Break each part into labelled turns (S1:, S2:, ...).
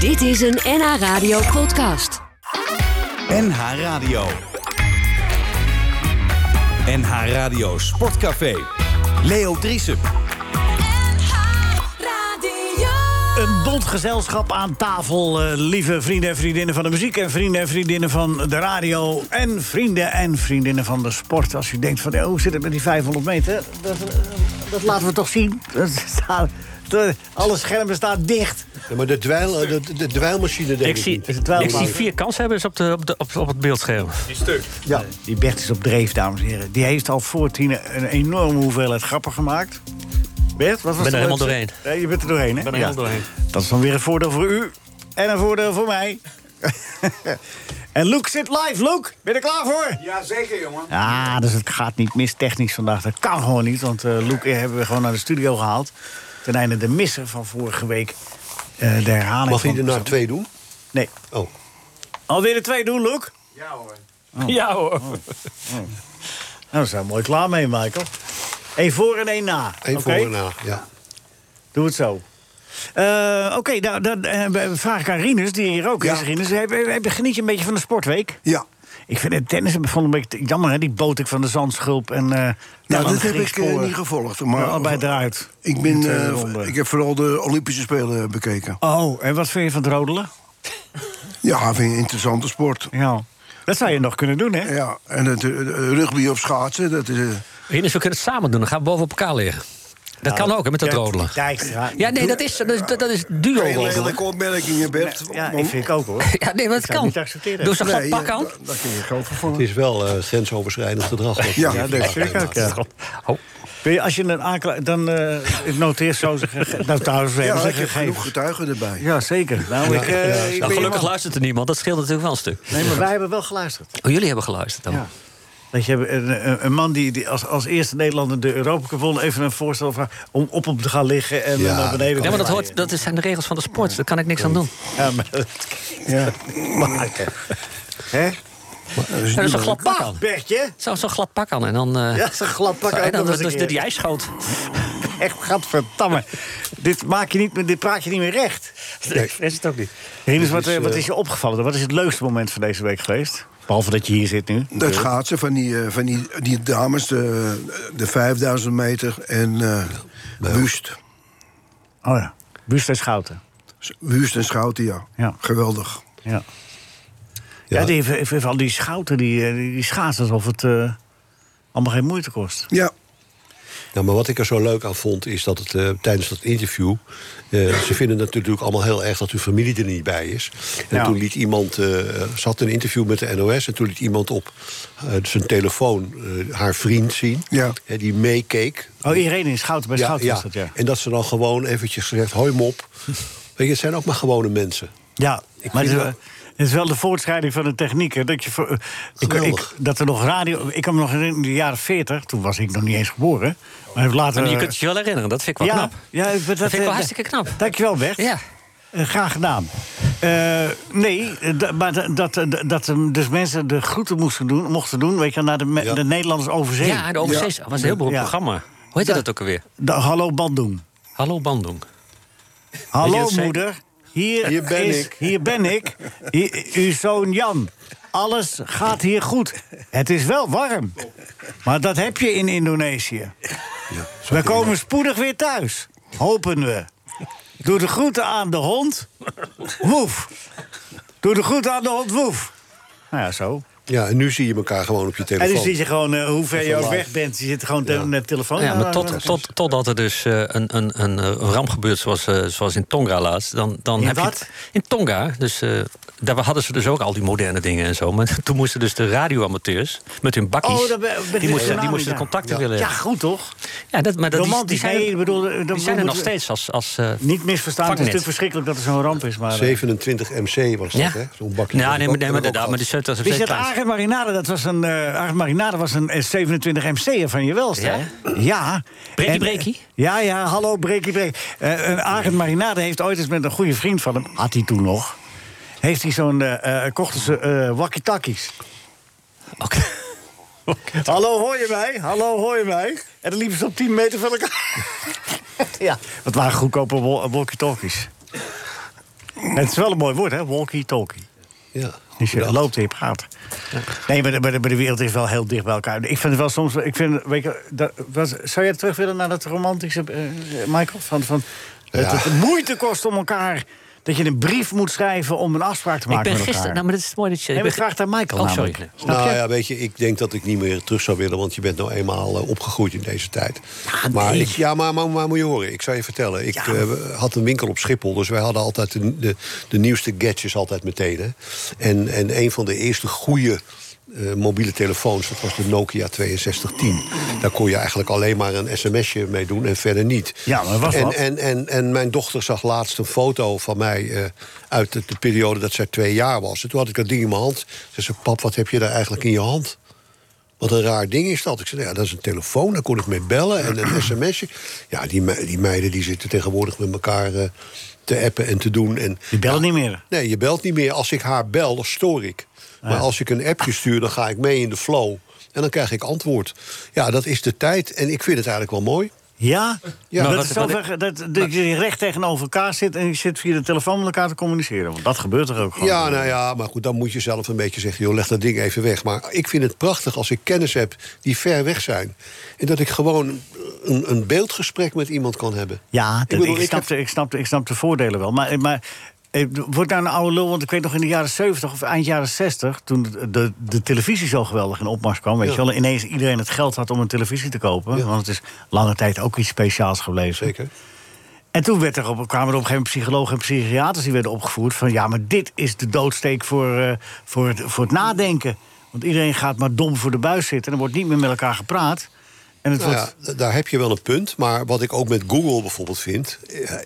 S1: Dit is een NH Radio podcast.
S2: NH Radio. NH Radio Sportcafé. Leo Driessen.
S3: Een bond gezelschap aan tafel, eh, lieve vrienden en vriendinnen van de muziek... en vrienden en vriendinnen van de radio en vrienden en vriendinnen van de sport. Als u denkt van, eh, hoe zit het met die 500 meter? Dat, eh, dat laten we toch zien. Dat staat- de- Alle schermen staan dicht.
S4: Ja, maar de, dweil, eh, de, de dweilmachine denk ik,
S5: Ik zie,
S4: niet.
S3: Is het wel
S5: ik zie
S3: belangrijk?
S5: vier kanshebbers op, de, op, de, op, op het beeldscherm.
S3: Ja. Die Bert is op dreef, dames en heren. Die heeft al voor tien een enorme hoeveelheid grappen gemaakt. Bert, wat was
S5: ben er
S3: de
S5: helemaal
S3: leukste?
S5: doorheen.
S3: Nee, je bent er doorheen, hè?
S5: ben er helemaal doorheen.
S3: Dat is dan weer een voordeel voor u. En een voordeel voor mij. en Luke zit live. Luke, ben je er klaar voor?
S6: Ja, zeker, jongen.
S3: Ah, dus het gaat niet mis technisch vandaag. Dat kan gewoon niet, want eh Luke hebben we gewoon naar de studio gehaald. Ten einde de missen van vorige week. eh, de herhaling
S4: Mag
S3: van...
S4: hij er nou twee doen?
S3: Nee.
S4: Oh.
S3: Alweer de twee doen, Luke? Oh.
S6: Ja hoor.
S5: Ja hoor.
S3: Nou, daar zijn we mooi klaar mee, Michael. Eén voor en één na.
S4: Eén
S3: Oké?
S4: voor en na. Ja.
S3: Doe het zo. Eh, Oké, nou, dan eh, vraag ik aan Rinus, die hier ook
S4: Ja.
S3: is. Rinus, heb, heb- geniet je een beetje van de sportweek?
S7: Ja.
S3: Ik vind het tennis ik vond het een beetje jammer, hè? Die botik van de zandschulp en... eh
S7: Nou,
S3: Nederland
S7: dat heb
S3: ging
S7: ik eh,
S3: scoren.
S7: niet gevolgd.
S3: Maar
S7: Maar
S3: allebei eruit.
S7: ik, ben,
S3: de tweede
S7: eh,
S3: ronde.
S7: ik heb vooral de Olympische Spelen bekeken.
S3: Oh, en wat vind je van het rodelen?
S7: Ja, vind ik een interessante sport.
S3: Ja. Dat zou je nog kunnen doen, hè?
S7: Ja, en het eh, rugby op schaatsen, dat is... eh,
S5: Rinus, we kunnen het samen doen. Dan gaan we boven op elkaar liggen. Dat
S3: Nou,
S5: kan ook, hè, met dat rodelen.
S3: Dijkstra.
S5: Ja, nee, dat is, dat is, dat is duo
S7: Geen
S5: rodelen.
S7: lelijke opmerkingen, Bert.
S3: Ja, ik vind ik ook, hoor.
S5: Ja, nee, maar het
S3: zou
S5: kan.
S3: niet accepteren.
S5: Doe ze
S7: Nee,
S5: gewoon pak
S7: eh,
S5: aan.
S7: da- Daar kun je geld voor
S4: Het
S7: vangen.
S4: is wel eh, grensoverschrijdend gedrag. wat-
S7: Ja,
S3: Ja, dat vind ik ook, ja.
S5: Oh,
S3: Wil je- Als je een aanklacht... Dan eh, ik noteer zo zijn gegevens. Nou, trouwens, we hebben
S7: Ja,
S3: zijn
S7: ik heb genoeg
S3: gegevens.
S7: getuigen erbij.
S3: Ja, zeker. Nou, ik, eh, ik ben
S5: nou, gelukkig
S3: helemaal-
S5: luistert er niemand. Dat scheelt natuurlijk wel een stuk.
S3: Nee, maar wij hebben wel geluisterd.
S5: Oh, jullie hebben geluisterd dan.
S3: Ja. Weet je, een, een- een man die, die als, als eerste Nederlander de Europa Cup won... even een voorstel van, om op hem te gaan liggen en
S4: Ja,
S3: dan naar beneden
S5: Ja, maar dat,
S3: te
S5: hoort, dat is- zijn de regels van de sport. Daar kan ik niks aan doen.
S3: Ja, maar dat
S7: Ja.
S3: maken. Hè? dus Ah,
S5: Ja, dat is een glad pak aan.
S3: Bertje?
S5: Zo- Zo'n glad pak aan. En dan, eh,
S3: Ja, zo'n glad pak aan,
S5: En dan
S3: dat was
S5: dus
S3: een
S5: de
S3: keer.
S5: die ijsgoot.
S3: Echt, gadverdamme. dit, maak je niet, meer- dit praat je niet meer recht.
S5: Nee, dat is het ook niet.
S3: Rinus, wat, eh, wat is je opgevallen? Wat is het leukste moment van deze week geweest? Behalve dat je hier zit nu.
S7: Dat schaatsen van die, eh, van die, die dames, de, de 5000 meter en eh Wust.
S3: Oh ja, Buust en Schouten.
S7: Wust en Schouten, ja.
S3: Ja.
S7: Geweldig.
S3: Ja. Ja, die, heeft- heeft al die Schouten, die, eh, die, die schaatsen alsof het eh, allemaal geen moeite kost.
S7: Ja,
S4: Nou, maar wat ik er zo leuk aan vond, is dat het eh, tijdens dat interview... eh, ze vinden het natuurlijk allemaal heel erg dat hun familie er niet bij is. En
S3: Ja.
S4: toen liet iemand... eh, ze had een interview met de NOS en toen liet iemand op eh, zijn telefoon eh, haar vriend zien.
S7: Ja.
S4: eh, die meekeek.
S3: Oh, iedereen in Schouten, bij Schouten was dat, ja.
S4: En dat ze dan gewoon eventjes zegt, hoi mop. Weet je, het zijn ook maar gewone mensen.
S3: Ja, maar het
S4: vind
S3: is,
S4: dat-
S3: wel- het is wel de voortschrijding van de techniek. Hè? Dat, je voor, eh, ik, ik,
S4: Geweldig.
S3: dat er nog radio... Ik kan me nog herinneren, in de jaren 40, toen was ik nog niet eens geboren. Maar later...
S5: Maar je kunt het je wel herinneren. Dat vind ik wel
S3: ja,
S5: knap.
S3: Ja, ik- dat,
S5: vind ik wel
S3: eh,
S5: hartstikke knap.
S3: Dankjewel, Bert.
S5: Ja.
S3: Eh, graag gedaan. Eh, nee, eh, da- maar da- dat, eh, da- dat eh, dus mensen de groeten moesten doen, mochten doen... weet je, wel, naar de, me-
S4: Ja.
S3: de Nederlanders overzee.
S5: Ja, de overzees was een heel beroemd
S3: Ja.
S5: programma. Hoe heette dat ook alweer?
S3: De, hallo Bandung.
S5: Hallo Bandung. Weet je
S3: Hallo
S5: dat zeker?
S3: moeder, hier,
S4: Hier ben
S3: is,
S4: ik.
S3: Hier ben ik, Hier- uw zoon Jan. Alles gaat hier goed. Het is wel warm. Maar dat heb je in Indonesië. we komen spoedig weer thuis. Hopen we. Doe de groeten aan de hond. Woef. Doe de groeten aan de hond. Woef. Nou ja, zo.
S4: Ja, en nu zie je elkaar gewoon op je
S3: En
S4: telefoon.
S3: dan zie je gewoon eh, hoe ver je ook
S4: live.
S3: weg bent. Je zit gewoon te-
S4: Ja.
S3: met de telefoon. eh,
S5: Ja, maar
S3: aan.
S5: tot, tot, totdat er dus eh, een, een, een, eh, een ramp gebeurt zoals, eh, zoals in Tonga laatst. Dan, dan
S3: In
S5: heb je
S3: wat?
S5: het- in Tonga. Dus, eh, daar hadden ze dus ook al die moderne dingen en zo. Maar toen moesten dus de radioamateurs met hun bakkies...
S3: Oh, daar ben- ben-
S5: die, moesten,
S3: tsunami
S5: die moesten de
S3: daar.
S5: contacten willen
S3: Ja,
S5: hebben.
S3: goed toch?
S5: Ja, dat, maar dat, die, die
S3: Romantisch,
S5: zijn,
S3: nee, ik bedoel, eh, dan
S5: die zijn er nog
S3: moeten we-
S5: steeds als... als eh,
S3: Niet misverstaan. Het is
S5: Vangnet.
S3: natuurlijk verschrikkelijk dat er zo'n ramp is. Maar, eh,
S4: 27 MC was dat,
S5: ja,
S4: hè? Zo'n
S5: ja
S4: bakje.
S5: nee, maar- nee, maar
S4: Heb ik ook
S5: inderdaad,
S4: gehad.
S5: maar die Zuid was
S3: Wist je dat Arend Marinade, dat was een, eh Arend Marinade was een eh, 27 MC'er van je welste,
S5: Ja,
S3: hè? Ja.
S5: Breekie,
S3: En,
S5: breekie?
S3: eh, Ja, ja, hallo, breekie, breekie. Eh, een Arend Marinade heeft ooit eens met een goede vriend van hem... had hij toen nog... heeft hij zo'n... eh, eh, kochten ze eh wakkie-takkies. Hallo, hoor je mij? Hallo, hoor je mij? En dan liepen ze op 10 meter van elkaar. ja, dat waren goedkope wo- walkie-talkies. Het is wel een mooi woord, hè? Walkie-talkie.
S4: Ja.
S3: Dus je loopt en je praat. Nee, maar de, maar de- maar de wereld is wel heel dicht bij elkaar. Ik vind het wel soms... Ik vind, weet je, dat, was, zou jij terug willen naar dat romantische, eh, Michael? Van, van, dat het moeite kost om elkaar... Dat je een brief moet schrijven om een afspraak te
S5: Ik
S3: maken
S5: ben
S3: met elkaar.
S5: gisteren. Nou, maar dat is mooi dat je.
S3: Nee,
S5: ik
S3: maar
S5: ben
S3: ik vraag het aan Michael
S5: Oh, sorry.
S3: namelijk.
S5: Nee.
S3: Snap
S4: nou
S3: je?
S4: ja, weet je, ik denk dat ik niet meer terug zou willen... want je bent nou eenmaal eh, opgegroeid in deze tijd. maar, ik, ja, maar, maar, maar moet je horen, ik zou je vertellen. Ik eh, had een winkel op Schiphol, dus wij hadden altijd de, de, de nieuwste gadgets altijd meteen. Hè. En, en een van de eerste goede eh, mobiele telefoons, dat was de Nokia 6210. Daar kon je eigenlijk alleen maar een sms'je mee doen en verder niet.
S3: Ja, maar was
S4: en,
S3: wat.
S4: en, en, en mijn dochter zag laatst een foto van mij eh, uit de, de periode dat zij twee jaar was. En toen had ik dat ding in mijn hand. Ze zei, pap, wat heb je daar eigenlijk in je hand? Wat een raar ding is dat. Ik zei, ja, dat is een telefoon, daar kon ik mee bellen en een sms'je. Ja, die, me- die meiden die zitten tegenwoordig met elkaar eh, te appen en te doen. En,
S3: Die bellen niet meer.
S4: Nee, je belt niet meer. Als ik haar bel, dan stoor ik. Maar als ik een appje stuur, dan ga ik mee in de flow. En dan krijg ik antwoord. Ja, dat is de tijd. En ik vind het eigenlijk wel mooi.
S3: Ja?
S4: Ja.
S3: dat
S4: Maar
S3: is
S5: wat-
S3: zover dat, dat je recht tegenover elkaar zit... en je zit via de telefoon met elkaar te communiceren. Want dat gebeurt er ook gewoon. eh,
S4: Ja, nou ja, maar goed, dan moet je zelf een beetje zeggen... joh, leg dat ding even weg. Maar ik vind het prachtig als ik kennis heb die ver weg zijn. En dat ik gewoon een, een beeldgesprek met iemand kan hebben.
S3: Ja, dat- ik,
S4: bedoel, ik
S3: snap de, ik, snap, de- ik snap de voordelen wel. Maar, maar eh, word daar een oude lul, want ik weet nog in de jaren 70 of eind jaren 60... toen de, de, de televisie zo geweldig in opmars kwam... weet
S4: Ja.
S3: je wel, ineens iedereen het geld had om een televisie te kopen.
S4: Ja.
S3: Want het is lange tijd ook iets speciaals gebleven.
S4: Zeker.
S3: En toen werd er op, kwamen er op een gegeven moment psychologen en psychiaters... die werden opgevoerd van ja, maar dit is de doodsteek voor, eh, voor, het, voor het nadenken. Want iedereen gaat maar dom voor de buis zitten... en er wordt niet meer met elkaar gepraat. En het
S4: Nou
S3: wordt...
S4: ja, d- daar heb je wel een punt. Maar wat ik ook met Google bijvoorbeeld vind... eh,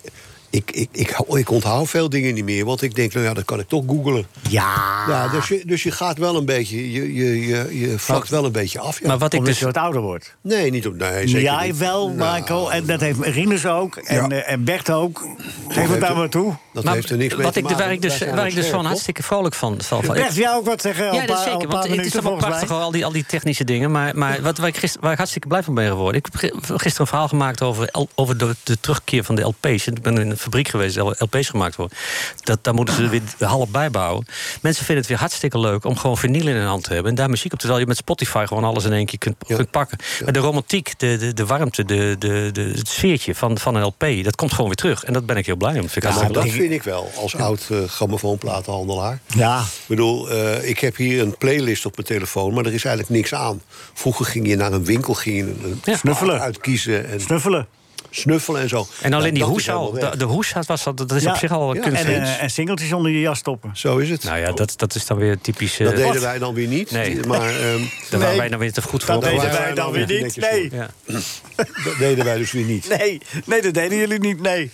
S4: Ik, ik, ik, hou- ik onthoud veel dingen niet meer, want ik denk, nou ja, dat kan ik toch googelen.
S3: Ja,
S4: Ja, dus, je, dus je gaat wel een beetje, je, je, je, je vlakt wel een beetje af. Ja.
S5: Maar wat ik
S3: omdat
S5: dus.
S3: je wat ouder wordt.
S4: Nee, niet op. Nee, zeker
S3: ja,
S4: niet.
S3: wel,
S4: Nou,
S3: Michael. En dat heeft Rinus ook. En, eh, en Bert ook. Geef het
S4: heeft
S3: daar
S4: het-
S3: maar toe.
S4: Dat
S5: maar
S4: heeft er niks mee
S5: wat
S4: te
S5: ik,
S4: maken.
S5: Waar ik dus,
S4: Wij zijn
S5: waar
S4: op
S5: ik dus
S4: scherp,
S5: van
S4: toch?
S5: hartstikke vrolijk van. van, van
S3: Bert, jij ook wat zeggen? al
S5: Ja,
S3: een
S5: dat
S3: paar- al een
S5: zeker. Want
S3: paar
S5: het is
S3: minuten
S5: toch wel
S3: volgens
S5: prachtig,
S3: mij.
S5: hoor, al die, al die technische dingen. Maar, maar wat, waar, ik gister, waar ik hartstikke blij van ben geworden. Ik heb ge- gisteren een verhaal gemaakt over, L- over de, de terugkeer van de LP's. Ik ben in een fabriek geweest, waar LP's gemaakt worden. Dat, daar moeten ze er weer half bijbouwen. Mensen vinden het weer hartstikke leuk om gewoon vinyl in hun hand te hebben. En daar muziek op. Terwijl je met Spotify gewoon alles in één keer kunt, kunt pakken. Maar de romantiek, de, de, de warmte, de, de, de, het sfeertje van, van een LP. Dat komt gewoon weer terug. En dat ben ik heel blij om. Dat vind ik
S4: Ja,
S5: hartstikke
S4: dat
S5: leuk.
S4: vind ik wel, als oud eh, grammofoonplatenhandelaar.
S3: Ja.
S4: Ik bedoel, eh, ik heb hier een playlist op mijn telefoon, maar er is eigenlijk niks aan. Vroeger ging je naar een winkel, ging je een, een plaat
S3: Snuffelen.
S4: uitkiezen en
S3: Snuffelen.
S4: snuffelen en zo.
S5: En alleen
S4: Nou,
S5: die
S4: dat is
S5: hoes al.
S4: helemaal weg.
S5: De, de hoes was dat, dat is
S3: Ja.
S5: op zich al een
S4: Ja.
S3: En,
S5: kunstfeest.
S3: eh, en singeltjes onder je jas stoppen.
S4: Zo is het.
S5: Nou ja, dat, dat is dan weer typisch. eh,
S4: dat deden
S5: wat?
S4: wij dan weer niet.
S5: Nee.
S4: Maar ehm,
S5: Daar waren wij dan weer te goed voor.
S3: Dat
S4: deden
S3: deden
S5: opgewassen.
S4: waren
S3: wij
S4: wij
S3: dan
S4: nog
S3: weer niet.
S4: netjes
S3: Nee.
S5: Ja.
S4: dat deden wij dus weer niet.
S3: nee. Nee, dat deden jullie niet. Nee.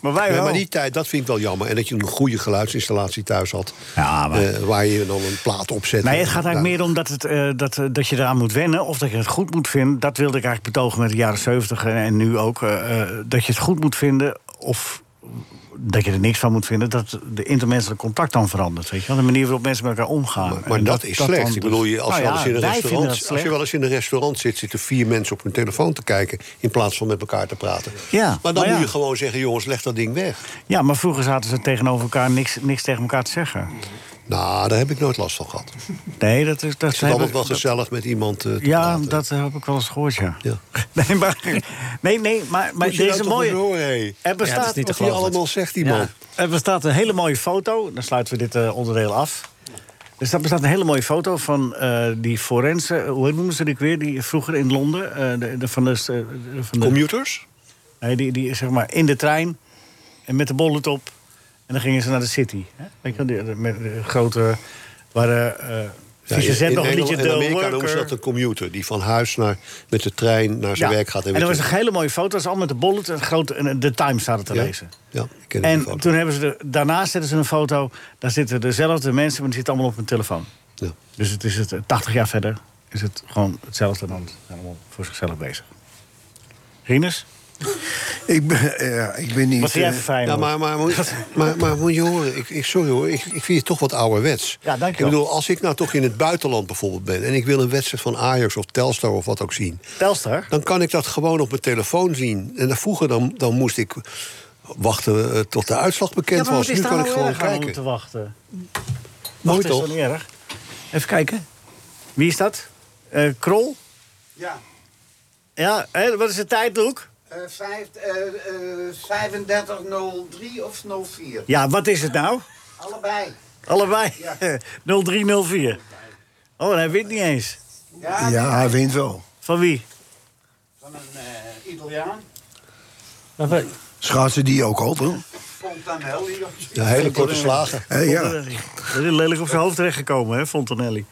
S3: Maar wij
S4: Nee,
S3: wel.
S4: maar die tijd, dat vind ik wel jammer. En dat je een goede geluidsinstallatie thuis had.
S3: Ja, maar-
S4: eh, waar je dan een plaat op zet.
S3: Nee, het gaat
S4: Nou,
S3: eigenlijk meer om dat, het, eh, dat, eh, dat je eraan moet wennen of dat je het goed moet vinden. Dat wilde ik eigenlijk betogen met de jaren 70 en, en nu ook. eh, eh, dat je het goed moet vinden of dat je er niks van moet vinden. Dat de intermenselijke contact dan verandert. Weet je? wel? De manier waarop mensen met elkaar omgaan.
S4: Maar, maar
S3: En
S4: dat, is slecht.
S3: dan
S4: ik
S3: dus-
S4: bedoel, je, als,
S3: Nou
S4: je wel eens in een
S3: wij vinden
S4: restaurant,
S3: dat
S4: als je
S3: slecht.
S4: wel eens in een restaurant zit, zitten vier mensen op hun telefoon te kijken. in plaats van met elkaar te praten.
S3: Ja,
S4: maar dan
S3: maar ja.
S4: moet je gewoon zeggen: jongens, leg dat ding weg.
S3: Ja, maar vroeger zaten ze tegenover elkaar niks, niks tegen elkaar te zeggen.
S4: Nou, daar heb ik nooit last van gehad. Het
S3: Nee, dat is... Dat
S4: is
S3: heb
S4: altijd
S3: ik-
S4: wel gezellig met iemand eh, te
S3: Ja,
S4: praten.
S3: dat heb ik wel eens gehoord, ja.
S4: Ja.
S3: Nee, maar, nee, nee, maar, maar
S4: Moet je
S3: deze
S4: daar toch
S3: mooie...
S4: eens door, hé?
S3: Er
S5: Ja, dat is
S3: bestaat,
S5: niet te
S4: Wat hij
S5: geloven.
S4: allemaal zegt, die man.
S3: er bestaat een hele mooie foto. Dan sluiten we dit eh, onderdeel af. Dus daar bestaat een hele mooie foto van eh, die forense... Hoe noemen ze die ook weer? Die vroeger in Londen... eh, de, de- van de, eh, van de,
S4: Computers?
S3: nee, die, die, zeg maar, in de trein en met de bollet op. En dan gingen ze naar de city. Hè? Weet je wel, die- de- met de grote... Waar eh eh,
S4: Ja,
S3: Fischer Zet
S4: in
S3: nog een
S4: Nederland-
S3: liedje...
S4: in
S3: The
S4: Amerika noemen ze
S3: Worker.
S4: dat een commuter. Die van huis naar, met de trein naar zijn
S3: Ja.
S4: werk gaat.
S3: En
S4: weer
S3: dat was een
S4: terug.
S3: hele mooie foto. Dat is al met de bullet en, groot, en de Times zaten te
S4: Ja?
S3: lezen.
S4: Ja, ik ken die
S3: En
S4: foto.
S3: toen hebben ze de, daarnaast zetten ze een foto. Daar zitten dezelfde mensen, maar die zitten allemaal op hun telefoon.
S4: Ja.
S3: Dus het is het, eh, 80 jaar verder is het gewoon hetzelfde. Dan zijn allemaal voor zichzelf bezig. Rinus,
S7: Ik ben, eh, ik ben niet...
S3: wat vind jij
S7: eh,
S3: voor fijn?
S4: Ja, maar, maar, moet- maar, maar moet je horen, ik, ik, sorry hoor, ik, ik vind je toch wat ouderwets.
S3: Ja, dank je
S4: Ik
S3: wel.
S4: bedoel, als ik nou toch in het buitenland bijvoorbeeld ben... en ik wil een wedstrijd van Ajax of Telstar of wat ook zien...
S3: Telstar?
S4: dan kan ik dat gewoon op mijn telefoon zien. En dan vroeger dan, dan moest ik wachten eh, tot de uitslag bekend was. Nu
S3: nou
S4: kan ik gewoon kijken.
S3: te wachten.
S4: Mooi
S3: Wacht, is
S4: toch?
S3: toch niet erg? Even kijken. Wie is dat? Eh, Krol?
S6: Ja,
S3: Ja, hè, wat is de tijd, Loek?
S6: eh, vijf- eh, eh, 3503 of 04.
S3: Ja, wat is het nou?
S6: Allebei.
S3: Allebei.
S6: Ja.
S3: 0304. Oh, en hij wint niet eens.
S6: Ja,
S7: Ja, hij wint wel.
S3: Van wie?
S6: van een eh, Italiaan.
S7: Schaatsen die ook al, toch?
S6: Fontanel hier.
S4: Ja, hele korte slagen.
S7: Eh, ja.
S3: Fontanelli. Dat is lelijk op zijn hoofd terechtgekomen, hè, Fontanelli.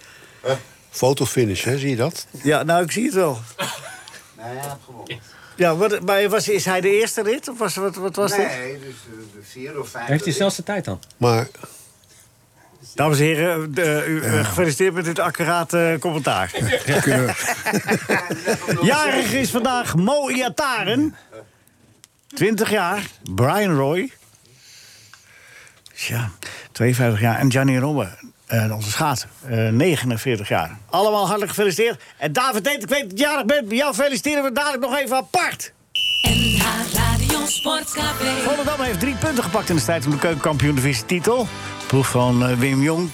S4: Fotofinish, hè, zie je dat?
S3: Ja, nou, ik zie het wel.
S6: Nee, hij heeft gewonnen.
S3: Ja, wat, maar was, is hij de eerste rit? Of was, wat, wat was dit?
S6: Nee, dus eh, de vierde of vijfde.
S5: Heeft hij
S6: rit.
S5: snelste tijd dan?
S4: Maar
S3: Dames en heren, de- u, eh, gefeliciteerd met dit accurate eh, commentaar. Jarig is vandaag Mo Iataren. 20 jaar. Brian Roy. Ja, 52 jaar. En Gianni Robbe, eh, onze schaat, 49 jaar. Allemaal hartelijk gefeliciteerd. En David Deet, ik weet dat je jarig bent. Bij jou feliciteren we dadelijk nog even apart.
S1: NH Radio Sportcafé.
S3: Volendam heeft drie punten gepakt in de strijd om de keukenkampioen divisie titel. Proef van eh, Wim Jong.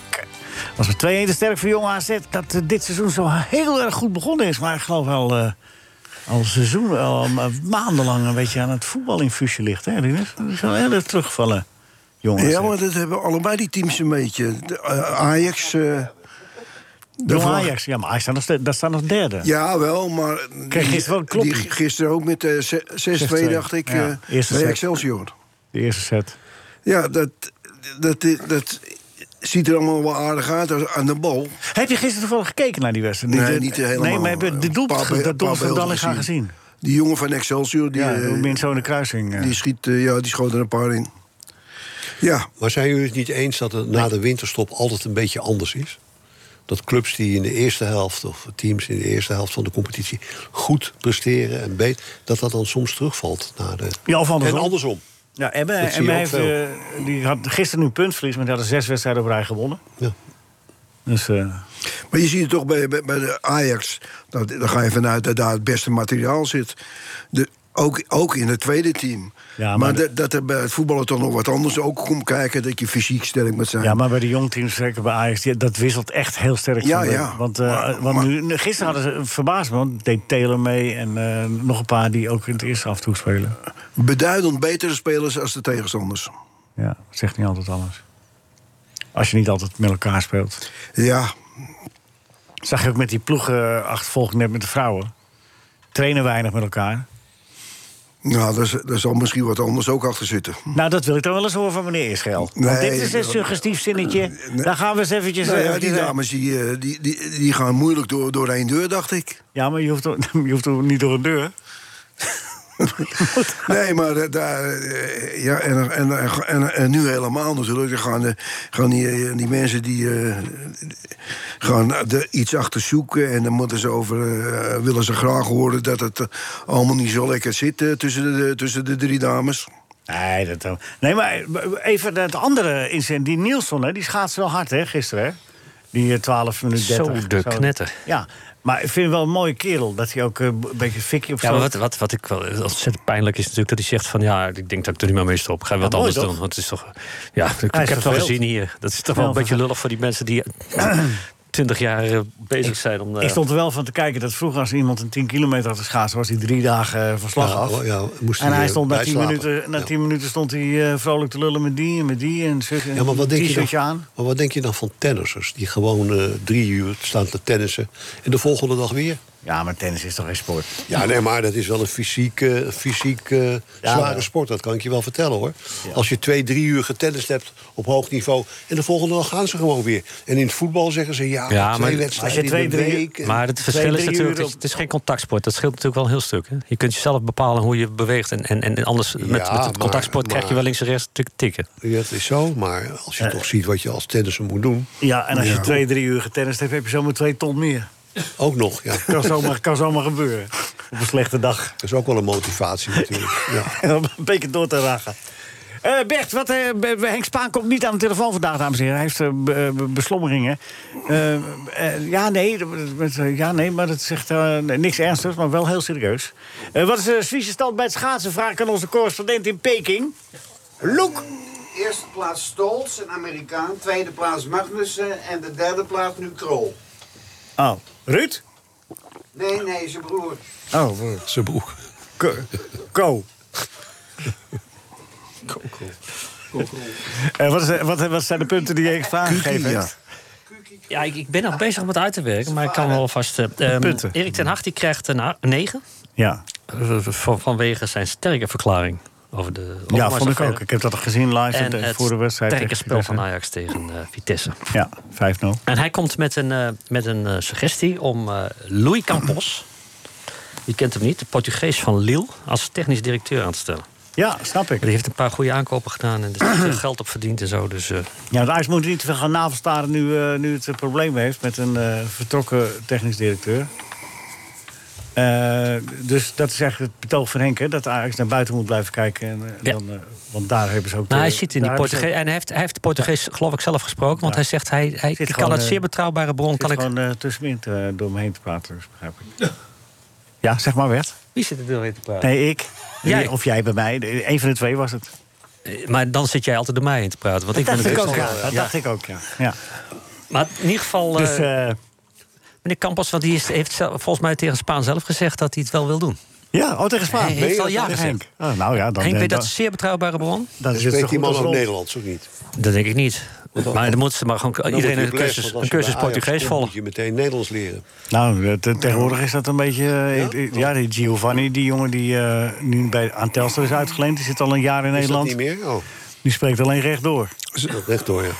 S3: Was met 2-1 de sterk voor Jong AZ. Dat eh, dit seizoen zo heel erg goed begonnen is. Maar ik geloof wel eh, al seizoen, al ma- maandenlang een beetje aan het voetbalinfuusje ligt. Hè, Rinus? Die is wel heel erg teruggevallen, Jong AZ.
S7: Ja, maar dat hebben allebei die teams een beetje. De, eh, Ajax. eh,
S3: Jong
S7: daarvan-
S3: Ajax, ja, maar hij staat nog, ste- daar staat nog derde.
S7: Ja, wel, maar...
S3: Kreeg
S7: die-
S3: gisteren wel een kloppie.
S7: die Gisteren ook met eh, ze- 6-2, dacht ik,
S3: Ja,
S7: eh,
S3: eerste
S7: bij
S3: set.
S7: Excelsior.
S3: De eerste set.
S7: Ja, dat, dat, dat, ziet er allemaal wel aardig uit als- aan de bal.
S3: Heb je gisteren toevallig gekeken naar die wedstrijd?
S7: Nee,
S3: Die-
S7: niet eh, helemaal.
S3: Nee, maar heb je de
S7: Een paar
S3: doelpunt, dat
S7: be-
S3: doelpunt
S7: paar
S3: van
S7: beelden
S3: Dallinga gezien?
S7: Die jongen van Excelsior, die,
S3: Ja,
S7: eh,
S3: min zo in de kruising. eh.
S7: die, schiet, eh, ja, die schoot er een paar in. Ja,
S4: Maar zijn jullie het niet eens dat het na de winterstop altijd een beetje anders is? Dat clubs die in de eerste helft, of teams in de eerste helft van de competitie goed presteren en beter, dat dat dan soms terugvalt naar de.
S3: Ja, of andersom.
S4: En andersom.
S3: Ja, Emma,
S4: Dat zie je
S3: Emma
S4: ook
S3: heeft,
S4: veel.
S3: eh, die had gisteren nu puntverlies, maar die hadden zes wedstrijden op rij gewonnen.
S4: Ja.
S3: Dus, eh,
S7: maar je ziet het toch bij, bij, bij de Ajax. Nou, daar ga je vanuit dat daar het beste materiaal zit. De, ook, ook in het tweede team.
S3: Ja, maar
S7: maar
S3: de-
S7: dat, dat er bij het voetballen toch nog wat anders ook komt kijken. Dat je fysiek sterk moet zijn.
S3: ja, maar bij de jongteams, zeker bij Ajax, die- dat wisselt echt heel sterk.
S7: Ja,
S3: van de-
S7: ja.
S3: Want, eh,
S7: Maar-
S3: want
S7: maar-
S3: nu, gisteren hadden ze verbaasd me, want deed Taylor mee en eh, nog een paar die ook in het eerste af en toe spelen.
S7: Beduidend betere spelers als de tegenstanders.
S3: Ja, dat zegt niet altijd anders. Als je niet altijd met elkaar speelt.
S7: Ja,
S3: Zag je ook met die ploegenachtervolging net met de vrouwen. Trainen weinig met elkaar.
S7: nou, daar, z- daar zal misschien wat anders ook achter zitten.
S3: Nou, dat wil ik dan wel eens horen van meneer Israël. Want
S7: Nee,
S3: dit is een suggestief zinnetje. Daar gaan we eens eventjes... eh,
S7: Nou ja,
S3: eventjes
S7: die dames die, eh, die, die, die gaan moeilijk door, door één deur, dacht ik.
S3: Ja, maar je hoeft, toch- je hoeft toch niet door een deur.
S7: Nee, maar eh, daar, eh, ja, en, en, en, en, en nu helemaal natuurlijk. Dan gaan, eh, gaan die, eh, die mensen die eh, gaan er iets achter zoeken. En dan moeten ze over, eh, willen ze graag horen dat het eh, allemaal niet zo lekker zit eh, tussen, de, tussen de drie dames.
S3: Nee, dat dan. Nee, maar even dat andere incident. Die Nielsen, hè, die schaats wel hard, hè, gisteren, hè? Die eh, 12 minuten
S5: Zo
S3: 30.
S5: de knetter.
S3: Ja, maar ik vind hem wel een mooie kerel. Dat hij ook eh, een beetje fikje of
S5: Ja,
S3: zo...
S5: maar wat, wat, wat ik wel ontzettend pijnlijk is natuurlijk... dat hij zegt van, ja, ik denk dat ik er niet meer mee stop. Ga wat
S3: mooi,
S5: anders
S3: toch?
S5: doen. Want het is toch... Ja, ik, ik heb het wel
S3: verveeld.
S5: gezien hier. Dat is toch wel
S3: Ja,
S5: een beetje
S3: verveeld.
S5: lullig voor die mensen die... 20 jaar eh, bezig zijn om... eh,
S3: Ik stond er wel van te kijken dat vroeger als iemand een 10 kilometer had geschaatst... was hij drie dagen eh, van slag
S4: Ja, oh,
S3: af.
S4: ja, moest
S3: en
S4: hij,
S3: hij
S4: eh,
S3: stond na 10
S4: bijslapen.
S3: minuten, na
S4: Ja.
S3: 10 minuten stond hij eh, vrolijk te lullen met die en met die. En zo-
S4: Ja, maar wat denk,
S3: een
S4: je
S3: t-shirtje
S4: dan,
S3: aan.
S4: maar wat denk je dan van tennissers die gewoon eh, drie uur staan te tennissen en de volgende dag weer?
S3: Ja, maar tennis is toch geen sport?
S4: Ja, nee, maar dat is wel een fysiek, eh, fysiek eh, zware
S3: maar-
S4: sport. Dat kan ik je wel vertellen, hoor. Als je twee, drie uur getennist hebt op hoog niveau... en de volgende dag gaan ze gewoon weer. En in het voetbal zeggen ze, ja,
S5: Ja,
S4: twee
S5: maar-
S4: wedstrijden
S3: als je
S4: in
S3: twee,
S4: de
S3: drie-
S4: week. eh, En-
S5: Maar het verschil is
S3: drie
S5: natuurlijk,
S3: uur
S5: dat je- het is geen contactsport. Dat scheelt natuurlijk wel een heel stuk. Hè? Je kunt jezelf bepalen hoe je beweegt. En, en, en anders, met, met
S4: maar-
S5: het contactsport krijg je
S4: maar-
S5: wel links en rechts natuurlijk tikken.
S4: Ja, het is zo, maar als je toch ziet wat je als tennisser moet doen...
S3: Eh. Ja, en als je twee, drie uur getennist hebt, heb je zomaar twee ton meer.
S4: ook nog, ja.
S3: Kan zomaar, kan zomaar gebeuren. Op een slechte dag.
S4: Dat is ook wel een motivatie natuurlijk. Ja.
S3: Om een beetje door te ragen. Eh, Bert, wat, eh, Be- Be- Henk Spaan komt niet aan de telefoon vandaag, dames en heren. Hij heeft eh, be- be- beslommeringen. Eh, eh, ja, nee, dat- dat- dat- ja, nee, maar dat zegt eh, niks ernstigs, maar wel heel serieus. Eh, wat is de Zwitserse stand bij het schaatsen? Vraag ik aan onze correspondent in Peking. Loek!
S6: Eerste plaats Stolz, een Amerikaan. Tweede plaats Magnussen. En de derde plaats nu Krol.
S3: Oh, Ruud?
S6: Nee, nee, zijn broer.
S3: Oh,
S4: Zijn broek.
S3: Ko. Ko. Eh, wat, is, eh, wat, wat zijn de punten die Henk Spaan gegeven
S7: ja.
S3: heeft?
S5: Ja, ik, ik ben nog bezig om het uit te werken, maar ik kan wel vast... eh, ehm,
S3: punten.
S5: Erik ten Hag die krijgt een Eh, 9
S3: Ja,
S5: van, vanwege zijn sterke verklaring over de... over
S3: ja
S5: Marcel
S3: vond ik ook.
S5: Verder.
S3: Ik heb dat gezien live
S5: En
S3: eh,
S5: het
S3: voor de wedstrijd.
S5: sterke
S3: tegen
S5: spel van
S3: Vitesse.
S5: Ajax tegen eh, Vitesse.
S3: Ja, 5-0.
S5: En hij komt met een, eh, met een eh, suggestie om eh Louis Campos... Je kent hem niet, de Portugees van Lille, als technisch directeur aan te stellen.
S3: Ja, snap ik.
S5: Die heeft een paar goede aankopen gedaan en er is veel geld op verdiend en zo. Dus eh,
S3: Ja, de Ajax moet niet te veel gaan navelstaren nu, eh, nu het eh, probleem heeft met een eh, vertrokken technisch directeur. Eh, dus dat is echt het betoog van Henk, hè, dat Ajax naar buiten moet blijven kijken. En, eh,
S5: Ja.
S3: dan, eh, want daar hebben ze ook...
S5: Nou,
S3: de-
S5: hij zit in die
S3: daar hebben ze
S5: Portugees. En hij heeft, hij heeft Portugees, geloof ik, zelf gesproken. Want hij zegt, hij, hij ik
S3: gewoon,
S5: kan uit
S3: eh,
S5: zeer betrouwbare bron.
S3: ook-
S5: Kan
S3: zit
S5: ik...
S3: gewoon eh, tussenin te, door me heen te praten, dus begrijp ik. Ja, zeg maar Bert.
S5: eh, Wie zit er doorheen te praten?
S3: Nee, ik.
S5: Jij.
S3: Of jij bij mij. Een van de twee was het.
S5: Eh, Maar dan zit jij altijd door mij heen te praten. Want ik ben
S3: dacht ik
S5: natuurlijk
S3: ook, ja.
S5: wel-
S3: Dat
S5: ja.
S3: dacht ik ook, ja.
S5: Eh,
S3: ja.
S5: Maar in ieder geval, eh,
S3: Dus, eh,
S5: meneer Campos, want die is, heeft zelf- volgens mij tegen Spaan zelf gezegd dat hij het wel wil doen.
S3: ja, oh, tegen Spaan.
S5: Hij heeft
S3: Ben je
S5: al
S3: dat
S5: ja
S3: tegen
S5: gezegd.
S3: Henk? Oh, nou ja, dan...
S5: Henk,
S3: eh,
S5: weet
S3: dan-
S5: dat zeer betrouwbare bron?
S3: dan is het zo
S4: Spreekt die
S3: goed
S4: man
S3: als
S4: ook
S3: rond.
S4: Nederlands of niet?
S5: Dat denk ik niet. Maar dan moeten ze maar gewoon
S4: Dan
S5: iedereen
S4: wordt
S5: een
S4: je beles,
S5: cursus,
S4: want als
S5: een
S4: je bij
S5: cursus
S4: Ajax
S5: Portugees
S4: komt,
S5: volgen.
S4: moet je meteen Nederlands leren.
S3: Nou, de- te- tegenwoordig is dat een beetje... eh, ik- ik- ja, die Giovanni, die jongen die eh, nu bij, aan Telstra is uitgeleend... die zit al een jaar in
S4: Is dat
S3: Nederland.
S4: niet meer? Oh,
S3: Die spreekt alleen rechtdoor.
S4: dat recht door, ja.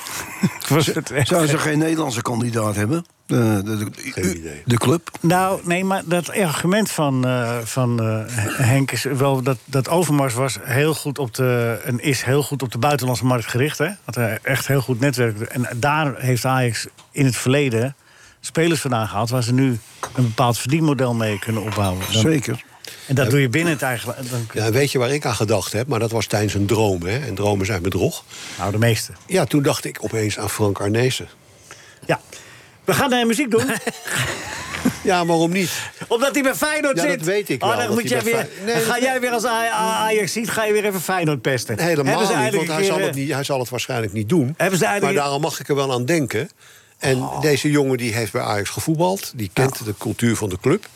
S3: Was het echt-
S7: Zouden ze geen Nederlandse kandidaat hebben? Eh, De, de,
S4: Geen idee.
S7: de club?
S3: Nou, nee, maar dat argument van, eh, van eh, Henk is wel dat, dat Overmars was heel goed op de en is heel goed op de buitenlandse markt gericht, hè? Had hij echt heel goed netwerk. En daar heeft Ajax in het verleden spelers vandaan gehaald waar ze nu een bepaald verdienmodel mee kunnen opbouwen. Dan-
S7: Zeker.
S3: en dat doe je binnen het eigen. la- Dan,
S4: Ja, weet je waar ik aan gedacht heb? Maar dat was tijdens een droom, hè? En dromen zijn bedrog.
S3: Nou, de meeste.
S4: Ja, toen dacht ik opeens aan Frank Arnezen.
S3: Ja. We gaan naar muziek doen,
S4: Ja, waarom niet?
S3: omdat hij bij Feyenoord
S4: Ja,
S3: zit.
S4: dat weet ik wel,
S3: Oh, dan
S4: dat
S3: moet
S4: hij
S3: jij
S4: bij
S3: weer,
S4: Fey- Nee,
S3: dan
S4: dat-
S3: ga jij weer als Aj- Ajax ziet, ga je weer even Feyenoord pesten.
S4: Helemaal
S3: Hebben ze
S4: niet,
S3: eigenlijk
S4: want
S3: een
S4: hij zal,
S3: keer,
S4: het
S3: eh,
S4: niet, hij zal het waarschijnlijk niet doen.
S3: Hebben ze Oh. eigenlijk-
S4: Maar daarom mag ik er wel aan denken. En deze jongen die heeft bij Ajax gevoetbald. Die kent de cultuur van de club.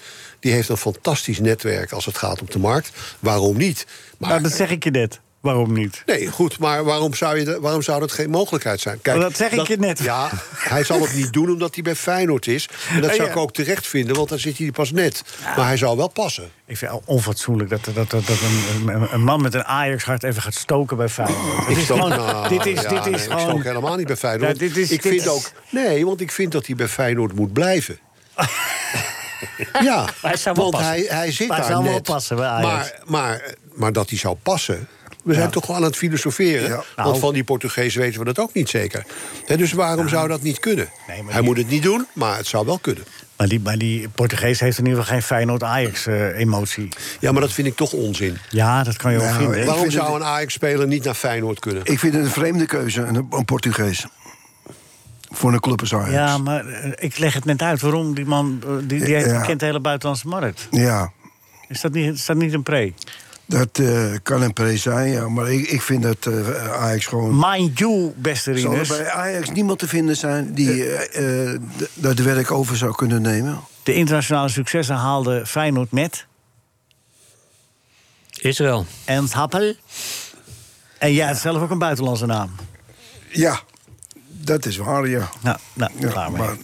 S4: Die heeft een fantastisch netwerk als het gaat om de markt. Waarom niet? Maar,
S3: Nou, dat zeg ik je net. Waarom niet?
S4: Nee, goed, maar waarom zou, je, de- waarom zou dat geen mogelijkheid zijn? Kijk,
S3: Maar dat zeg ik je net.
S4: Ja, hij zal het niet doen omdat hij bij Feyenoord is. En dat
S3: Ja,
S4: zou
S3: ja.
S4: ik ook terecht vinden, want dan zit hij pas net. Maar hij zou wel passen.
S3: Ik vind het onfatsoenlijk dat, dat, dat, dat een, een, een man met een Ajax-hart even gaat stoken bij Feyenoord. Het
S4: Ik
S3: is
S4: stook-
S3: gewoon-
S4: nou,
S3: dit is,
S4: ja,
S3: dit
S4: nee,
S3: is
S4: Ik
S3: gewoon...
S4: stook helemaal niet bij Feyenoord.
S3: Ja, dit is-
S4: ik
S3: dit
S4: vind
S3: is-
S4: ook... Nee, want ik vind dat hij bij Feyenoord moet blijven. ja,
S5: hij zou wel
S4: want
S5: passen.
S4: hij, hij zit
S3: Maar hij
S4: daar
S3: zou wel
S4: net.
S3: passen bij Ajax.
S4: Maar, maar, maar dat hij zou passen... We zijn toch wel aan het filosoferen.
S7: Ja.
S3: Nou.
S4: Want van die Portugezen weten we dat ook niet zeker. Hè, dus waarom zou dat niet kunnen?
S3: Nee, maar
S4: hij
S3: die-
S4: moet het niet doen, maar het zou wel kunnen.
S3: Maar, die, maar die Portugees heeft in ieder geval geen Feyenoord-Ajax-emotie.
S4: Ja, maar dat vind ik toch onzin.
S3: ja, dat kan je wel
S7: Nou,
S3: vinden.
S7: ik-
S3: hè?
S4: Waarom
S7: vind
S4: zou
S7: het-
S4: een Ajax-speler niet naar Feyenoord kunnen?
S7: Ik vind het een vreemde keuze, een, een Portugees. Voor een club als Ajax.
S3: Ja, maar eh, ik leg het net uit waarom die man... eh, Die, die heeft,
S7: Ja.
S3: kent de hele buitenlandse markt.
S7: Ja,
S3: Is dat niet, is dat niet een pre?
S7: dat eh, kan een pre zijn, ja. Maar ik, ik vind dat eh, Ajax gewoon...
S3: Mind you, beste
S7: Zal er
S3: Rinus.
S7: bij Ajax niemand te vinden zijn die eh, eh, d- dat werk over zou kunnen nemen?
S3: De internationale successen haalde Feyenoord met...
S5: Israël.
S3: Ernst Happel. En jij hebt zelf ook een buitenlandse naam.
S7: Ja, dat is waar, ja.
S3: Nou, nou
S7: Ja,
S3: klaar mee.
S7: maar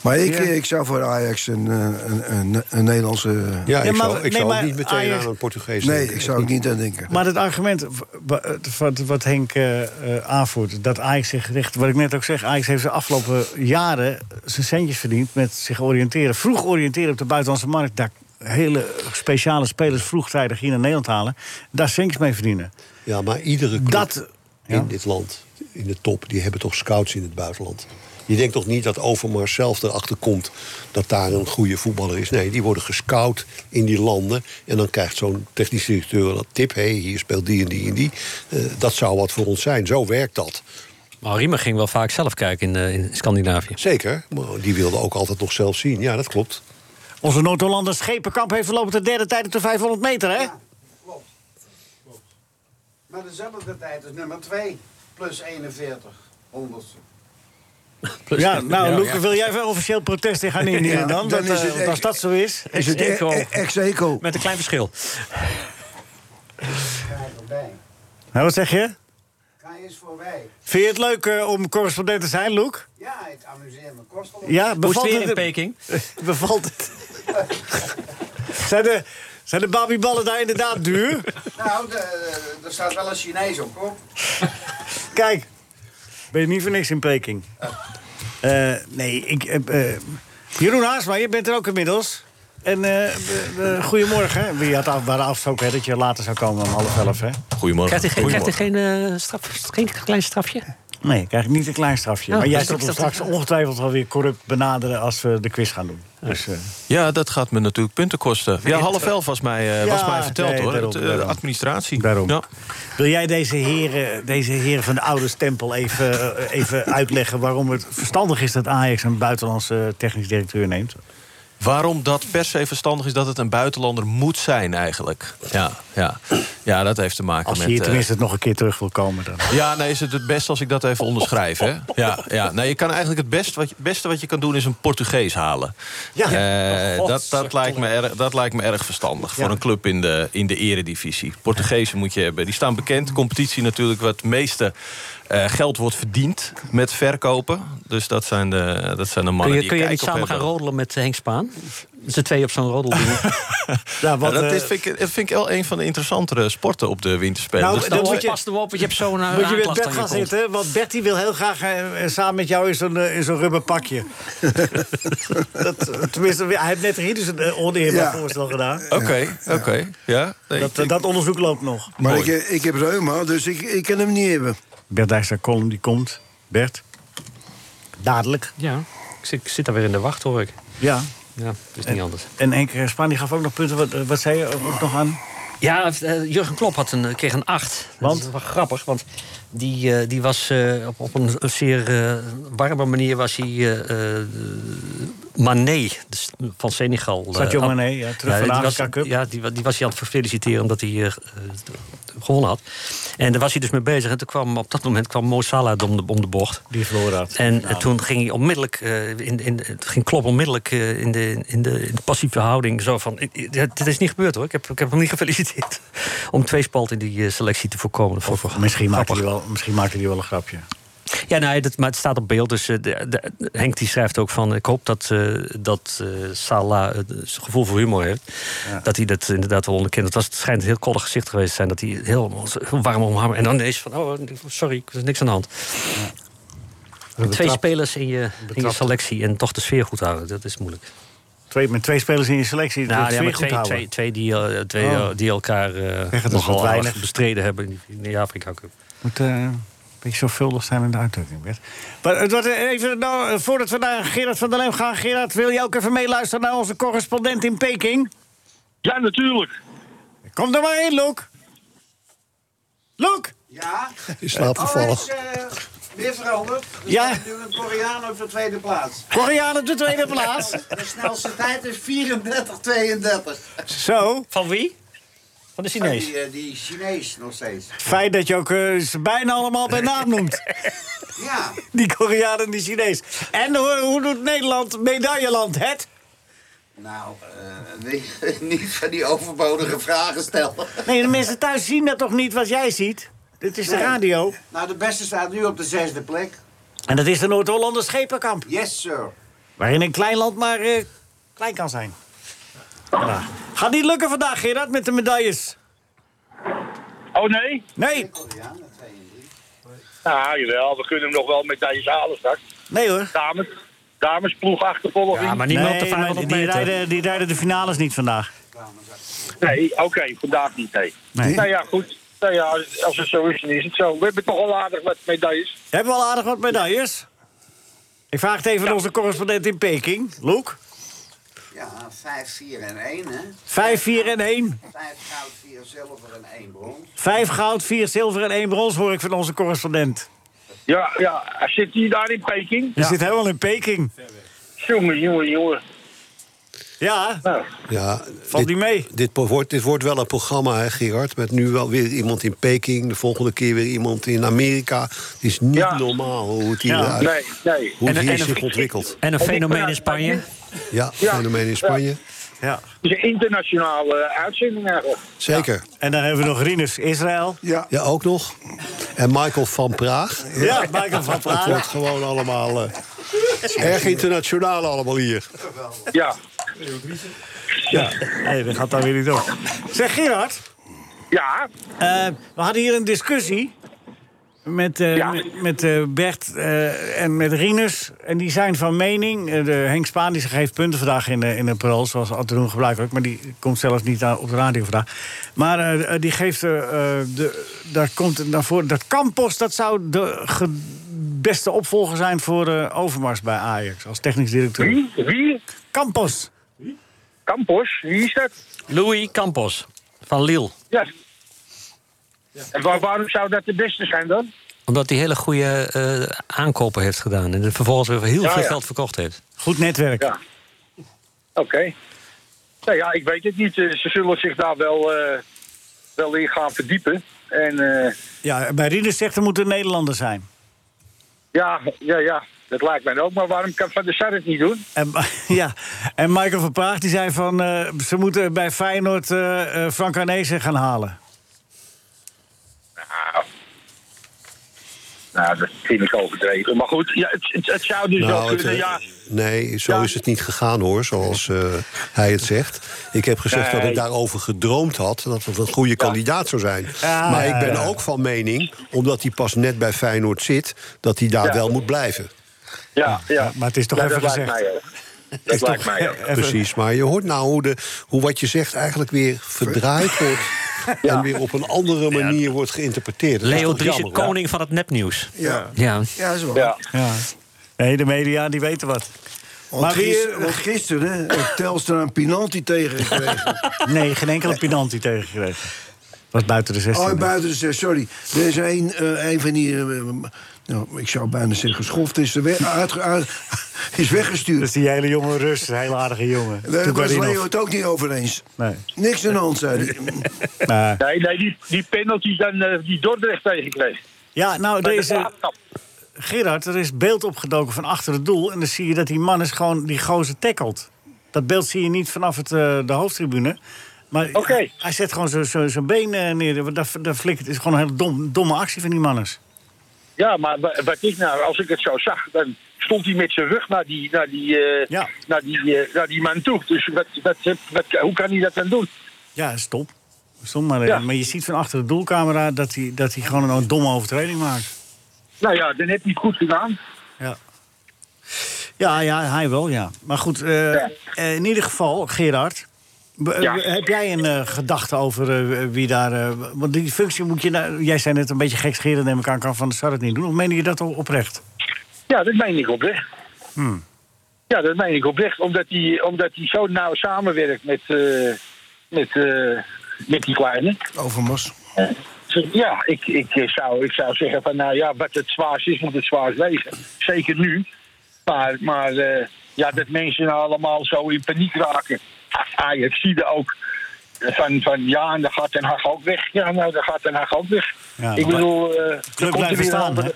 S7: maar ik, eh, ik zou voor Ajax een, eh, een, een, een Nederlandse...
S4: Ja,
S3: Ja,
S4: ik
S3: maar-
S4: zou, ik
S3: nee,
S4: zou ook
S3: maar
S4: niet meteen
S3: Ajax-
S4: aan een Portugees
S7: Nee,
S4: denken.
S7: ik zou ook niet aan denken.
S3: Maar het argument w- w- wat, wat Henk eh, eh, aanvoert, dat Ajax zich richt... Wat ik net ook zeg, Ajax heeft de afgelopen jaren zijn centjes verdiend... met zich oriënteren, vroeg oriënteren op de buitenlandse markt... daar hele speciale spelers vroegtijdig hier naar Nederland halen... daar centjes mee verdienen.
S4: Ja, maar iedere club
S3: Dat-
S4: in
S3: Ja.
S4: dit land, in de top... die hebben toch scouts in het buitenland. Je denkt toch niet dat Overmars zelf erachter komt dat daar een goede voetballer is. Nee, die worden gescout in die landen. En dan krijgt zo'n technisch directeur een tip. Hé, hey, hier speelt die en die en die. Eh, dat zou wat voor ons zijn. Zo werkt dat.
S5: Maar Riemer ging wel vaak zelf kijken in, eh, in Scandinavië.
S4: Zeker. Maar die wilde ook altijd nog zelf zien. Ja, dat klopt.
S3: Onze Noord-Hollander Schepenkamp heeft verlopen de derde tijd op de 500 meter, hè?
S6: Maar dezelfde tijd is nummer 2. Plus 41. Honderdste.
S3: Ja, nou,
S5: Ja.
S3: Loeke, wil jij wel officieel protest in gaan indienen
S7: Ja,
S3: dan?
S7: dan
S3: dat,
S7: is
S3: eh,
S7: het echt-
S3: als dat zo is.
S7: Is het
S5: Ex-eco.
S7: e- e- ex-eco?
S5: Met een klein verschil.
S6: Ga je voorbij.
S3: Nou, wat zeg je?
S6: Ga eens voorbij.
S3: Vind je het leuk eh, om correspondent te zijn, Loek?
S6: Ja, ik amuseer me kostelijk.
S3: Ja,
S5: Hoe is
S3: bevalt
S5: het weer in
S3: het?
S5: Peking?
S3: Bevalt het? zijn, de, zijn de babyballen daar inderdaad duur?
S6: Nou, de- er staat wel een Chinees op, hoor.
S3: Kijk, ben je niet voor niks in Peking. Eh, nee, ik... eh, eh, Jeroen Haasma, je bent er ook inmiddels. En eh eh, eh, goedemorgen. We hadden af, waren afgesproken hè, dat je later zou komen om half elf, hè?
S8: Goedemorgen.
S5: Krijgt hij geen, krijgt hij geen, eh, straf, geen klein strafje?
S3: Nee, krijg ik niet een klein strafje.
S5: Oh,
S3: maar jij
S5: dus dat-
S3: zult ons
S5: dat-
S3: straks ongetwijfeld wel weer corrupt benaderen als we de quiz gaan doen. Dus, eh,
S8: Ja, dat gaat me natuurlijk punten kosten. Ja, half elf was mij, eh,
S3: Ja,
S8: was mij verteld
S3: nee,
S8: hoor.
S3: daarom,
S8: Het, eh,
S3: daarom.
S8: administratie.
S3: Daarom.
S8: Ja.
S3: Wil jij deze heren, deze heren van de oude stempel even, eh, even uitleggen waarom het verstandig is dat Ajax een buitenlandse eh, technisch directeur neemt?
S8: Waarom dat per se verstandig is dat het een buitenlander moet zijn eigenlijk. Ja, ja. ja dat heeft te maken
S3: Als je
S8: met...
S3: hier
S8: eh,
S3: tenminste nog een keer terug wil komen dan.
S8: Ja, nee, is het het best als ik dat even onderschrijf, hè? Ja, ja. Nee, je kan eigenlijk het best wat je- beste wat je kan doen is een Portugees halen.
S3: Ja.
S8: Eh,
S5: God,
S8: dat,
S5: zeg,
S8: dat, lijkt me erg, dat lijkt me erg verstandig voor een club in de, in de eredivisie. Portugezen moet je hebben. Die staan bekend. Competitie natuurlijk wat het meeste eh, geld wordt verdiend met verkopen. Dus dat zijn de, dat zijn de mannen
S5: Kun je,
S8: die
S5: kun je
S8: kijk
S5: niet
S8: op
S5: samen gaan
S8: hebben.
S5: rodelen met Henk Spaan? Z'n tweeën op zo'n rodelding.
S3: Ja,
S8: Ja,
S3: want,
S8: dat,
S3: eh,
S8: is, vind ik, dat vind ik wel een van de interessantere sporten op de winterspelen.
S3: Nou,
S8: Dus
S3: dat
S8: dat-
S5: Dan
S3: moet
S5: moet
S3: je-
S5: je pas erop, want je hebt zo'n eh,
S3: moet je met
S5: aanklacht
S3: Bert
S5: aan je
S3: gaan
S5: kont.
S3: zitten, want Bertie wil heel graag eh, eh, samen met jou in zo'n eh, in zo'n rubberpakje. dat, eh, tenminste, hij heeft net hier dus een eh, oneerbaar
S7: Ja.
S3: voorstel gedaan.
S8: Oké, oké. Ja, nee,
S3: Dat, eh, dat onderzoek loopt nog.
S7: Maar ik,
S8: Mooi.
S7: ik heb reuma, dus ik, ik kan hem niet hebben.
S3: Bert Dijkstra column die komt. Bert. Dadelijk.
S5: Ja, ik zit, ik zit daar weer in de wacht hoor ik.
S3: Ja.
S5: Ja, dat is niet anders.
S3: En Henk Spaan die gaf ook nog punten. Wat, eh, wat zei je ook nog aan?
S5: Ja, eh, Jurgen Klopp had een, kreeg een 8.
S3: Want?
S5: Dat is wel grappig, want die, eh, die was eh, op, op een zeer eh, warme manier... was hij eh, eh, Mané dus van Senegal. eh,
S3: Sadio
S5: aan-
S3: Mané, ja, terug van de
S5: die
S3: Afrika
S5: was-
S3: Cup.
S5: Ja, die, wa- die was hij aan het feliciteren omdat hij eh, eh, gewonnen had. En daar was hij dus mee bezig. En toen kwam op dat moment kwam Mo Salah om de, om de bocht.
S3: Die verloren had.
S5: En eh, toen ging hij onmiddellijk, eh, in, in, het ging Klopp onmiddellijk eh, in, de, in, de, in de passieve houding zo van... "Ik- ik- ja, Dit is niet gebeurd hoor, ik heb, ik heb hem niet gefeliciteerd. Om twee spalt in die eh, selectie te voorkomen. Dat vond ik wel
S3: Misschien maakte, hij
S5: grappig.
S3: wel, misschien maakte hij wel een grapje.
S5: Ja, nee, dat, maar het staat op beeld. Dus eh, de- de- Henk die schrijft ook van... ik hoop dat, eh dat eh, Salah het gevoel voor humor heeft. Dat hij dat inderdaad wel onderkent. Het, was, het schijnt een heel koddig gezicht geweest te zijn. Dat hij heel, heel warm omhammer. En dan ineens van, oh, sorry, er is niks aan de hand. Twee spelers in je, in je
S3: Betrapt.
S5: selectie en toch de sfeer goed houden, dat is moeilijk.
S3: Twee, met twee spelers in je selectie. Nou,
S5: Nou,
S3: dat
S5: ja,
S3: ja,
S5: maar
S3: goed
S5: twee,
S3: houden.
S5: twee, twee die, eh, twee eh, die elkaar eh,
S3: Zeg het, Oh. dat is
S5: nogal
S3: wat weinig.
S5: aardig bestreden hebben in die- in de Afrika Cup.
S3: Moet eh, een beetje zorgvuldig zijn in de uitdrukking, Bert. Maar het wordt even, nou, eh, voordat we naar Gerard van der Leem gaan... Gerard, wil je ook even meeluisteren naar onze correspondent in Peking?
S9: Ja, natuurlijk.
S3: Kom er maar in, Loek. Loek!
S6: Ja?
S4: Is slaap
S6: Oh,
S4: gevallen.
S6: is eh, weer veranderd. Er
S3: Ja.
S6: staat nu een Koreaan op de tweede plaats.
S3: Koreaan op de tweede plaats.
S6: Oh, De snelste tijd is 34-32.
S3: Zo.
S5: Van wie? Van de Chinees.
S6: Die, eh, die Chinees nog steeds.
S3: Fijn dat je ook eh, ze bijna allemaal bij naam noemt.
S6: Ja,
S3: Die Koreaan en die Chinees. En hoe, hoe doet Nederland, medailleland, het?
S6: nou, eh, niet- niet van die overbodige vragen stellen.
S3: Nee, de mensen thuis zien dat toch niet wat jij ziet? Dit is de
S6: Nee.
S3: radio.
S6: Nou, de beste staat nu op de zesde plek.
S3: En dat is de Noord-Hollander Schepenkamp.
S6: Yes, sir.
S3: Waarin een klein land maar eh, klein kan zijn. Nou, gaat niet lukken vandaag, Gerard, met de medailles.
S9: Oh nee?
S6: Koreanen,
S3: Nee,
S6: twee en drie.
S9: Nou, jawel. We kunnen hem nog wel medailles halen straks.
S3: nee hoor.
S9: Dames, damesploeg achtervolging.
S5: Ja, maar niet meer op de
S3: Nee,
S5: 500
S3: maar die,
S5: meter.
S3: rijden, die rijden de finales niet vandaag.
S9: Nee, oké. vandaag niet, nee.
S3: Nee.
S9: Nou ja, goed. Nou ja, als het zo is, dan is het zo. We hebben toch al aardig wat medailles.
S3: Hebben we al aardig wat medailles? Ik vraag het even aan onze correspondent in Peking. Loek,
S6: Ja, 5, 4 en 1, hè?
S3: 5, 4 en 1.
S6: 5 goud, 4 zilver en 1 brons.
S3: 5 goud, 4 zilver en 1 brons hoor ik van onze correspondent.
S9: Ja, ja. Hij Zit hij daar in Peking?
S3: Je zit helemaal in Peking.
S9: Jongen, jongen, jongen.
S3: Ja,
S9: Nou,
S4: Ja,
S3: valt
S4: dit,
S3: die mee?
S4: dit, po- wordt, dit wordt wel een programma, hè, Gerard. Met nu wel weer iemand in Peking. De volgende keer weer iemand in Amerika. Het is niet
S9: Ja.
S4: normaal hoe het hier,
S3: Ja.
S4: uit-
S9: nee, nee.
S4: hoe het
S5: En-
S4: hier
S5: en-
S4: zich ontwikkelt.
S5: En een
S9: ik
S5: fenomeen
S9: ben
S5: in
S9: uit
S5: Spanje.
S4: Ja,
S9: Ja.
S4: fenomeen in Spanje.
S3: Ja.
S9: Het is een internationale eh, uitzending eigenlijk.
S4: Zeker.
S3: En dan hebben we nog Rinus Israël.
S7: Ja.
S4: Ja, ook nog. En Michael van Praag.
S3: Ja, Michael van
S4: Het wordt
S3: Praag.
S4: gewoon allemaal eh, erg internationaal allemaal hier.
S9: Ja,
S3: Nee, dat gaat dan weer niet door. Zeg Gerard,
S9: ja.
S3: eh, we hadden hier een discussie met, eh,
S9: Ja.
S3: met, met, eh, Bert eh, en met Rinus. En die zijn van mening, eh, de Henk Spaan die geeft punten vandaag in, de in de parool... zoals al te doen gebruikelijk, maar die komt zelfs niet aan, op de radio vandaag. Maar eh, eh, die geeft, eh, eh, de, daar komt naar voren... dat Campos, dat zou de ge- beste opvolger zijn voor eh, Overmars bij Ajax... als technisch directeur.
S9: Wie? Wie?
S3: Campos.
S9: Campos? Wie is dat?
S5: Louis Campos van Lille.
S9: Ja. En waar- waarom zou dat de beste zijn dan?
S5: Omdat hij hele goede eh, aankopen heeft gedaan. En er vervolgens weer heel
S9: Ja,
S5: veel
S9: ja.
S5: geld verkocht heeft.
S3: Goed netwerk.
S9: Ja. Oké. Nou ja, ik weet het niet. Eh, Ze zullen zich daar wel, eh, wel in gaan verdiepen. En eh,
S3: Ja, bij Rieders zegt er moet een Nederlander zijn.
S9: ja, ja, ja, dat lijkt mij ook. Maar waarom kan Van der Sar het niet doen?
S3: En, ja, en Michael van Praag die zei van... eh, ze moeten bij Feyenoord eh, eh, Frank Arnezen gaan halen.
S9: Nou, dat vind ik overdreven. Maar goed, ja, het, het, het zou dus wel
S4: Nou, het,
S9: kunnen,
S4: eh,
S9: ja.
S4: nee, zo
S9: Ja.
S4: is het niet gegaan hoor, zoals eh, hij het zegt. Ik heb gezegd dat
S9: Nee.
S4: ik daarover gedroomd had, dat het een goede kandidaat zou zijn.
S3: Ja,
S4: maar
S3: ja,
S4: ik ben
S3: ja.
S4: ook van mening, omdat hij pas net bij Feyenoord zit, dat hij daar
S9: Ja.
S4: wel moet blijven.
S9: Ja, ja.
S3: maar het is toch
S9: Ja,
S3: even
S9: dat
S3: gezegd.
S9: Lijkt mij ook. Dat lijkt mij ook.
S3: Even-
S4: Precies, maar je hoort nou hoe, de, hoe wat je zegt eigenlijk weer verdraaid wordt... en weer op een andere manier wordt geïnterpreteerd. Dat is
S5: Leo
S4: toch
S5: Driessen,
S4: jammer, hoor.
S5: koning van het nepnieuws.
S7: Ja.
S5: Ja.
S7: Ja, dat is wel.
S9: Ja.
S3: Ja. Nee, de media die weten wat.
S7: Want
S3: Maar wie-
S7: gisteren, want eh, gisteren heeft Telstra een penalty tegengekregen.
S3: Nee, geen enkele penalty tegengekregen. Was buiten de 16.
S7: oh, buiten de zes, sorry. Er is een, eh, een van die... eh, nou, ik zou bijna zeggen, geschoft is, er we- uitge- uit- is
S3: Dus
S7: weggestuurd.
S3: die hele jonge Rus, een hele aardige jongen.
S7: Daar was
S3: Toekarinov.
S7: Leo het ook niet over eens.
S3: Nee. Nou,
S7: Niks aan de hand, zei hij.
S3: Maar-
S9: Nee, nee, die, die penalty dan, eh, die Dordrecht tegenkreeg.
S3: ja, nou,
S9: Bij de
S3: deze,
S9: aftrap.
S3: Gerard, er is beeld opgedoken van achter het doel. En dan zie je dat die man is gewoon die gozer tackelt. Dat beeld zie je niet vanaf het, eh, de hoofdtribune. Maar
S9: Oké.
S3: hij, hij zet gewoon zo- zo- zijn been eh, neer. Want Dat, dat flikkert, het is gewoon een hele dom, domme actie van die manners.
S9: Ja, maar wa- wat ik nou, als ik het zo zag, dan stond hij met zijn rug naar die, naar die, eh,
S3: Ja.
S9: naar die, eh, naar die man toe. Dus wat, wat, wat, hoe kan hij dat dan doen?
S3: Ja, stop. Stop maar. eh,
S9: Ja.
S3: Maar je ziet van achter de doelcamera dat hij, dat hij gewoon een domme overtreding maakt.
S9: Nou ja, dan heb je het goed gedaan.
S3: Ja. Ja, ja, hij wel, ja. Maar goed, eh,
S9: Ja.
S3: eh, in ieder geval, Gerard. b-
S9: Ja.
S3: eh, Heb jij een eh, gedachte over eh, wie daar... eh, want die functie moet je... nou- jij zei net een beetje gekscherend, neem ik aan, kan Van de Sar het niet doen. Of meen je dat al oprecht?
S9: Ja, dat meen ik oprecht. Ja, dat meen ik oprecht, omdat hij, omdat hij zo nauw samenwerkt met, eh, met, eh, met die kleine.
S7: Overmars.
S9: Ja, ik, ik, eh, zou, ik zou zeggen van nou ja, wat het zwaarst is, moet het zwaarst wezen. Zeker nu. Maar, maar eh, ja, dat mensen nou allemaal zo in paniek raken. Ah, ik zie er ook van, van ja, en dan gaat Den Haag ook weg. Ja, nou, dan gaat Den Haag ook weg.
S3: Ja,
S9: ik
S3: maar
S9: bedoel, eh, dan komt er,
S3: blijven
S9: weer een
S3: staan,
S9: andere,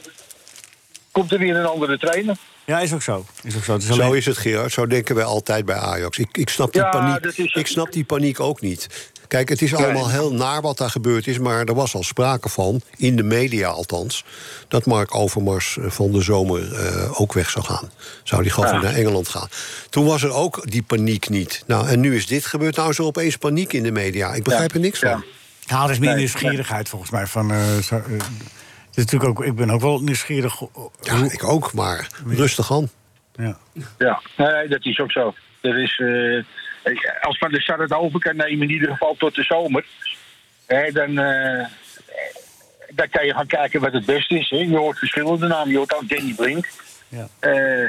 S9: komt er weer een andere trainer.
S3: Ja, is ook zo. Is ook zo. Het is
S4: Zo
S3: alleen-
S4: is het, Gerard. Zo denken wij altijd bij Ajax. Ik, ik, snap, die
S9: Ja, dat
S4: paniek,
S9: is-
S4: ik snap die paniek ook niet. Kijk, het is allemaal heel naar wat daar gebeurd is... maar er was al sprake van, in de media althans... dat Mark Overmars eh, van de zomer eh, ook weg zou gaan. Zou die gewoon naar Engeland gaan. Toen was er ook die paniek niet. Nou, en nu is dit gebeurd. Nou is er opeens paniek in de media. Ik begrijp er niks
S9: Ja.
S4: van.
S3: Ja, dat is meer
S9: Nee,
S3: nieuwsgierigheid volgens mij. Van, eh, zo- eh, het is natuurlijk ook, ik ben ook wel nieuwsgierig. ho-
S4: Ja, ik ook, maar rustig aan.
S3: Ja.
S9: Ja, nee, dat is ook zo. Er is, eh, als Van de Sar het over kan nemen, in ieder geval tot de zomer, hè, dan, eh, dan kan je gaan kijken wat het beste is. Hè. Je hoort verschillende namen. Je hoort ook Danny Blink.
S3: Ja.
S9: Eh,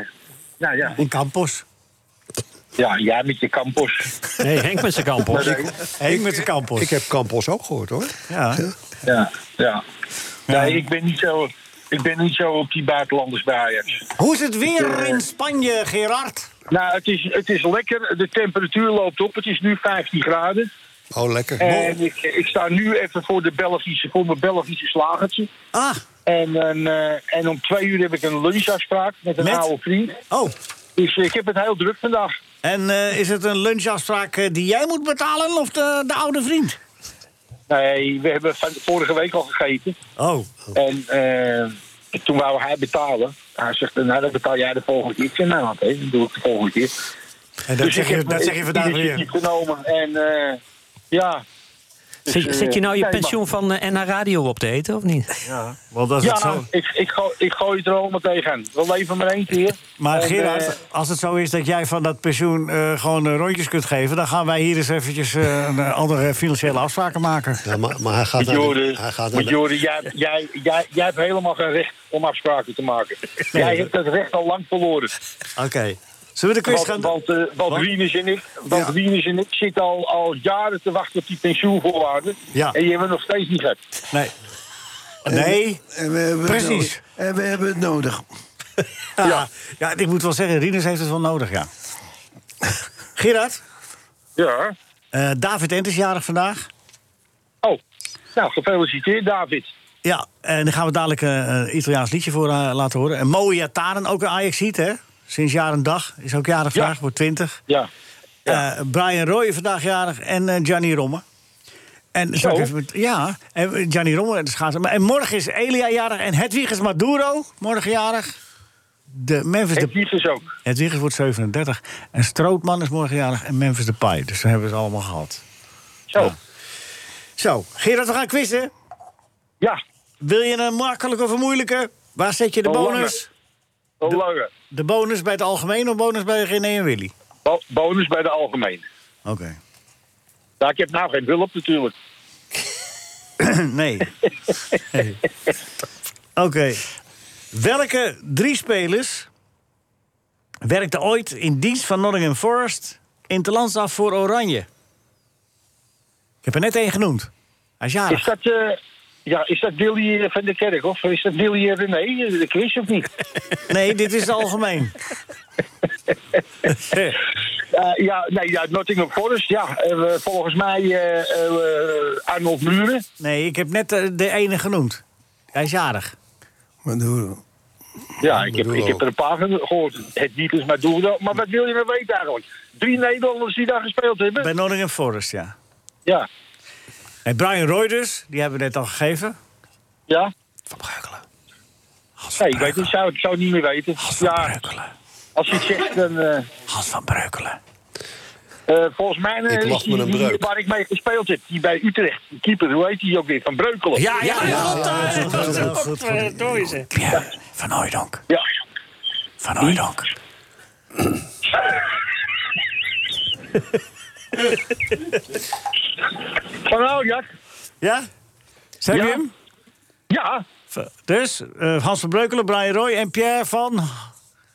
S9: Nou ja,
S3: In Campos.
S9: ja jij met je campus.
S5: Nee, Henk met zijn kampos.
S3: Henk met de Campos.
S4: Ik heb Campos ook gehoord, hoor.
S3: ja.
S9: Ja, ja. Nee, ik ben niet zo, ik ben niet zo op die buitenlanders bij Ajax. eh,
S3: Hoe is het weer in Spanje, Gerard?
S9: Nou, het is, het is lekker. De temperatuur loopt op. Het is nu 15 graden.
S4: Oh, lekker.
S9: En ik, ik sta nu even voor, de Belgische, voor mijn Belgische slagertje.
S3: Ah,
S9: En, een, eh, en om twee uur heb ik een lunchafspraak met een
S3: Met?
S9: oude vriend.
S3: oh.
S9: Dus ik heb het heel druk vandaag.
S3: En eh, is het een lunchafspraak eh, die jij moet betalen of de, de oude vriend?
S9: Nee, we hebben van, vorige week al gegeten.
S3: Oh.
S9: En eh, toen wou hij betalen. Hij zegt, nou dan betaal jij de volgende keer. Ik zeg, nou oké, dan doe ik de volgende keer.
S3: En dat, zeg, je,
S9: heb,
S3: dat
S9: eh,
S3: zeg je vandaag
S9: initiatief
S3: weer.
S9: genomen en eh, ja. Dus,
S5: Zit, zit je nou
S9: eh,
S5: je
S9: nee, maar-
S5: pensioen van eh, NH Radio op te eten, of niet?
S3: Ja, want dat is het
S9: Ja, nou,
S3: zo.
S9: ik, ik, gooi, ik gooi het er allemaal tegen. We leven maar één keer.
S3: Maar
S9: En, eh,
S3: Gerard, als het zo is dat jij van dat pensioen eh, gewoon eh, rondjes kunt geven... dan gaan wij hier eens eventjes eh, een, eh, andere financiële afspraken maken.
S4: Ja, maar, maar hij gaat
S9: Maar
S4: naar de,
S9: Joris,
S4: hij gaat naar
S9: maar
S4: de-
S9: Joris, jij, jij, jij, jij hebt helemaal geen recht om afspraken te maken. Jij hebt dat recht al lang verloren.
S3: Oké. Zullen we de quiz
S9: Want,
S3: gaan...
S9: want, eh, want
S3: Wat?
S9: Wieners en ik, want
S7: Ja.
S9: Wieners en ik zitten al, al jaren te wachten op die pensioenvoorwaarden.
S3: Ja.
S9: En die hebben we nog steeds niet gehad.
S3: Nee. Nee.
S7: En we hebben het
S3: Precies.
S7: nodig. En we hebben het nodig.
S3: Ja. ja, ik moet wel zeggen, Rinus heeft het wel nodig, ja. Gerard,
S9: Ja.
S3: eh, David Ent is jarig vandaag.
S9: Oh, nou gefeliciteerd David.
S3: Ja, en daar gaan we dadelijk eh, een Italiaans liedje voor eh, laten horen. En Moe Taren, ook een Ajaxiet, hè? Sinds jaar en dag. Is ook jarig vandaag, wordt 20.
S9: Ja.
S3: Eh, Brian Roy vandaag jarig en eh Gianni Romme. En zal ik
S9: Zo.
S3: even met- ja, en Gianni Romme, dat gaat maar En morgen is Elia jarig en Hedwiges Maduro, morgen jarig. De Memphis
S9: Het
S3: de,
S9: lief is ook.
S3: Hedwiges wordt 37. En Strootman is morgen jarig en Memphis de Pai. Dus dan hebben we het allemaal gehad.
S9: Zo. Ja.
S3: Zo, Gerard, we gaan quizzen. Wil je een makkelijke of een moeilijke? Waar zet je de
S9: Een lange.
S3: bonus?
S9: Een lange.
S3: De bonus bij het algemeen of bonus bij René en Willy?
S9: Bo- Bonus bij de algemeen.
S3: Oké.
S9: Ja, ik heb nou geen hulp natuurlijk.
S3: nee. Nee. Oké. Welke drie spelers werkten ooit in dienst van Nottingham Forest in het af voor Oranje? Ik heb er net één genoemd. Hij is
S9: Is
S3: jarig.
S9: dat, eh, ja, is dat Willy eh, van de Kerk of is dat Willy eh, René? Eh, Ik wist het niet.
S3: Nee, dit is het algemeen.
S9: Eh, ja, nee, ja, Nottingham Forest, ja. eh, we- volgens mij eh, eh, Arnold Muren.
S3: Nee, ik heb net eh, de ene genoemd. Hij is jarig.
S7: Maar doe-
S9: Ja, ik heb,
S4: Maduro.
S9: ik heb er een paar van gehoord. Het diep is maar doen. Maar wat wil je nou weten eigenlijk? Drie Nederlanders die daar gespeeld hebben?
S3: Bij Nottingham Forest, ja.
S9: Ja,
S3: Nee, Brian Roy dus, die hebben we net al gegeven.
S9: ja.
S5: Van Breukelen. Hans
S9: Nee, ik weet niet, zou, ik zou het niet meer weten. Ja,
S5: Breukelen.
S9: als je het zegt, dan... eh,
S5: Hans van Breukelen.
S9: eh, volgens mij eh,
S4: Ik lach
S9: is die,
S4: met een
S9: die-
S4: breuk.
S9: waar ik mee gespeeld heb, die bij Utrecht, die keeper, hoe heet die ook weer? Van Breukelen.
S5: Ja, ja, ja.
S3: Heel goed, goed.
S5: Pierre van Hooydonk.
S9: ja.
S5: Van Hooydonk.
S9: Van Aljak.
S3: Ja? Zijn
S9: Ja.
S3: we hem?
S9: Ja,
S3: V- Dus eh, Hans van Breukelen, Brian Roy en Pierre van...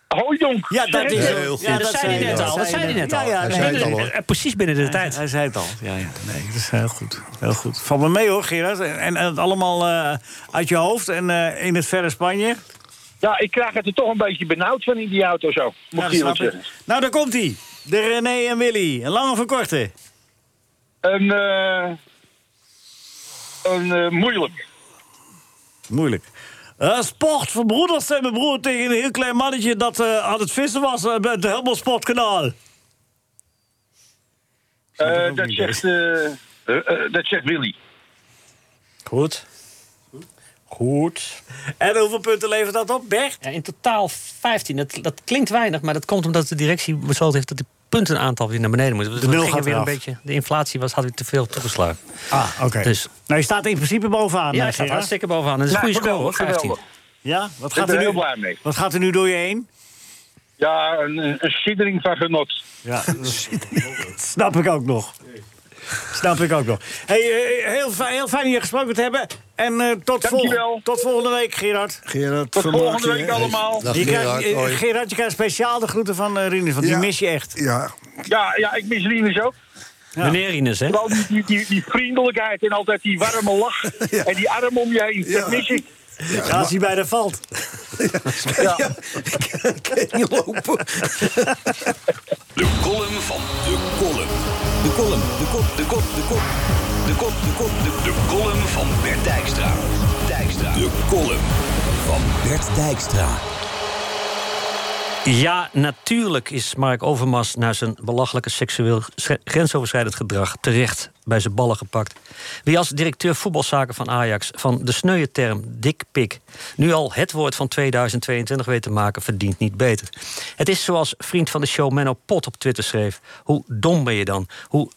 S9: Hooidonk.
S3: Ja, dat is
S4: heel goed.
S3: Ja,
S5: dat zei hij net al. Dat zei hij net al.
S3: Ja, ja,
S4: Hij
S3: nee.
S4: zei het al, hoor.
S5: Eh, Precies binnen de tijd.
S3: Hij zei het al. Ja, ja. Nee, dat is heel goed. Heel goed. Van me mee hoor, Gerard. En, en het allemaal eh, uit je hoofd en eh, in het verre Spanje.
S9: Ja, ik krijg het er toch een beetje benauwd van in die auto zo. Moet
S3: Ja,
S9: ik
S3: dat
S9: je
S3: snap
S9: wat
S3: ik.
S9: zeggen.
S3: Nou, daar komt hij. De René en Willy. Een lange of een korte?
S9: Een, eh, een eh, moeilijk.
S3: Moeilijk. Eh, sport van broeders en mijn broer tegen een heel klein mannetje dat eh, aan het vissen was eh, bij het Helmond Sportkanaal.
S9: Eh, dat, zegt, eh, eh, eh, dat zegt Willy.
S5: Goed. Goed.
S3: En hoeveel punten levert dat op, Bert?
S5: Ja, in totaal 15. Dat, dat klinkt weinig, maar dat komt omdat de directie besloten heeft dat die puntenaantal weer naar beneden moet. Dus we
S3: nul
S5: gingen
S3: gaat
S5: weer
S3: eraf.
S5: een beetje. De inflatie was, had weer te veel toegeslagen.
S3: Ah, oké.
S5: Dus-
S3: Nou, je staat in principe bovenaan.
S5: Ja,
S3: eh,
S5: hij staat
S3: Gerard.
S5: hartstikke bovenaan. Dat is een
S9: Nou,
S5: goede score hoor,
S9: geweldig,
S5: 15.
S9: geweldig.
S3: Ja, wat
S9: Ik
S3: gaat,
S9: ben
S3: er
S9: er heel
S3: nu,
S9: blij mee.
S3: wat gaat er nu door je heen?
S9: Ja, een, een, een siddering van genot.
S3: Ja, dat snap ik ook nog. Snap ik ook nog. Hey, eh, heel, fijn, heel fijn hier gesproken te hebben. Eh, En eh, tot, vol-
S9: Dankjewel.
S3: tot volgende week, Gerard.
S7: Gerard,
S9: Tot
S7: vermaak
S9: volgende
S7: je,
S9: week
S7: hè?
S9: allemaal.
S4: eh, Dag
S3: Je
S4: Gerard.
S3: krijgt- eh,
S4: hoi.
S3: Gerard, je krijgt speciaal de groeten van eh Rinus, want
S7: Ja.
S3: die mis je echt.
S7: Ja,
S9: Ja, ja, ik mis Rinus ook.
S5: Meneer Ines, hè?
S9: Vooral die, die, die, die vriendelijkheid en altijd die warme lach. En die arm om je heen.
S7: Ja.
S9: Dat mis ik.
S3: Ja, als hij bij de valt.
S9: Ja.
S4: Ik kan niet lopen.
S2: De column van de kolom. De kolom, de kop, de kop, de kop. De kop, de kop, de De column van Bert Dijkstra. Dijkstra. De column van Bert Dijkstra.
S5: Ja, natuurlijk is Mark Overmars na zijn belachelijke seksueel sche- grensoverschrijdend gedrag terecht bij zijn ballen gepakt. Wie als directeur voetbalzaken van Ajax van de sneuwe term dikpik nu al het woord van 2022 weet te maken, verdient niet beter. Het is zoals vriend van de show Menno Pot op Twitter schreef: hoe dom ben je dan? Hoe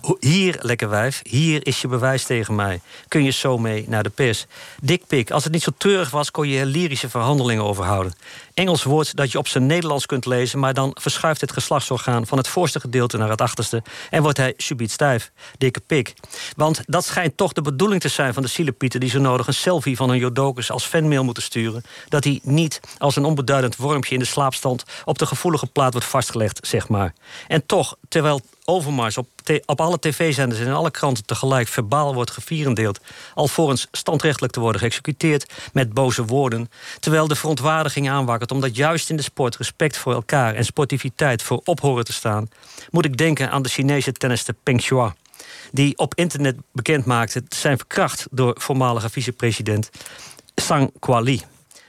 S5: Ho- Hier, lekker wijf, hier is je bewijs tegen mij. Kun je zo mee naar de pers? Dikpik, als het niet zo treurig was, kon je er lyrische verhandelingen overhouden. Engels woord dat je op zijn Nederlands kunt lezen, maar dan verschuift het geslachtsorgaan van het voorste gedeelte naar het achterste en wordt hij subiet stijf. Dikke pik. Want dat schijnt toch de bedoeling te zijn van de zielepieten die zo nodig een selfie van hun jodokus als fanmail moeten sturen, dat hij niet als een onbeduidend wormpje in de slaapstand op de gevoelige plaat wordt vastgelegd, zeg maar. En toch, terwijl Overmars op, te- op alle tv-zenders en in alle kranten tegelijk verbaal wordt gevierendeeld, alvorens standrechtelijk te worden geëxecuteerd met boze woorden, terwijl de verontwaardiging aanwakkert omdat juist in de sport respect voor elkaar en sportiviteit voor ophoren te staan, moet ik denken aan de Chinese tennister Peng Shuai, die op internet bekendmaakte te zijn verkracht door voormalige vicepresident Sang Kwali,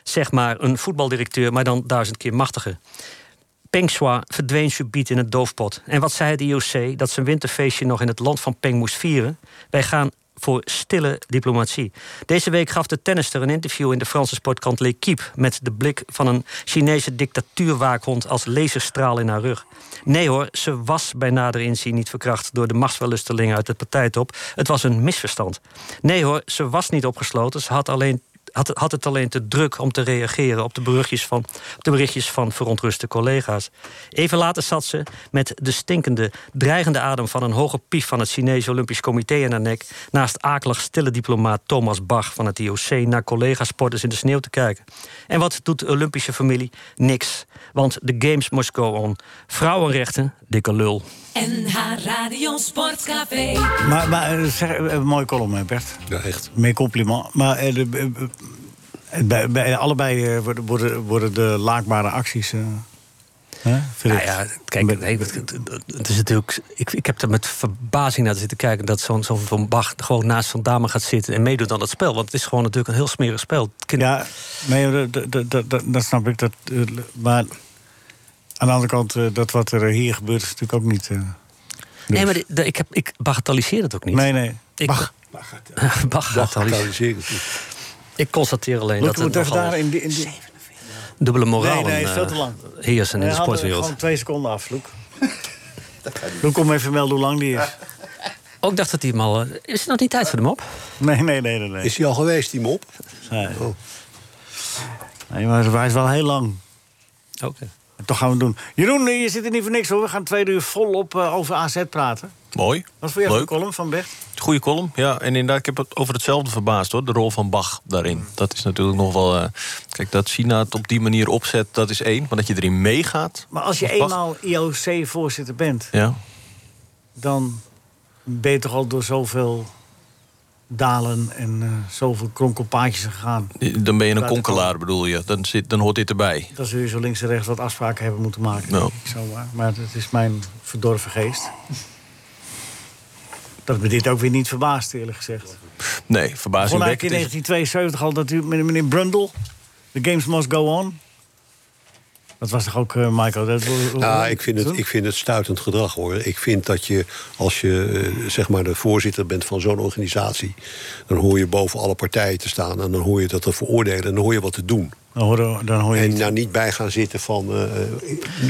S5: zeg maar een voetbaldirecteur, maar dan duizend keer machtiger. Pengswa verdween subiet in het doofpot. En wat zei het IOC? Dat zijn winterfeestje nog in het land van Peng moest vieren. Wij gaan voor stille diplomatie. Deze week gaf de tennister een interview in de Franse sportkant L'Équipe... met de blik van een Chinese dictatuurwaakhond als laserstraal in haar rug. Nee hoor, ze was bij nader inzien niet verkracht... door de machtswellustelingen uit de partijtop. Het was een misverstand. Nee hoor, ze was niet opgesloten. Ze had alleen had, had het alleen te druk om te reageren op de, berichtjes van, op de berichtjes van verontruste collega's. Even later zat ze met de stinkende, dreigende adem van een hoge pief van het Chinese Olympisch Comité in haar nek. naast akelig stille diplomaat Thomas Bach van het IOC naar collega-sporters in de sneeuw te kijken. En wat doet de Olympische familie? Niks. Want de games must go on. Vrouwenrechten, dikke lul.
S1: NH Radio Sportcafé.
S3: Maar, maar eh, zeg, eh, een mooie column, hè, Bert.
S4: Ja, echt.
S3: Meer compliment. Maar eh, de- eh, eh, bij, bij allebei eh, worden, worden, worden de laakbare acties. eh, hè, verricht.
S5: Nou ja, kijk, nee, het, het- het is natuurlijk. Ik, ik heb er met verbazing naar zitten kijken dat zo'n zo'n Van Bach gewoon naast Van Dame gaat zitten en meedoet aan dat spel. Want het is gewoon natuurlijk een heel smerig spel. Kind-
S3: Ja, nee, dat- dat, dat, dat, dat- dat snap ik. Dat, eh, maar aan de andere kant, eh, dat wat er hier gebeurt, is natuurlijk ook niet. eh,
S5: nee, maar dit- ik, heb, ik bagatelliseer het ook niet.
S3: nee, nee.
S5: Ik,
S3: Bach.
S5: bagatelliseer. Ik constateer alleen dat
S3: Moeten we
S5: het
S3: het even
S5: nogal
S3: daar in die. In die...
S5: dubbele moraal
S3: Nee, nee, is veel te lang.
S5: heersen in de
S3: Nee, hadden we
S5: sportwereld.
S3: Gewoon twee seconden af, Loek. Loek, kom even melden hoe lang die is.
S5: Ook dacht dat hij hem al. eh, Is het nog niet tijd voor hem op?
S3: Nee, nee, nee, nee. nee.
S4: Is hij al geweest, die mop?
S3: Nee.
S4: Oh.
S3: Nee, maar hij is wel heel lang.
S5: Oké.
S3: En Toch gaan we het doen. Jeroen, eh, je zit er niet voor niks hoor. We gaan twee uur volop eh, over AZ praten.
S8: Mooi.
S3: Wat voor jou de
S8: Leuk.
S3: column van Bert?
S8: Goede column. Ja, en inderdaad, ik heb het over hetzelfde verbaasd hoor. De rol van Bach daarin. Dat is natuurlijk nog wel. eh, kijk, dat China het op die manier opzet, dat is één. Maar dat je erin meegaat.
S3: Maar als je
S8: Bach-
S3: eenmaal IOC-voorzitter bent,
S8: Ja.
S3: dan ben je toch al door zoveel dalen en eh, zoveel kronkelpaadjes gegaan.
S8: Dan ben je een
S3: Buitenkom.
S8: konkelaar, bedoel je. Dan, zit, dan hoort dit erbij.
S3: Dat zul je zo links en rechts wat afspraken hebben moeten maken.
S8: Nou.
S3: denk ik Zomaar. Maar dat is mijn verdorven geest. Dat me dit ook weer niet verbaast, eerlijk gezegd.
S8: Nee,
S3: Begon eigenlijk in
S8: verbazingwekkend. is-
S3: 1972 al dat u, met meneer Brundle, The Games Must Go On. Dat was toch ook, eh, Michael? Dat,
S4: Nou, ik vind, het, ik vind het stuitend gedrag hoor. Ik vind dat je, als je eh, zeg maar de voorzitter bent van zo'n organisatie. dan hoor je boven alle partijen te staan. en dan hoor je dat te veroordelen. en dan hoor je wat te doen.
S3: Dan hoor, dan hoor je
S4: En
S3: niet.
S4: daar niet bij gaan zitten van. eh,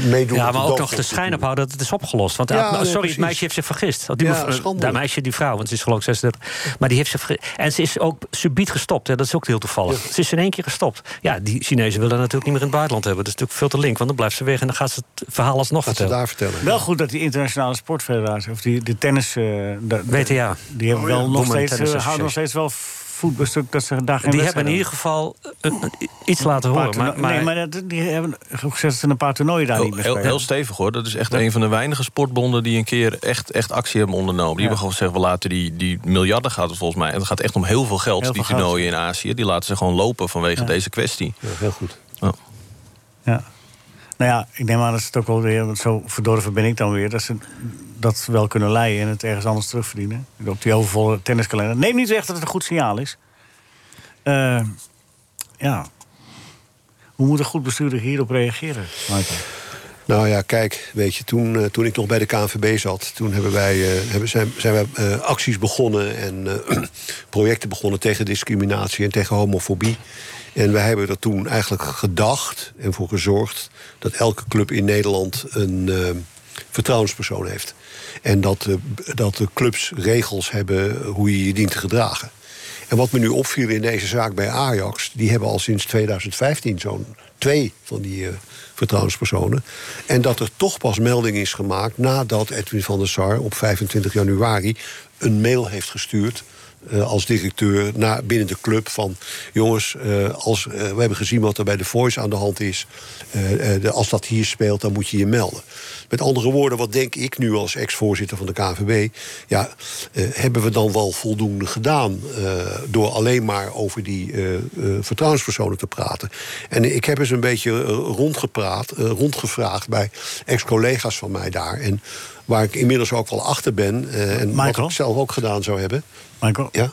S4: meedoen.
S5: Ja,
S4: met
S5: maar ook nog
S4: doofpot
S5: de
S4: te
S5: schijn
S4: doen.
S5: ophouden dat het is opgelost. Want
S4: Ja,
S5: ah, nou,
S4: nee,
S5: sorry,
S4: precies.
S5: het meisje heeft zich vergist. Want Die
S4: Ja,
S5: mevrouw-
S4: schandelijk.
S5: dat meisje, die vrouw, want ze is geloof ik 36. Maar die heeft zich vergist. En ze is ook subiet gestopt. Hè, dat is ook heel toevallig. Ze is in één keer gestopt. Ja, die Chinezen willen haar natuurlijk niet meer in het buitenland hebben. Dat is natuurlijk veel te link. Want dan blijft ze weg en dan gaat ze het verhaal alsnog
S4: Wat ze
S5: vertellen.
S4: daar vertellen.
S3: Wel goed dat die internationale sportfederatie, of die, de tennis... eh, da-
S5: WTA.
S3: Die hebben wel nog
S5: Women
S4: Oh,
S3: steeds,
S5: Tennis
S3: eh, houden nog
S5: Association.
S3: steeds wel v- voetbalstuk dat ze daar geen
S5: Die
S3: wedstrijd
S5: hebben in ieder
S3: hadden.
S5: geval eh, eh, iets laten
S3: Een paar
S5: horen. Maar,
S3: toerno-
S5: maar,
S3: Nee, maar dat, die hebben gezegd dat ze een paar toernooien daar niet
S8: Oh, Heel,
S3: meer
S8: heel,
S3: spelen.
S8: heel stevig hoor. Dat is echt een van de weinige sportbonden die een keer echt, echt actie hebben ondernomen. Die hebben gewoon gezegd, we laten die, die miljarden gaat het volgens mij. En het gaat echt om heel veel geld,
S3: Heel
S8: die
S3: veel geld.
S8: toernooien in Azië. Die laten ze gewoon lopen vanwege deze kwestie.
S4: Ja, heel goed.
S3: Ja. Nou ja, ik neem aan dat ze het ook wel weer, want zo verdorven ben ik dan weer, dat ze dat wel kunnen leien en het ergens anders terugverdienen. Op die overvolle tenniskalender. Neem niet weg dat het een goed signaal is. Eh, ja. Hoe moet een goed bestuurder hierop reageren, Michael?
S4: Nou ja, kijk, weet je, toen, eh, toen ik nog bij de KNVB zat... toen hebben wij, eh, hebben, zijn, zijn wij eh, acties begonnen en eh, projecten begonnen... tegen discriminatie en tegen homofobie. En wij hebben er toen eigenlijk gedacht en voor gezorgd... dat elke club in Nederland een eh, vertrouwenspersoon heeft. En dat, eh, b- dat de clubs regels hebben hoe je je dient te gedragen. En wat me nu opviel in deze zaak bij Ajax, die hebben al sinds 2015 zo'n twee van die eh, vertrouwenspersonen. En dat er toch pas melding is gemaakt nadat Edwin van der Sar op 25 januari een mail heeft gestuurd. eh, als directeur naar binnen de club van jongens, eh, als, eh, we hebben gezien wat er bij de Voice aan de hand is. eh, eh, de- als dat hier speelt, dan moet je je melden. Met andere woorden, wat denk ik nu als ex-voorzitter van de KVB? Ja, eh, hebben we dan wel voldoende gedaan eh, door alleen maar over die eh, eh, vertrouwenspersonen te praten? En ik heb eens een beetje eh, rondgepraat, eh, rondgevraagd bij ex-collega's van mij daar. En waar ik inmiddels ook wel achter ben eh, en wat
S3: Michael?
S4: ik zelf ook gedaan zou hebben.
S3: Michael,
S4: Ja?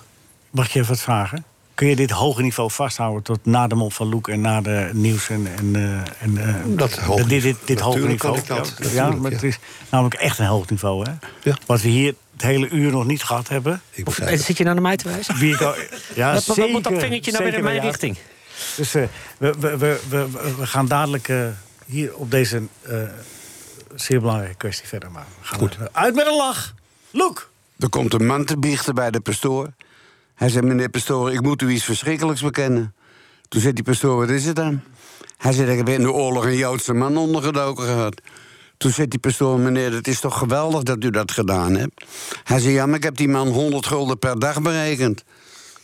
S3: mag ik je even wat vragen? Kun je dit hoge niveau vasthouden tot na de mop van Loek en na de nieuws en... en, eh, en eh,
S4: Dat hoge
S3: dit, dit,
S4: niveau.
S3: dit hoge
S4: Natuurlijk kan
S3: niveau.
S4: ik dat.
S3: Ja, Ja,
S4: Natuurlijk,
S3: maar het
S4: ja.
S3: is namelijk echt een hoog niveau, hè?
S4: Ja.
S3: Wat we hier het hele uur nog niet gehad hebben.
S4: Ik
S5: Of-
S4: begrijp het.
S5: zit je nou naar mij te wijzen?
S3: Wie ik al- ja,
S5: wat, wat- wat moet dat
S3: zeker,
S5: vingertje nou weer
S3: zeker
S5: in mijn
S3: bij jou.
S5: richting?
S3: Dus eh, we, we, we, we, we- we gaan dadelijk eh, hier op deze eh, zeer belangrijke kwestie verder. Maar we gaan er- uit met een lach. Loek!
S10: Er komt een man te biechten bij de pastoor. Hij zei, meneer pastoor, ik moet u iets verschrikkelijks bekennen. Toen zei die pastoor, wat is het dan? Hij zei, ik heb in de oorlog een Joodse man ondergedoken gehad. Toen zei die pastoor, meneer, het is toch geweldig dat u dat gedaan hebt? Hij zei, ja, maar ik heb die man 100 gulden per dag berekend.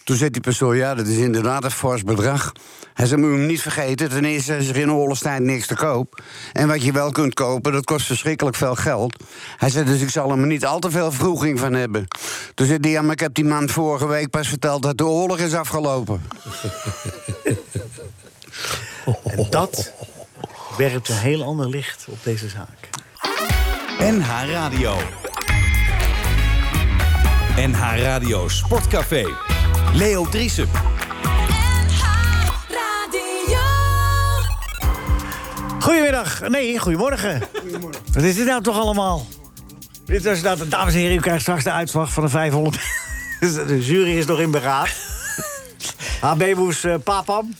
S10: Toen zei die pastoor, ja, dat is inderdaad een fors bedrag. Hij zei, moet je hem niet vergeten, ten eerste is er in oorlogstijd niks te koop. En wat je wel kunt kopen, dat kost verschrikkelijk veel geld. Hij zei, dus ik zal hem er niet al te veel vroeging van hebben. Toen zei hij, ja, maar ik heb die man vorige week pas verteld dat de oorlog is afgelopen.
S3: En dat werpt een heel ander licht op deze zaak.
S2: NH Radio. NH Radio Sportcafé. Leo Driessen.
S1: Radio.
S3: Goedemiddag. Nee, goedemorgen. Wat is dit nou toch allemaal? Dit is nou, dames en heren, u krijgt straks de uitslag van de 500.
S5: Dus
S3: De jury is nog in beraad. HBBoes eh, Papam.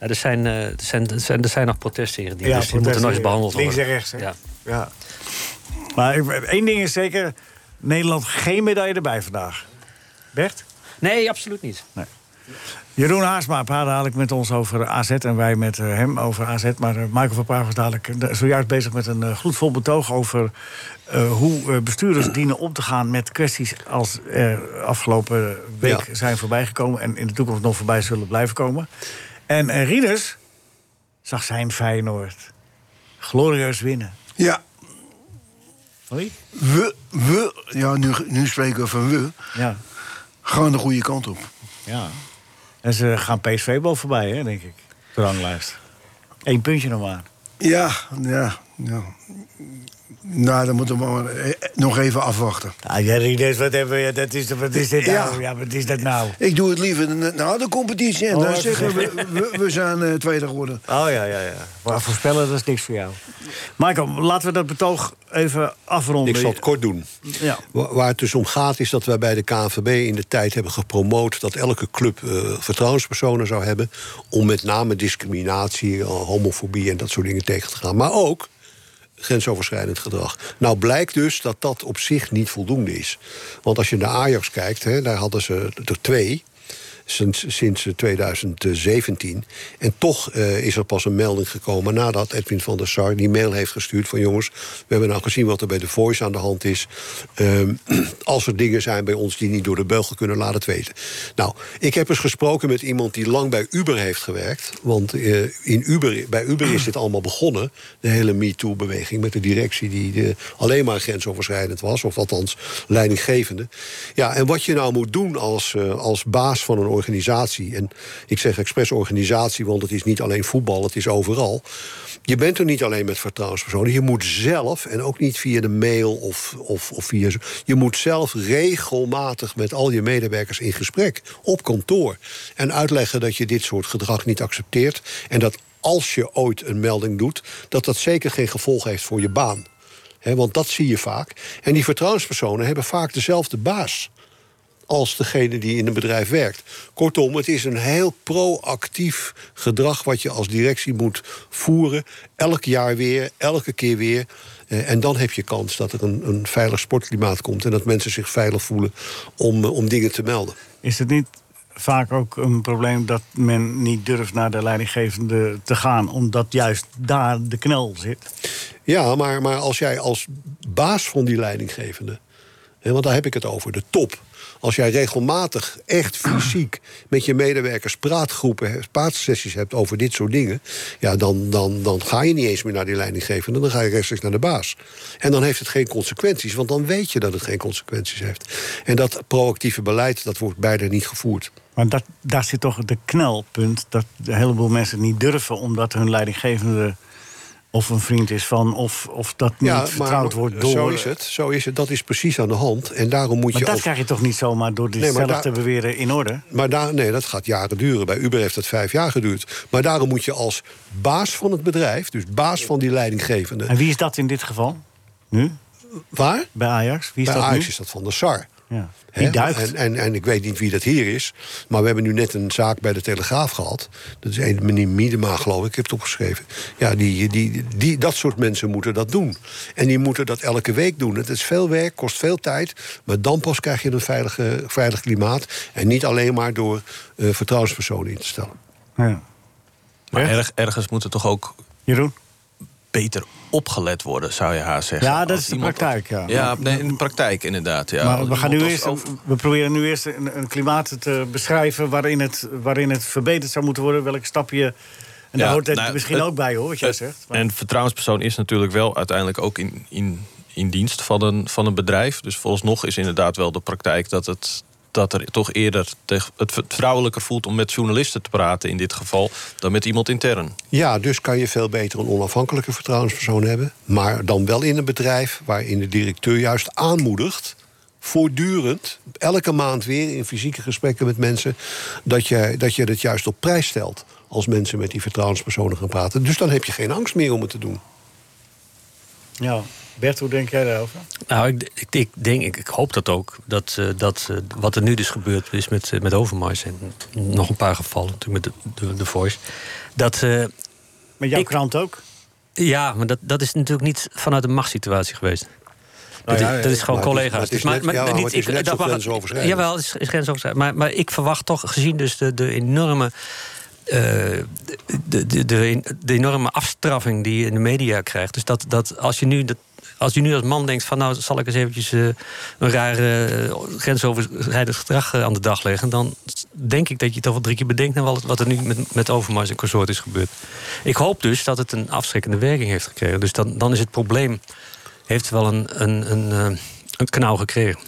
S5: Ja, er, zijn, eh, er, zijn, er, zijn, er zijn nog protesten hier. Die,
S3: Ja,
S5: dus die moeten nog eens
S3: protesten,
S5: behandeld worden.
S3: links en rechts, hè?
S5: Ja.
S3: Ja. Maar ik- één ding is zeker: Nederland geen medaille erbij vandaag. Bert?
S5: Nee, absoluut niet.
S3: Jeroen Haasma praat dadelijk met ons over AZ en wij met eh, hem over AZ. Maar eh, Michael van Praag was dadelijk eh, zojuist bezig met een eh, gloedvol betoog... over eh, hoe eh, bestuurders dienen om te gaan met kwesties als er afgelopen week
S4: Ja.
S3: zijn voorbijgekomen... en in de toekomst nog voorbij zullen blijven komen. En eh Rieders zag zijn Feyenoord glorieus winnen.
S7: Ja,
S3: Hoi?
S7: we, we, ja, nu, nu spreken we van we,
S3: Ja.
S7: gaan de goede kant op.
S3: ja. En ze gaan PSV wel voorbij, hè, denk ik. De ranglijst. Eén puntje nog maar.
S7: Ja, ja, ja. Nou, dan moeten we maar eh, nog even afwachten.
S3: Ah, ja, Rieders, wat, hebben we, dat is, wat is dit
S7: Ja.
S3: nou? Ja, wat is dat nou?
S7: Ik doe het liever na- na de competitie. En
S3: Oh,
S7: dan
S3: even
S7: zeggen we, we, we zijn eh, tweede geworden.
S3: Oh ja, ja, ja. Maar voorspellen, dat is niks voor jou. Michael, laten we dat betoog even afronden.
S4: Ik zal het kort doen.
S3: Ja.
S4: Wa- Waar het dus om gaat is dat wij bij de KNVB in de tijd hebben gepromoot... dat elke club eh, vertrouwenspersonen zou hebben... om met name discriminatie, eh, homofobie en dat soort dingen tegen te gaan. Maar ook grensoverschrijdend gedrag. Nou blijkt dus dat dat op zich niet voldoende is. Want als je naar Ajax kijkt, hè, daar hadden ze er twee... sinds, sinds 2017. En toch eh, is er pas een melding gekomen nadat Edwin van der Sar die mail heeft gestuurd van jongens, we hebben nou gezien wat er bij de Voice aan de hand is. Ehm, als er dingen zijn bij ons die niet door de beugel kunnen, laat het weten. Nou, ik heb eens gesproken met iemand die lang bij Uber heeft gewerkt. Want eh, in Uber, bij Uber is dit allemaal begonnen. De hele MeToo-beweging met de directie die eh, alleen maar grensoverschrijdend was. Of althans leidinggevende. Ja, en wat je nou moet doen als, eh, als baas van een organisatie. En ik zeg expres organisatie, want het is niet alleen voetbal, het is overal. Je bent er niet alleen met vertrouwenspersonen. Je moet zelf, en ook niet via de mail of, of, of via. zo- Je moet zelf regelmatig met al je medewerkers in gesprek op kantoor. En uitleggen dat je dit soort gedrag niet accepteert. En dat als je ooit een melding doet, dat dat zeker geen gevolg heeft voor je baan. Hè, want dat zie je vaak. En die vertrouwenspersonen hebben vaak dezelfde baas als degene die in een bedrijf werkt. Kortom, het is een heel proactief gedrag wat je als directie moet voeren. Elk jaar weer, elke keer weer. Eh, en dan heb je kans dat er een, een veilig sportklimaat komt en dat mensen zich veilig voelen om, eh, om dingen te melden.
S3: Is het niet vaak ook een probleem dat men niet durft naar de leidinggevende te gaan, omdat juist daar de knel zit?
S4: Ja, maar, maar als jij als baas van die leidinggevende, hè, want daar heb ik het over, de top. Als jij regelmatig, echt fysiek, met je medewerkers praatgroepen, hè, praatsessies hebt over dit soort dingen, ja, dan, dan, dan ga je niet eens meer naar die leidinggevende, dan ga je rechtstreeks naar de baas. En dan heeft het geen consequenties, want dan weet je dat het geen consequenties heeft. En dat proactieve beleid, dat wordt bijna niet gevoerd.
S3: Maar dat, daar zit toch de knelpunt dat een heleboel mensen het niet durven, omdat hun leidinggevende of een vriend is van, of, of dat niet
S4: maar
S3: vertrouwd wordt door.
S4: Zo is het, zo is het. Dat is precies aan de hand. En daarom moet
S3: Maar
S4: je
S3: dat
S4: als-
S3: krijg je toch niet zomaar door dit
S4: Nee, maar
S3: zelf
S4: daar-
S3: te beweren in orde?
S4: Maar daar, nee, dat gaat jaren duren. Bij Uber heeft dat vijf jaar geduurd. Maar daarom moet je als baas van het bedrijf, dus baas van die leidinggevende.
S3: En wie is dat in dit geval? Nu?
S4: Waar?
S3: Bij Ajax? Wie is
S4: Bij
S3: dat
S4: Ajax
S3: nu?
S4: is dat van de SAR.
S3: Ja.
S4: Hè?
S3: Die duikt.
S4: En, en, en ik weet niet wie dat hier is. Maar we hebben nu net een zaak bij de Telegraaf gehad. Dat is een meneer Miedema, geloof ik. Ik heb het opgeschreven. Ja, die, die, die, dat soort mensen moeten dat doen. En die moeten dat elke week doen. Het is veel werk, kost veel tijd. Maar dan pas krijg je een veilige, veilig klimaat. En niet alleen maar door eh, vertrouwenspersonen in te stellen.
S8: Maar erg, ergens moet er toch ook beter opgelet worden, zou je haar zeggen.
S3: Ja, dat
S8: Als
S3: is de
S8: iemand-
S3: praktijk. Ja.
S8: Ja, nee, in de praktijk inderdaad. Ja. Als
S3: maar we,
S8: iemand
S3: gaan nu
S8: als
S3: eerst,
S8: over-
S3: een- we proberen nu eerst een, een klimaat te beschrijven waarin het, waarin het verbeterd zou moeten worden. Welke stap je. En daar
S8: Ja,
S3: hoort het
S8: nou,
S3: misschien
S8: het-
S3: ook bij hoor, wat jij zegt.
S8: En vertrouwenspersoon is natuurlijk wel uiteindelijk ook in, in, in dienst van een, van een bedrijf. Dus vooralsnog is inderdaad wel de praktijk dat het. Dat er toch eerder tegen- het vertrouwelijker voelt om met journalisten te praten in dit geval dan met iemand intern.
S4: Ja, dus kan je veel beter een onafhankelijke vertrouwenspersoon hebben. Maar dan wel in een bedrijf waarin de directeur juist aanmoedigt. voortdurend, elke maand weer in fysieke gesprekken met mensen. dat je dat, je dat juist op prijs stelt. als mensen met die vertrouwenspersonen gaan praten. Dus dan heb je geen angst meer om het te doen.
S3: Ja, Bert, hoe denk jij daarover?
S5: Nou, ik, ik, ik denk, ik, ik hoop dat ook. Dat, eh, dat eh, wat er nu dus gebeurd is met, eh, met Overmars en nog een paar gevallen, natuurlijk met de, de, de Voice. Dat, eh,
S3: Met jouw krant ook?
S5: ja, maar dat, dat is natuurlijk niet vanuit een machtssituatie geweest. Dat,
S4: Nou ja,
S5: is, dat is gewoon
S4: maar het is-
S5: collega's.
S4: maar het is
S5: Dus
S4: net- ja, maar het is net zo
S5: mag-
S4: grensoverschrijdend.
S5: Jawel, het is, is grensoverschrijdend. Maar, maar ik verwacht toch, gezien dus de, de enorme... eh, de, de, de, de enorme afstraffing die je in de media krijgt. Dus dat, dat als je nu... Dat, als je nu als man denkt van nou zal ik eens eventjes eh, een raar eh, grensoverschrijdend gedrag eh, aan de dag leggen, dan denk ik dat je toch wel drie keer bedenkt naar wat, wat er nu met, met Overmars en consort is gebeurd. Ik hoop dus dat het een afschrikkende werking heeft gekregen. Dus dan, dan is het probleem heeft wel een, een, een, eh, een knauw gekregen.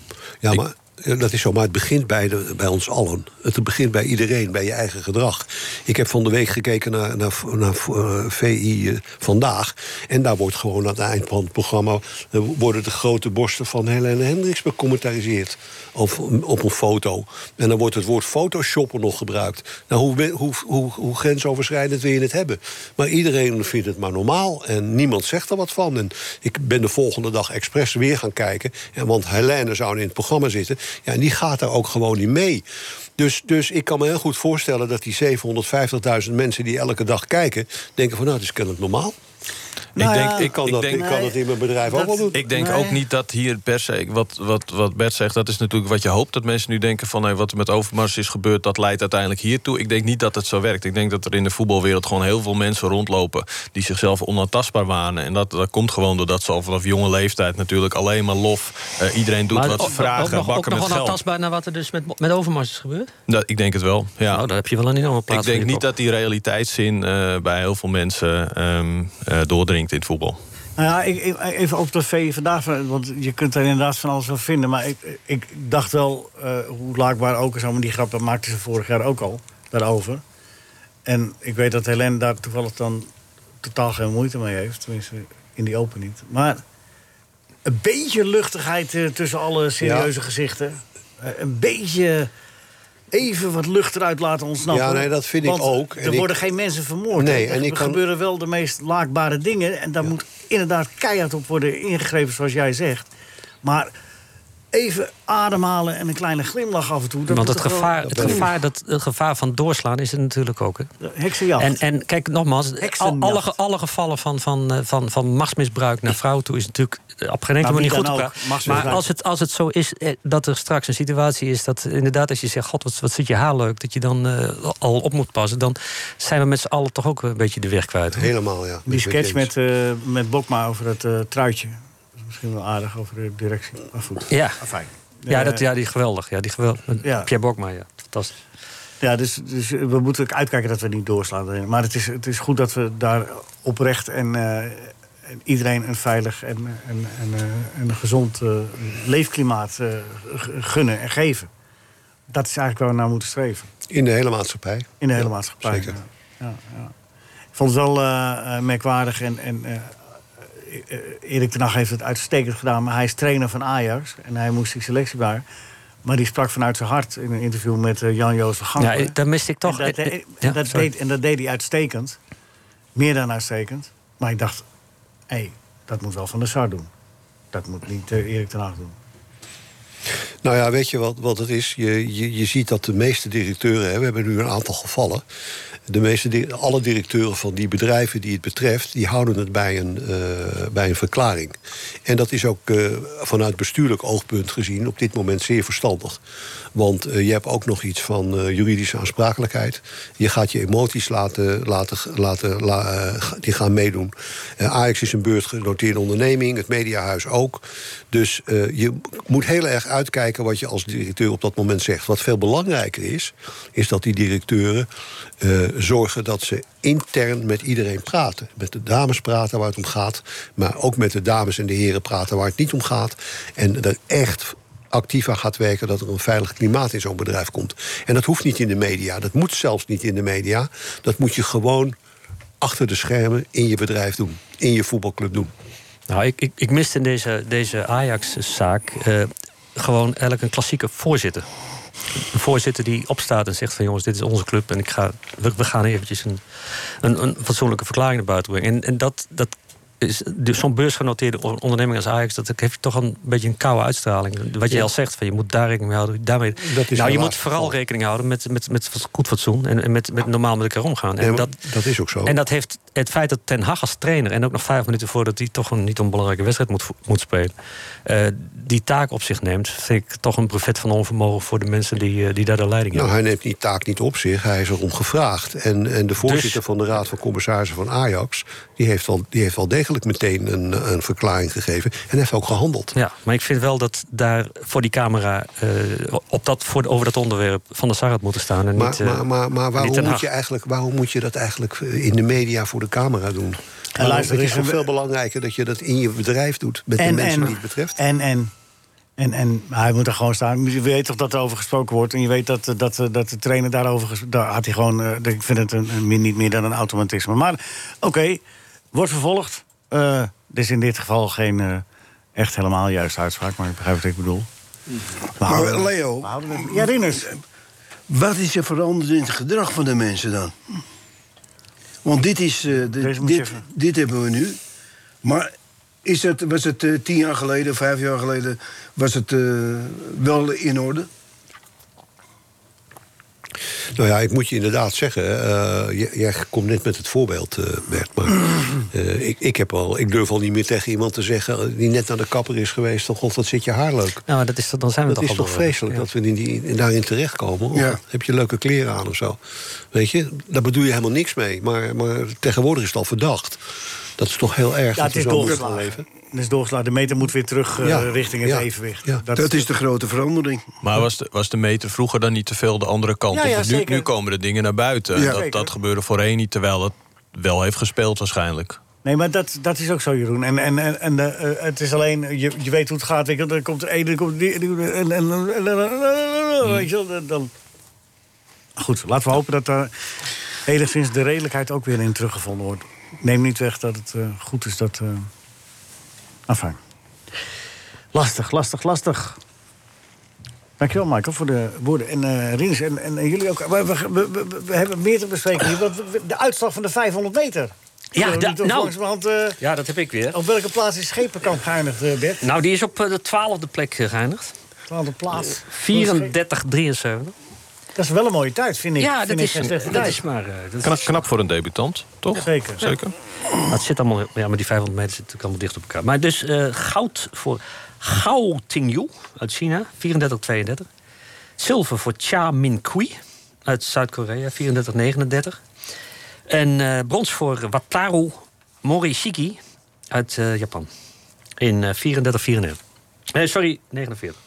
S4: Ja, maar ja, dat is zo. Maar het begint bij, de, bij ons allen. Het begint bij iedereen, bij je eigen gedrag. Ik heb van de week gekeken naar, naar, naar eh, VI eh, Vandaag. En daar wordt gewoon aan het eind van het programma... eh, worden de grote borsten van Helene Hendricks becommentariseerd. Of op een foto. En dan wordt het woord photoshoppen nog gebruikt. Nou, hoe, ben- hoe, hoe, hoe grensoverschrijdend wil je het hebben? Maar iedereen vindt het maar normaal. En niemand zegt er wat van. En ik ben de volgende dag expres weer gaan kijken. En want Helene zou in het programma zitten. Ja, en die gaat daar ook gewoon niet mee. Dus, dus ik kan me heel goed voorstellen dat die 750.000 mensen die elke dag kijken. denken: van nou, het is kennelijk normaal. Nou
S8: ik denk,
S4: ja,
S8: ik,
S4: kan
S8: ik
S4: dat-
S8: denk,
S4: ik kan dat in mijn bedrijf ook wel doen.
S8: Ik denk ook niet dat hier per se. Wat, wat, wat Bert zegt, dat is natuurlijk wat je hoopt. Dat mensen nu denken van hé, wat er met Overmars is gebeurd, dat leidt uiteindelijk hiertoe. Ik denk niet dat het zo werkt. Ik denk dat er in de voetbalwereld gewoon heel veel mensen rondlopen die zichzelf onaantastbaar wanen. En dat, dat komt gewoon doordat ze al vanaf jonge leeftijd natuurlijk alleen maar lof. eh, iedereen doet
S5: Maar
S8: wat ze
S5: ook- ook
S8: vragen,
S5: nog-
S8: bakken
S5: ook
S8: met
S5: nog wel
S8: geld.
S5: tastbaar naar wat er dus met, met Overmars is gebeurd.
S8: Dat, ik denk het wel. Ja. Nou,
S5: daar heb je wel een enorme plaats
S8: Ik denk
S5: voor je
S8: niet dat die realiteitszin eh, bij heel veel mensen ehm, eh, doordringt in het voetbal.
S3: Nou ja, ik, ik- even op dat VE vandaag, want je kunt er inderdaad van alles van vinden. Maar ik, ik dacht wel, eh, hoe laakbaar ook is, maar die grap dat maakte ze vorig jaar ook al, daarover. En ik weet dat Helene daar toevallig dan totaal geen moeite mee heeft. Tenminste, in die open niet. Maar een beetje luchtigheid eh, tussen alle serieuze
S4: Ja.
S3: gezichten. Eh, een beetje even wat lucht eruit laten ontsnappen.
S4: Ja, nee, dat vind ik
S3: Want
S4: ook. En
S3: Er
S4: ik-
S3: worden geen mensen vermoord.
S4: Nee,
S3: hè.
S4: en
S3: er
S4: ik kan-
S3: gebeuren wel de meest laakbare dingen. En daar moet inderdaad keihard op worden ingegrepen, zoals jij zegt. Maar even ademhalen en een kleine glimlach af en toe. dat
S5: Want
S3: moet
S5: het
S3: toch wel-
S5: gevaar, het, gevaar dat, het gevaar van doorslaan is er natuurlijk ook. Hè?
S3: Heksenjacht.
S5: En, en kijk, nogmaals, al-
S3: Heksenjacht.
S5: alle, ge- alle gevallen van, van, eh, van, van machtsmisbruik naar vrouw toe is natuurlijk eh, op geen enkele
S3: Maar wie
S5: manier goed
S3: dan
S5: te
S3: Nou, ook,
S5: praten.
S3: machtsmisbruik.
S5: Maar als het, als het zo is eh, dat er straks een situatie is dat eh, inderdaad, als je zegt: God, wat, wat zit je haar leuk, dat je dan eh, al op moet passen, dan zijn we met z'n allen toch ook een beetje de weg kwijt. hoor.
S4: Helemaal, ja.
S3: Die sketch met, eh met Bokma over dat eh, truitje. Dat is misschien wel aardig over de directie. Maar goed.
S5: Ja.
S3: Afijn.
S5: Ja,
S3: Eh,
S5: dat, ja, die geweldig. Ja, die geweldig.
S3: Ja.
S5: Pierre Bokma, ja. Fantastisch.
S3: Ja, dus, dus we moeten ook uitkijken dat we niet doorslaan. daarin. Maar het is, het is goed dat we daar oprecht en, eh, en iedereen een veilig en, en, en, eh, en een gezond eh, leefklimaat eh, g- gunnen en geven. Dat is eigenlijk waar we naar moeten streven.
S4: In de hele maatschappij.
S3: In de hele
S4: Ja,
S3: maatschappij.
S4: Zeker.
S3: Ja, ja, ja. Ik vond het wel eh, eh, merkwaardig. En, en, eh, eh, Erik ten Hag heeft het uitstekend gedaan. Maar hij is trainer van Ajax. En hij moest die selectie maken. Maar die sprak vanuit zijn hart in een interview met eh, Jan-Joos van
S5: Ja,
S3: Gankeren.
S5: eh, daar miste ik toch.
S3: En dat,
S5: eh, eh,
S3: en
S5: ja,
S3: dat
S5: sorry.
S3: deed, en dat deed hij uitstekend. Meer dan uitstekend. Maar ik dacht, hé, dat moet wel Van der Sar doen. Dat moet niet eh, Erik ten Hag doen.
S4: Nou ja, weet je wat, wat het is? Je, je, je ziet dat de meeste directeuren, hè, we hebben nu een aantal gevallen. De meeste, di- alle directeuren van die bedrijven die het betreft, die houden het bij een, eh, bij een verklaring. En dat is ook eh, vanuit bestuurlijk oogpunt gezien op dit moment zeer verstandig. Want eh, je hebt ook nog iets van eh, juridische aansprakelijkheid. Je gaat je emoties laten, laten, laten la- eh, ga- die gaan meedoen. Eh, Ajax is een beursgenoteerde onderneming, het mediahuis ook. Dus eh, je moet heel erg uitkijken wat je als directeur op dat moment zegt. Wat veel belangrijker is, is dat die directeuren eh, zorgen dat ze intern met iedereen praten. Met de dames praten waar het om gaat, maar ook met de dames en de heren praten waar het niet om gaat. En er echt actief aan gaat werken dat er een veilig klimaat in zo'n bedrijf komt. En dat hoeft niet in de media, dat moet zelfs niet in de media. Dat moet je gewoon achter de schermen in je bedrijf doen, in je voetbalclub doen.
S5: Nou, ik, ik, ik miste in deze, deze Ajax-zaak eh, gewoon eigenlijk een klassieke voorzitter. Een voorzitter die opstaat en zegt van jongens, dit is onze club en ik ga, we, we gaan eventjes een, een, een fatsoenlijke verklaring naar buiten brengen. En, en dat, dat is dus zo'n beursgenoteerde on- onderneming als Ajax, dat heeft toch een beetje een koude uitstraling. Wat jij
S11: Ja.
S5: al zegt, van je moet daar rekening mee houden. Daarmee.
S11: Dat is
S5: nou, je
S11: helaas
S5: moet vooral rekening houden met, met, met goed fatsoen en, en met, met normaal met elkaar omgaan.
S4: Nee,
S5: en
S4: maar dat is ook zo.
S5: En dat heeft het feit dat Ten Hag als trainer... en ook nog vijf minuten voordat hij toch een niet onbelangrijke wedstrijd moet, vo- moet spelen... eh, die taak op zich neemt, vind ik toch een brevet van onvermogen... voor de mensen die, eh, die daar de leiding
S4: Nou,
S5: hebben.
S4: hij neemt die taak niet op zich, hij is erom gevraagd. En, en de voorzitter van de Raad van Commissarissen van Ajax... die heeft wel, die heeft wel degelijk meteen een, een verklaring gegeven en heeft ook gehandeld.
S5: Ja, maar ik vind wel dat daar voor die camera... eh, op dat, voor, over dat onderwerp van de Sar had moeten staan. En
S4: Maar,
S5: niet, eh,
S4: maar, maar, maar
S5: niet
S4: waarom,
S5: Ten
S4: moet
S5: Hag.
S4: je eigenlijk, waarom moet je dat eigenlijk eh, in de media voor de camera doen? En
S3: luister,
S4: het is
S3: er is
S4: toch
S3: een-
S4: veel belangrijker dat je dat in je bedrijf doet... met de mensen die het betreft.
S3: En, en, en, en hij moet er gewoon staan. Je weet toch dat er over gesproken wordt. En je weet dat, eh, dat, dat de trainer daarover... ges- Daar had hij gewoon... eh, ik vind het een, een- niet meer dan een automatisme. Maar oké, wordt vervolgd. Eh dus in dit geval geen eh, echt helemaal juiste uitspraak. Maar ik begrijp wat ik bedoel.
S7: Maar Leo,
S3: Ja, Rinus.
S7: wat is er veranderd in het gedrag van de mensen dan? Want dit is. eh, dit-
S3: moet je
S7: dit,
S3: even-
S7: dit hebben we nu. Maar is het, was het eh, tien jaar geleden, vijf jaar geleden. was het eh, wel in orde?
S4: Nou ja, ik moet je inderdaad zeggen, eh, j- jij komt net met het voorbeeld, eh, Bert. Maar eh, ik, ik, heb al, ik durf al niet meer tegen iemand te zeggen eh, die net naar de kapper is geweest. Dan god, wat zit je haar leuk.
S5: Nou, dat is, dan zijn we
S4: dat
S5: toch
S4: is
S5: al
S4: toch
S5: door.
S4: vreselijk
S5: Ja.
S4: dat we in die, in- daarin terechtkomen? Of
S5: Ja.
S4: Heb je leuke kleren aan of zo? Weet je, daar bedoel je helemaal niks mee. Maar, maar tegenwoordig is het al verdacht. Dat is toch heel erg.
S3: Ja, het
S4: we
S3: is
S4: zo moeten
S3: doorgeslagen. Het is doorgeslagen. De meter moet weer terug eh,
S4: Ja,
S3: richting het
S4: ja,
S3: evenwicht.
S7: Dat is de grote verandering.
S8: Maar was de, was de meter vroeger dan niet te veel de andere kant?
S3: Ja, ja,
S8: Of nu,
S3: zeker.
S8: nu komen de dingen naar buiten.
S3: Ja.
S8: Dat,
S3: Zeker.
S8: dat gebeurde voorheen niet, terwijl het wel heeft gespeeld waarschijnlijk.
S3: Nee, maar dat, dat is ook zo, Jeroen. En, en, en, en eh, eh, het is alleen, je, je weet hoe het gaat. Weet je, wel, er komt de ene, er komt die, die- en, en, en- en- en- weet je wel, dan- dan... Goed, laten we hopen dat daar enigszins de redelijkheid ook weer in teruggevonden wordt. Neem niet weg dat het eh, goed is dat... eh enfin. Lastig, lastig, lastig. Dankjewel, Michael, voor de woorden. En eh Rins, en, en, en jullie ook. We, we, we- we- we hebben meer te bespreken hier. want we- de uitslag van de 500 meter.
S5: Ja,
S3: Zullen we
S5: da-
S3: niet ook
S5: nou.
S3: langzamerhand, eh,
S5: Ja, dat heb ik weer.
S3: op welke plaats is Schepenkamp geëindigd, eh, Bert?
S5: Nou, die is op eh, de twaalfde plek eh, geëindigd.
S3: Twaalfde plaats.
S5: Eh, 34, 73.
S3: Dat is wel een mooie tijd, vind ik.
S5: Ja,
S3: Vind
S5: dat
S3: ik
S5: is,
S3: geen slechte
S5: dat
S3: tijd.
S5: is maar... eh, dat
S8: Knap,
S5: is-
S8: knap voor een debutant, toch?
S3: Zeker.
S8: Zeker.
S5: Dat zit allemaal, ja, maar die 500 meter zit natuurlijk allemaal dicht op elkaar. Maar dus eh, goud voor Gao Tingyu uit China, 34-32. Zilver voor Cha Min Kui uit Zuid-Korea, 34-39. En eh, brons voor Wataru Morishiki uit eh, Japan, in eh, 34-94. Nee, sorry, 49.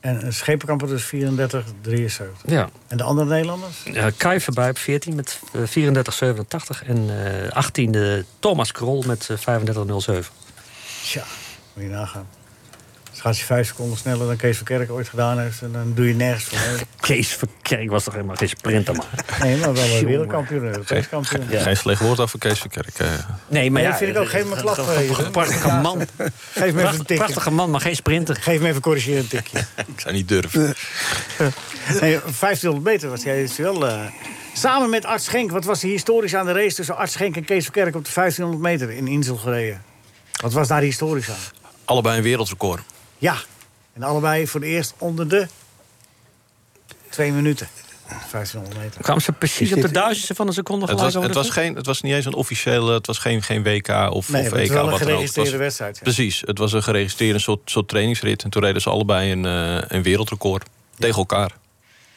S3: En eh, Schepenkamp had dus 34, 73.
S5: Ja.
S3: En de andere Nederlanders?
S5: Eh Kai voorbij op 14 met eh, 34-87. En eh 18e Thomas Krol met eh, 35-07.
S3: Tja, moet je nagaan. Dus gaat je vijf seconden sneller dan Kees Verkerk ooit gedaan heeft... en dan doe je nergens voor. hè?
S5: Kees Verkerk was toch helemaal geen sprinter, man.
S3: Nee, maar wel een
S5: Jongen.
S3: wereldkampioen, een Europees kampioen.
S5: Ja.
S8: Geen slecht woord over Kees Verkerk. eh.
S5: Nee,
S3: Nee,
S5: maar ja,
S3: dat vind ik ook geen
S5: eh,
S3: klap,
S5: een
S3: eh,
S5: Prachtige
S3: ja.
S5: man.
S3: Geef me even een
S5: Pracht-
S3: tikje.
S5: prachtige man, maar geen sprinter.
S3: Geef me even corrigerend tikje.
S8: Ik zou niet durven.
S3: Nee, 1500 meter was jij dus wel. eh, samen met Art Schenk, wat was er historisch aan de race tussen Art Schenk en Kees Verkerk op de 1500 meter in Insel gereden? Wat was daar historisch aan?
S8: Allebei een wereldrecord.
S3: Ja, en allebei voor het eerst onder de twee minuten. 1500 meter.
S5: Kwamen ze precies op de duizendste van een seconde
S8: Het
S5: gelijk
S8: was,
S5: over
S8: het,
S5: de
S8: was
S5: brug?
S8: geen, het was niet eens een officiële, het was geen, geen WK of,
S3: Nee,
S8: of
S3: het was
S8: EK.
S3: wel een
S8: wat dan ook.
S3: geregistreerde
S8: Het was-
S3: wedstrijd, ja.
S8: Precies, het was een geregistreerde soort, soort trainingsrit. En toen reden ze allebei een, eh, een wereldrecord tegen elkaar.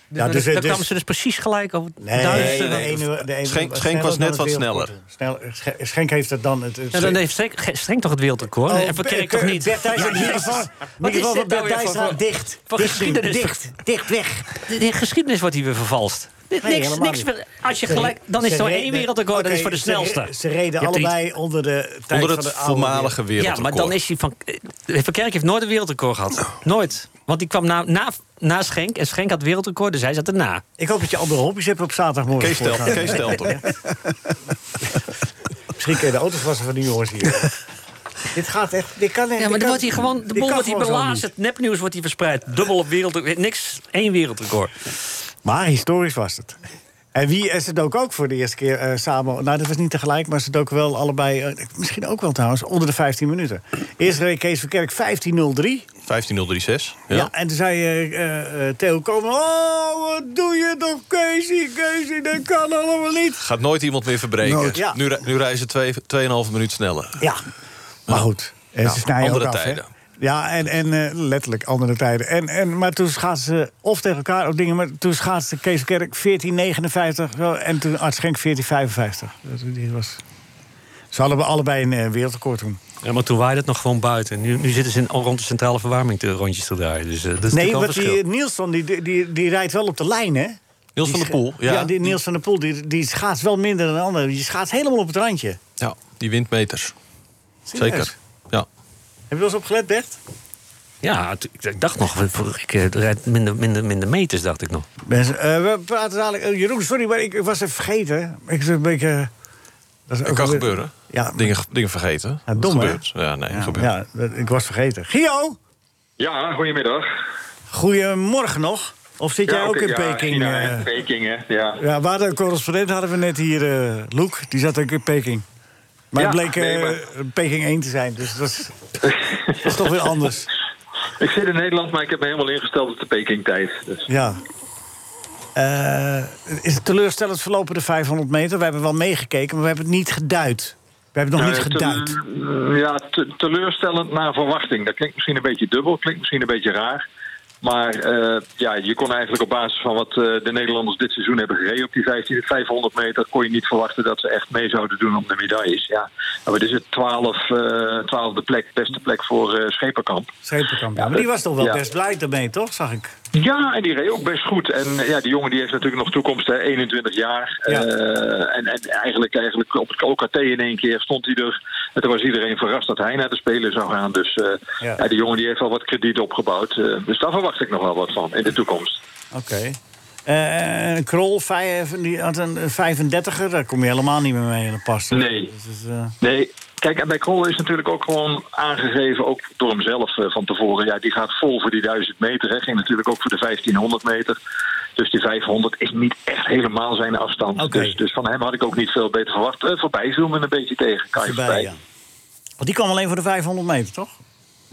S3: Ja, dus,
S5: Daar
S3: dus-
S5: kwamen ze dus precies gelijk over de
S3: Nee,
S5: duizendste.
S3: de ene- de ene
S8: Schenk- Schenk was
S3: sneller
S8: net
S3: dan
S8: wat
S3: het wereldrecord. Snel- Sch- Schenk heeft het dan. Het, het
S5: Ja, dan heeft Streng, Ge- Streng toch het wereldrecord?
S3: Oh,
S5: en Verkerk toch niet?
S3: Bert Dijsselbloem,
S5: Ja,
S3: in ieder
S5: jezus.
S3: geval- in
S5: Wat
S3: ieder
S5: is
S3: geval
S5: dit
S3: Bert
S5: nou weer
S3: Dijsselbloem,
S5: voor-
S3: dicht.
S5: Voor
S3: Dicht,
S5: geschiedenis.
S3: dicht, dicht weg.
S5: De, de geschiedenis wordt hier weer vervalst. Dit-
S3: Nee,
S5: niks,
S3: helemaal
S5: niks,
S3: niet.
S5: meer- als je
S3: Ze-
S5: gelijk, dan is
S3: ze
S5: er maar één
S3: reden-
S5: wereldrecord, dat
S3: oké,
S5: is voor de
S3: ze-
S5: snelste.
S3: Ze
S5: Je
S3: reden
S5: hebt er iets-
S3: allebei onder de tijd
S8: Onder
S3: van
S8: het
S3: de oude
S8: voormalige
S3: wereld.
S8: wereldrecord.
S5: Ja, maar dan is hij van. eh, Verkerk heeft nooit een wereldrecord gehad. Nooit. Want die kwam na, na, na Schenk. En Schenk had wereldrecord, dus hij zat erna.
S3: Ik hoop dat je andere hobby's hebt op zaterdagmorgen.
S8: Kees telt,
S3: voorgaan.
S8: Kees telt hoor.
S3: Misschien kun je de auto's wassen van die jongens hier. dit gaat echt... Dit kan echt... dit
S5: Ja, maar dan
S3: kan-
S5: wordt hij gewoon. De
S3: dit
S5: bol
S3: kan
S5: wordt hier
S3: gewoon zo
S5: belazerd. Het nepnieuws wordt hier verspreid. Dubbel op wereldrecord. Niks. één wereldrecord.
S3: niet. Maar historisch was het. En wie, en ze doken ook voor de eerste keer eh, samen... Nou, dat was niet tegelijk, maar ze doken wel allebei... eh, misschien ook wel trouwens, onder de 15 minuten. Eerst reed Kees Verkerk 15.03.
S8: 15036.
S3: Ja.
S8: Ja.
S3: en toen zei eh, eh, eh, Theo Komen... Oh, wat doe je toch, Keesie, Keesie, dat kan allemaal niet.
S8: Gaat nooit iemand meer verbreken.
S3: Nooit. Ja.
S8: Nu, re- nu reizen ze 2,5 minuut sneller.
S3: Ja, maar goed. En
S8: Nou,
S3: ze snijden
S8: andere
S3: ook af, hè?
S8: tijden.
S3: Ja, en, en eh, letterlijk andere tijden. En, en, maar toen schaatsen ze of tegen elkaar of dingen. Maar toen schaatste Kees Kerk 1459 zo, en toen Arts Schenk 1455. Dat, die was... Ze hadden allebei een eh, wereldrecord toen.
S5: Ja, maar toen waaide het nog gewoon buiten. Nu, nu zitten ze in, rond de centrale verwarming te, rondjes te draaien. Dus eh, dat is
S3: Nee,
S5: natuurlijk al
S3: want
S5: verschil.
S3: die Nielsen die, die, die, die rijdt wel op de lijn, hè?
S8: Niels
S3: Die
S8: van der Poel.
S3: scha-
S8: Ja,
S3: die Niels van der Poel die, die schaats wel minder dan de anderen. Die schaats helemaal op het randje.
S8: ja, die wint meters.
S3: Serieus?
S8: Zeker. Ja.
S3: Heb je wel eens op gelet, Bert?
S5: Ja, het- ik- ik dacht nog. we- voor- Ik eh, rijd minder, minder, minder meters, dacht ik nog.
S3: Mensen, eh, we praten dadelijk. eh, Jeroen, sorry, maar ik, ik was even vergeten. Ik zit een beetje. dat is
S8: Dat
S3: ook
S8: kan
S3: weer-
S8: gebeuren.
S3: Ja,
S8: Dingen, dingen vergeten.
S3: ja, dom, hè?
S8: gebeurt. Ja, nee,
S3: Ja,
S8: gebeurt.
S3: ja, dat- ik was vergeten. Gio,
S11: Ja, Ah, goedemiddag.
S3: goedemorgen nog. Of zit jij
S11: Ja,
S3: ook
S11: oké,
S3: in
S11: ja,
S3: Peking?
S11: China en
S3: eh?
S11: Peking, hè. Ja.
S3: ja, we hadden een correspondent hadden we net hier, eh Loek. Die zat ook in Peking. Maar
S11: Ja,
S3: het bleek
S11: nee,
S3: eh,
S11: maar-
S3: Peking 1 te zijn. Dus dat is, dat is toch weer anders.
S11: Ik zit in Nederland, maar ik heb me helemaal ingesteld op de Peking-tijd. Dus.
S3: Ja. Eh, is het teleurstellend verlopen de 500 meter? We hebben wel meegekeken, maar we hebben het niet geduid. hebben het nog
S11: Ja,
S3: niet
S11: te-
S3: geduid.
S11: eh, Ja, te- teleurstellend naar verwachting. Dat klinkt misschien een beetje dubbel, klinkt misschien een beetje raar. Maar eh, ja, je kon eigenlijk op basis van wat eh, de Nederlanders dit seizoen hebben gereden op die 15, 500 meter, kon je niet verwachten dat ze echt mee zouden doen om de medailles. Ja, maar dit is het 12, eh, 12e plek, beste plek voor eh Schepenkamp.
S3: Schepenkamp. Ja, maar die was toch wel
S11: Ja.
S3: best blij daarmee, toch? Zag ik.
S11: Ja, en die reed ook best goed. En eh, ja, die jongen die heeft natuurlijk nog toekomst, hè, 21 jaar. Eh, en en eigenlijk, eigenlijk op het OKT in één keer stond hij er. En toen was iedereen verrast dat hij naar de Spelen zou gaan. Dus eh, ja. die jongen die heeft al wat krediet opgebouwd. Eh, dus daar verwacht ik nog wel wat van in de toekomst.
S3: Oké. Eh, een Krol vijf- die had een 35er, daar kom je helemaal niet meer mee in de pas. toch?
S11: Nee.
S3: Dus, is, eh,
S11: Nee, kijk, en bij Krol is natuurlijk ook gewoon aangegeven, ook door hemzelf eh, van tevoren. Ja, die gaat vol voor die 1000 meter. Hè. Ging natuurlijk ook voor de 1500 meter. Dus die 500 is niet echt helemaal zijn afstand. Dus, dus van hem had ik ook niet veel beter verwacht. Eh, voorbij viel me een beetje tegen. Kai
S3: Voorbij,
S11: voorbij.
S3: ja. want die kwam alleen voor de 500 meter, toch?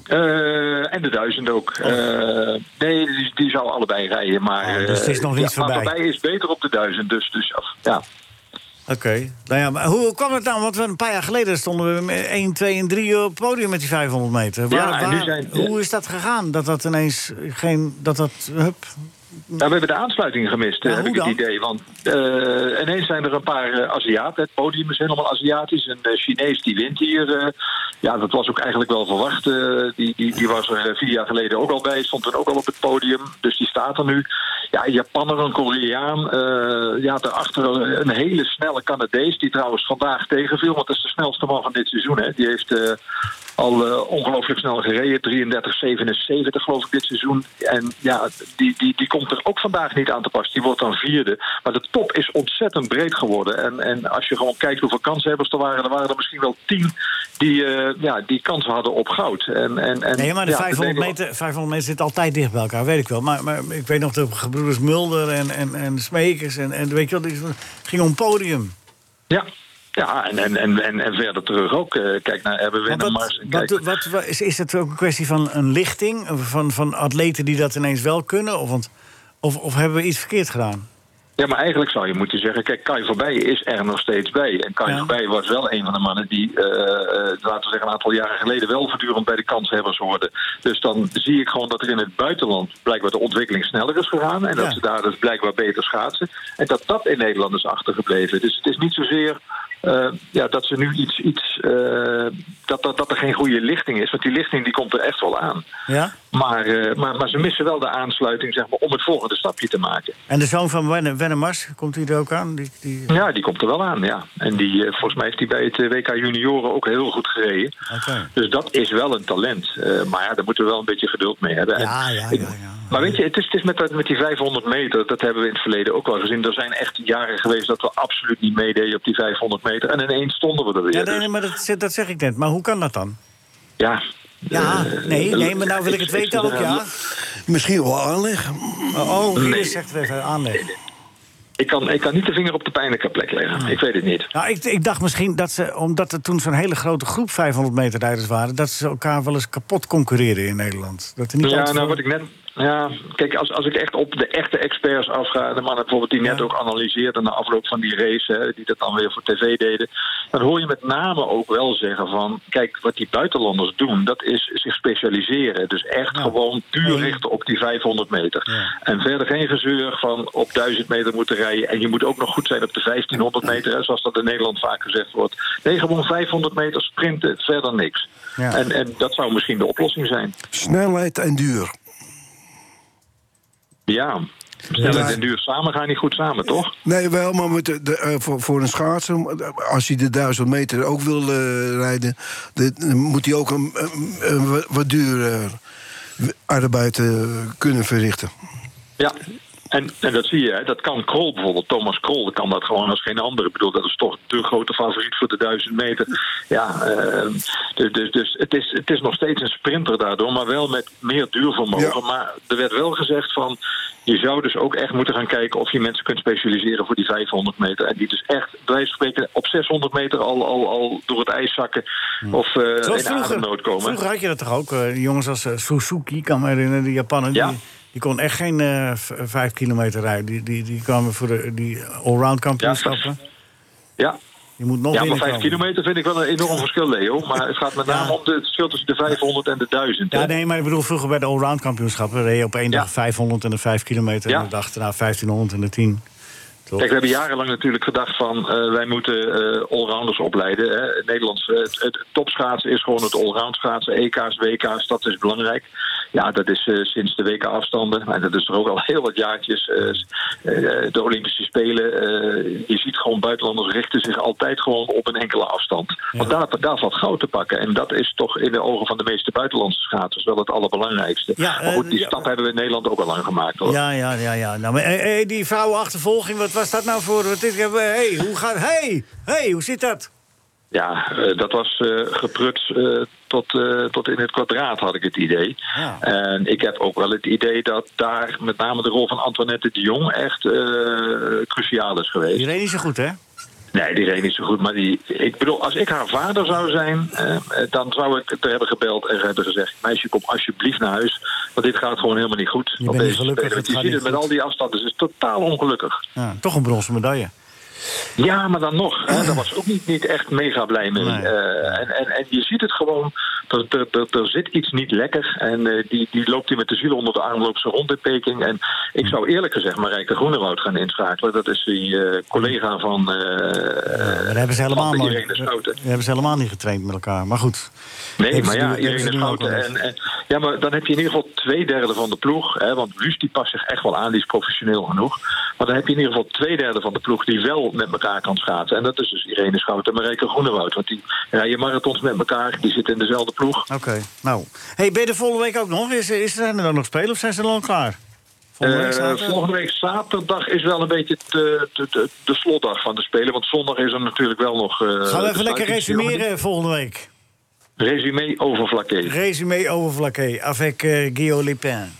S11: Eh, en de 1000 ook.
S3: Oh.
S11: Eh, nee, die, die zou allebei rijden. Maar,
S3: dus het is
S11: eh,
S3: nog niet
S11: ja, maar
S3: voorbij.
S11: voorbij is beter op de 1000. Dus, dus ja.
S3: Oké. Nou ja, maar hoe kwam het nou? Want we een paar jaar geleden stonden we met 1, 2 en 3 op het podium met die 500 meter.
S11: Ja,
S3: Waar-
S11: en nu
S3: waar-
S11: zijn-
S3: Hoe is dat gegaan? Dat dat ineens geen... Dat dat... Hup.
S11: Nou, we hebben de aansluiting gemist, eh, heb ik het idee. Want eh, ineens zijn er een paar eh, Aziaten. Het podium is helemaal Aziatisch. Een eh, Chinees die wint hier. eh. ja, dat was ook eigenlijk wel verwacht. eh, die, die, die was er eh, vier jaar geleden ook al bij. Stond toen ook al op het podium. Dus die staat er nu. Ja, een Japanner, een Koreaan. eh ja, daarachter een hele snelle Canadees. Die trouwens vandaag tegenviel. Want dat is de snelste man van dit seizoen. Hè. Die heeft... eh, al eh, ongelooflijk snel gereden, 33,77 geloof ik dit seizoen. En ja, die, die, die komt er ook vandaag niet aan te pas. Die wordt dan vierde. Maar de top is ontzettend breed geworden. En, en als je gewoon kijkt hoeveel kanshebbers er waren, er waren er misschien wel tien die, eh, ja, die kansen hadden op goud. En, en, en,
S3: Nee, maar de
S11: ja,
S3: 500,
S11: Nederland-
S3: meter, 500 meter zit altijd dicht bij elkaar, weet ik wel. Maar, maar ik weet nog de gebroeders Mulder en, en, en Smekers en, en weet je wel, die gingen om het podium.
S11: Ja, ja en, en, en, en, en verder terug ook. Eh, kijk naar Ebbe Wennemars.
S3: Wat,
S11: Kijk,
S3: wat, wat- is, is het ook een kwestie van een lichting? Van, van atleten die dat ineens wel kunnen? Of, want, of, of hebben we iets verkeerd gedaan?
S11: Ja, maar eigenlijk zou je moeten zeggen... kijk, Kai Voorbij is er nog steeds bij. En Kai Voorbij was wel een van de mannen die... eh, eh, laten we zeggen, een aantal jaren geleden... wel voortdurend bij de kanshebbers hoorden. Dus dan zie ik gewoon dat er in het buitenland... blijkbaar de ontwikkeling sneller is gegaan... en dat ze daar dus blijkbaar beter schaatsen. En dat dat in Nederland is achtergebleven. Dus het is niet zozeer... eh, ja, dat ze nu iets... iets eh, dat, dat, dat er geen goede lichting is. Want die lichting die komt er echt wel aan.
S3: Ja?
S11: Maar, eh, maar, maar ze missen wel de aansluiting zeg maar, om het volgende stapje te maken.
S3: En de zoon van Wenne- Wennemars, komt hij er ook aan? Die, die...
S11: Ja, die komt er wel aan, ja. En die, eh, volgens mij heeft hij bij het eh, WK Junioren ook heel goed gereden. Dus dat is wel een talent. Eh, maar ja, daar moeten we wel een beetje geduld mee hebben. En
S3: Ja, ja,
S11: ik- Maar weet je, het is, het is met, dat- met die 500 meter, dat hebben we in het verleden ook wel gezien. Er zijn echt jaren geweest dat we absoluut niet meededen op die 500 meter. En ineens stonden we er weer.
S3: Ja,
S11: Dus,
S3: nee, nee, maar dat, zit- dat zeg ik net. Maar hoe kan dat dan?
S11: ja.
S3: Ja,
S11: Eh,
S3: nee, nee, maar nou wil ik
S11: is-
S3: het
S11: is
S3: weten
S11: er
S3: ook,
S11: een-
S3: ja.
S7: Misschien wel aanleg.
S3: Oh,
S11: Nee.
S3: Rinus zegt het even, aanleg.
S11: Ik kan, ik kan niet de vinger op de pijnlijke plek leggen. Ik weet het niet.
S3: Nou, ik, ik dacht misschien dat ze, omdat er toen zo'n hele grote groep 500 meter rijders waren... dat ze elkaar wel eens kapot concurreren in Nederland. Dat er niet
S11: ja,
S3: altijd
S11: nou
S3: veel-
S11: wat ik net. Ja, kijk, als, als ik echt op de echte experts afga, de mannen bijvoorbeeld die net ook analyseerden na afloop van die race, hè, die dat dan weer voor tv deden, dan hoor je met name ook wel zeggen van, kijk, wat die buitenlanders doen, dat is zich specialiseren. Dus echt gewoon puur richten op die 500 meter. En verder geen gezeur van op 1000 meter moeten rijden en je moet ook nog goed zijn op de 1500 meter, hè, zoals dat in Nederland vaak gezegd wordt. Nee, gewoon 500 meter sprinten, verder niks. En, en dat zou misschien de oplossing zijn.
S7: Snelheid en duur.
S11: Ja, snelheid
S7: Ja.
S11: en duur samen gaan niet goed samen, toch?
S7: Nee, wel, maar met de, de, eh, voor, voor een schaatser, eh, als hij de 1000 meter ook wil eh, rijden, de- dan moet hij ook een, een- een wat- wat duurder arbeid eh, kunnen verrichten.
S11: Ja. En, en dat zie je, hè. dat kan Krol bijvoorbeeld. Thomas Krol kan dat gewoon als geen ander. Ik bedoel, dat is toch de grote favoriet voor de 1000 meter. Ja, eh, dus, dus, dus het, is, het is nog steeds een sprinter daardoor, maar wel met meer duurvermogen. Maar er werd wel gezegd van, je zou dus ook echt moeten gaan kijken of je mensen kunt specialiseren voor die 500 meter. En die dus echt, bij wijze van spreken, op 600 meter al, al, al door het ijs zakken of eh
S3: Hm. Zoals
S11: in ademnood komen.
S3: vroeger had je dat toch ook? eh, jongens als eh, Suzuki, kan me herinneren, die Japaner... Die, die kon echt geen eh, v- vijf kilometer rijden. Die, die, die kwamen voor de, die allround kampioenschappen.
S11: Ja,
S3: Je moet nog
S11: ja, maar 5
S3: binnenkomen.
S11: kilometer vind ik wel een enorm verschil, Leo. Maar het gaat met name om de, het verschil tussen de 500 en de 1000. hè?
S3: Ja, nee, maar ik bedoel, vroeger bij de allround kampioenschappen reed je op één dag 500 en de 5 kilometer.
S11: Ja.
S3: En de dag daarna 1500 en de 10.
S11: Kijk, we hebben jarenlang natuurlijk gedacht van eh, wij moeten eh, allrounders opleiden. Hè. Het Nederlands, eh, het, het topschaatsen is gewoon het allround schaatsen. E EK's, WK's, dat is belangrijk. Ja, dat is eh, sinds de WK-afstanden, en dat is er ook al heel wat jaartjes, eh, eh, de Olympische Spelen. eh, je ziet gewoon buitenlanders richten zich altijd gewoon op een enkele afstand. Want daar, daar valt goud te pakken. En dat is toch in de ogen van de meeste buitenlandse schaatsers wel het allerbelangrijkste.
S3: Ja,
S11: maar goed,
S3: eh,
S11: die
S3: ja.
S11: stap hebben we in Nederland ook al lang gemaakt. Hoor.
S3: Ja, ja, ja, ja. Nou, maar, eh, eh, die vrouwenachtervolging, wat was dat nou voor? Wat dit, eh, hey, hoe gaat... Hey, hey, hoe zit dat?
S11: Ja, eh, dat was eh gepruts eh, tot, eh, tot in het kwadraat, had ik het idee. En ik heb ook wel het idee dat daar met name de rol van Antoinette de Jong echt eh, cruciaal is geweest.
S3: Die reed niet zo goed, hè?
S11: Nee, die reed niet zo goed. Maar die, ik bedoel, als ik haar vader zou zijn, eh, eh, dan zou ik er hebben gebeld en hebben gezegd: Meisje, kom alsjeblieft naar huis. Want dit gaat gewoon helemaal niet goed.
S3: bent niet
S11: spelen.
S3: gelukkig, het
S11: Want je ziet
S3: gaat niet
S11: het met
S3: goed.
S11: al die afstanden. Ze is totaal ongelukkig.
S3: Ja, toch een bronzen medaille.
S11: Ja, maar dan nog. Hè, daar was ook niet, niet echt mega blij mee. Eh, en, en, en je ziet het gewoon. Er, er, er, er zit iets niet lekker. En eh, die, die loopt hij met de ziel onder de arm, loopt ze rond in Peking. En ik zou eerlijk gezegd Marijke Groenewoud gaan inschakelen. Dat is die eh, collega van... eh
S3: Maar daar hebben ze helemaal,
S11: van
S3: maar,
S11: Irene Schouten.
S3: daar hebben ze helemaal niet getraind met elkaar. Maar goed.
S11: Nee,
S3: Hebben
S11: maar
S3: ze
S11: ja,
S3: nu- hebben ze
S11: Irene
S3: nu ook wel
S11: Schouten.
S3: eens.
S11: En, en- ja, maar dan heb je in ieder geval twee derde van de ploeg. Hè, want Wust die past zich echt wel aan, die is professioneel genoeg. Maar dan heb je in ieder geval twee derde van de ploeg die wel met elkaar kan schaatsen. En dat is dus Irene Schouten en Marijke Groenewoud. Want die rijden marathons met elkaar, die zitten in dezelfde ploeg.
S3: Oké, nou. Hey, ben je er volgende week ook nog? Is, is, zijn er dan nog spelen of zijn ze al lang klaar? Volgende
S11: Volgende, week
S3: week zaterdag?
S11: Eh, volgende week zaterdag is wel een beetje de, de, de, de slotdag van de Spelen. Want zondag is er natuurlijk wel nog... eh,
S3: Gaan we
S11: de
S3: even lekker
S11: sluitingsceremonie.
S3: resumeren volgende week.
S11: Resumé over Vlakke.
S3: Resumé over Vlakke, avec eh, Guillaume Lipin.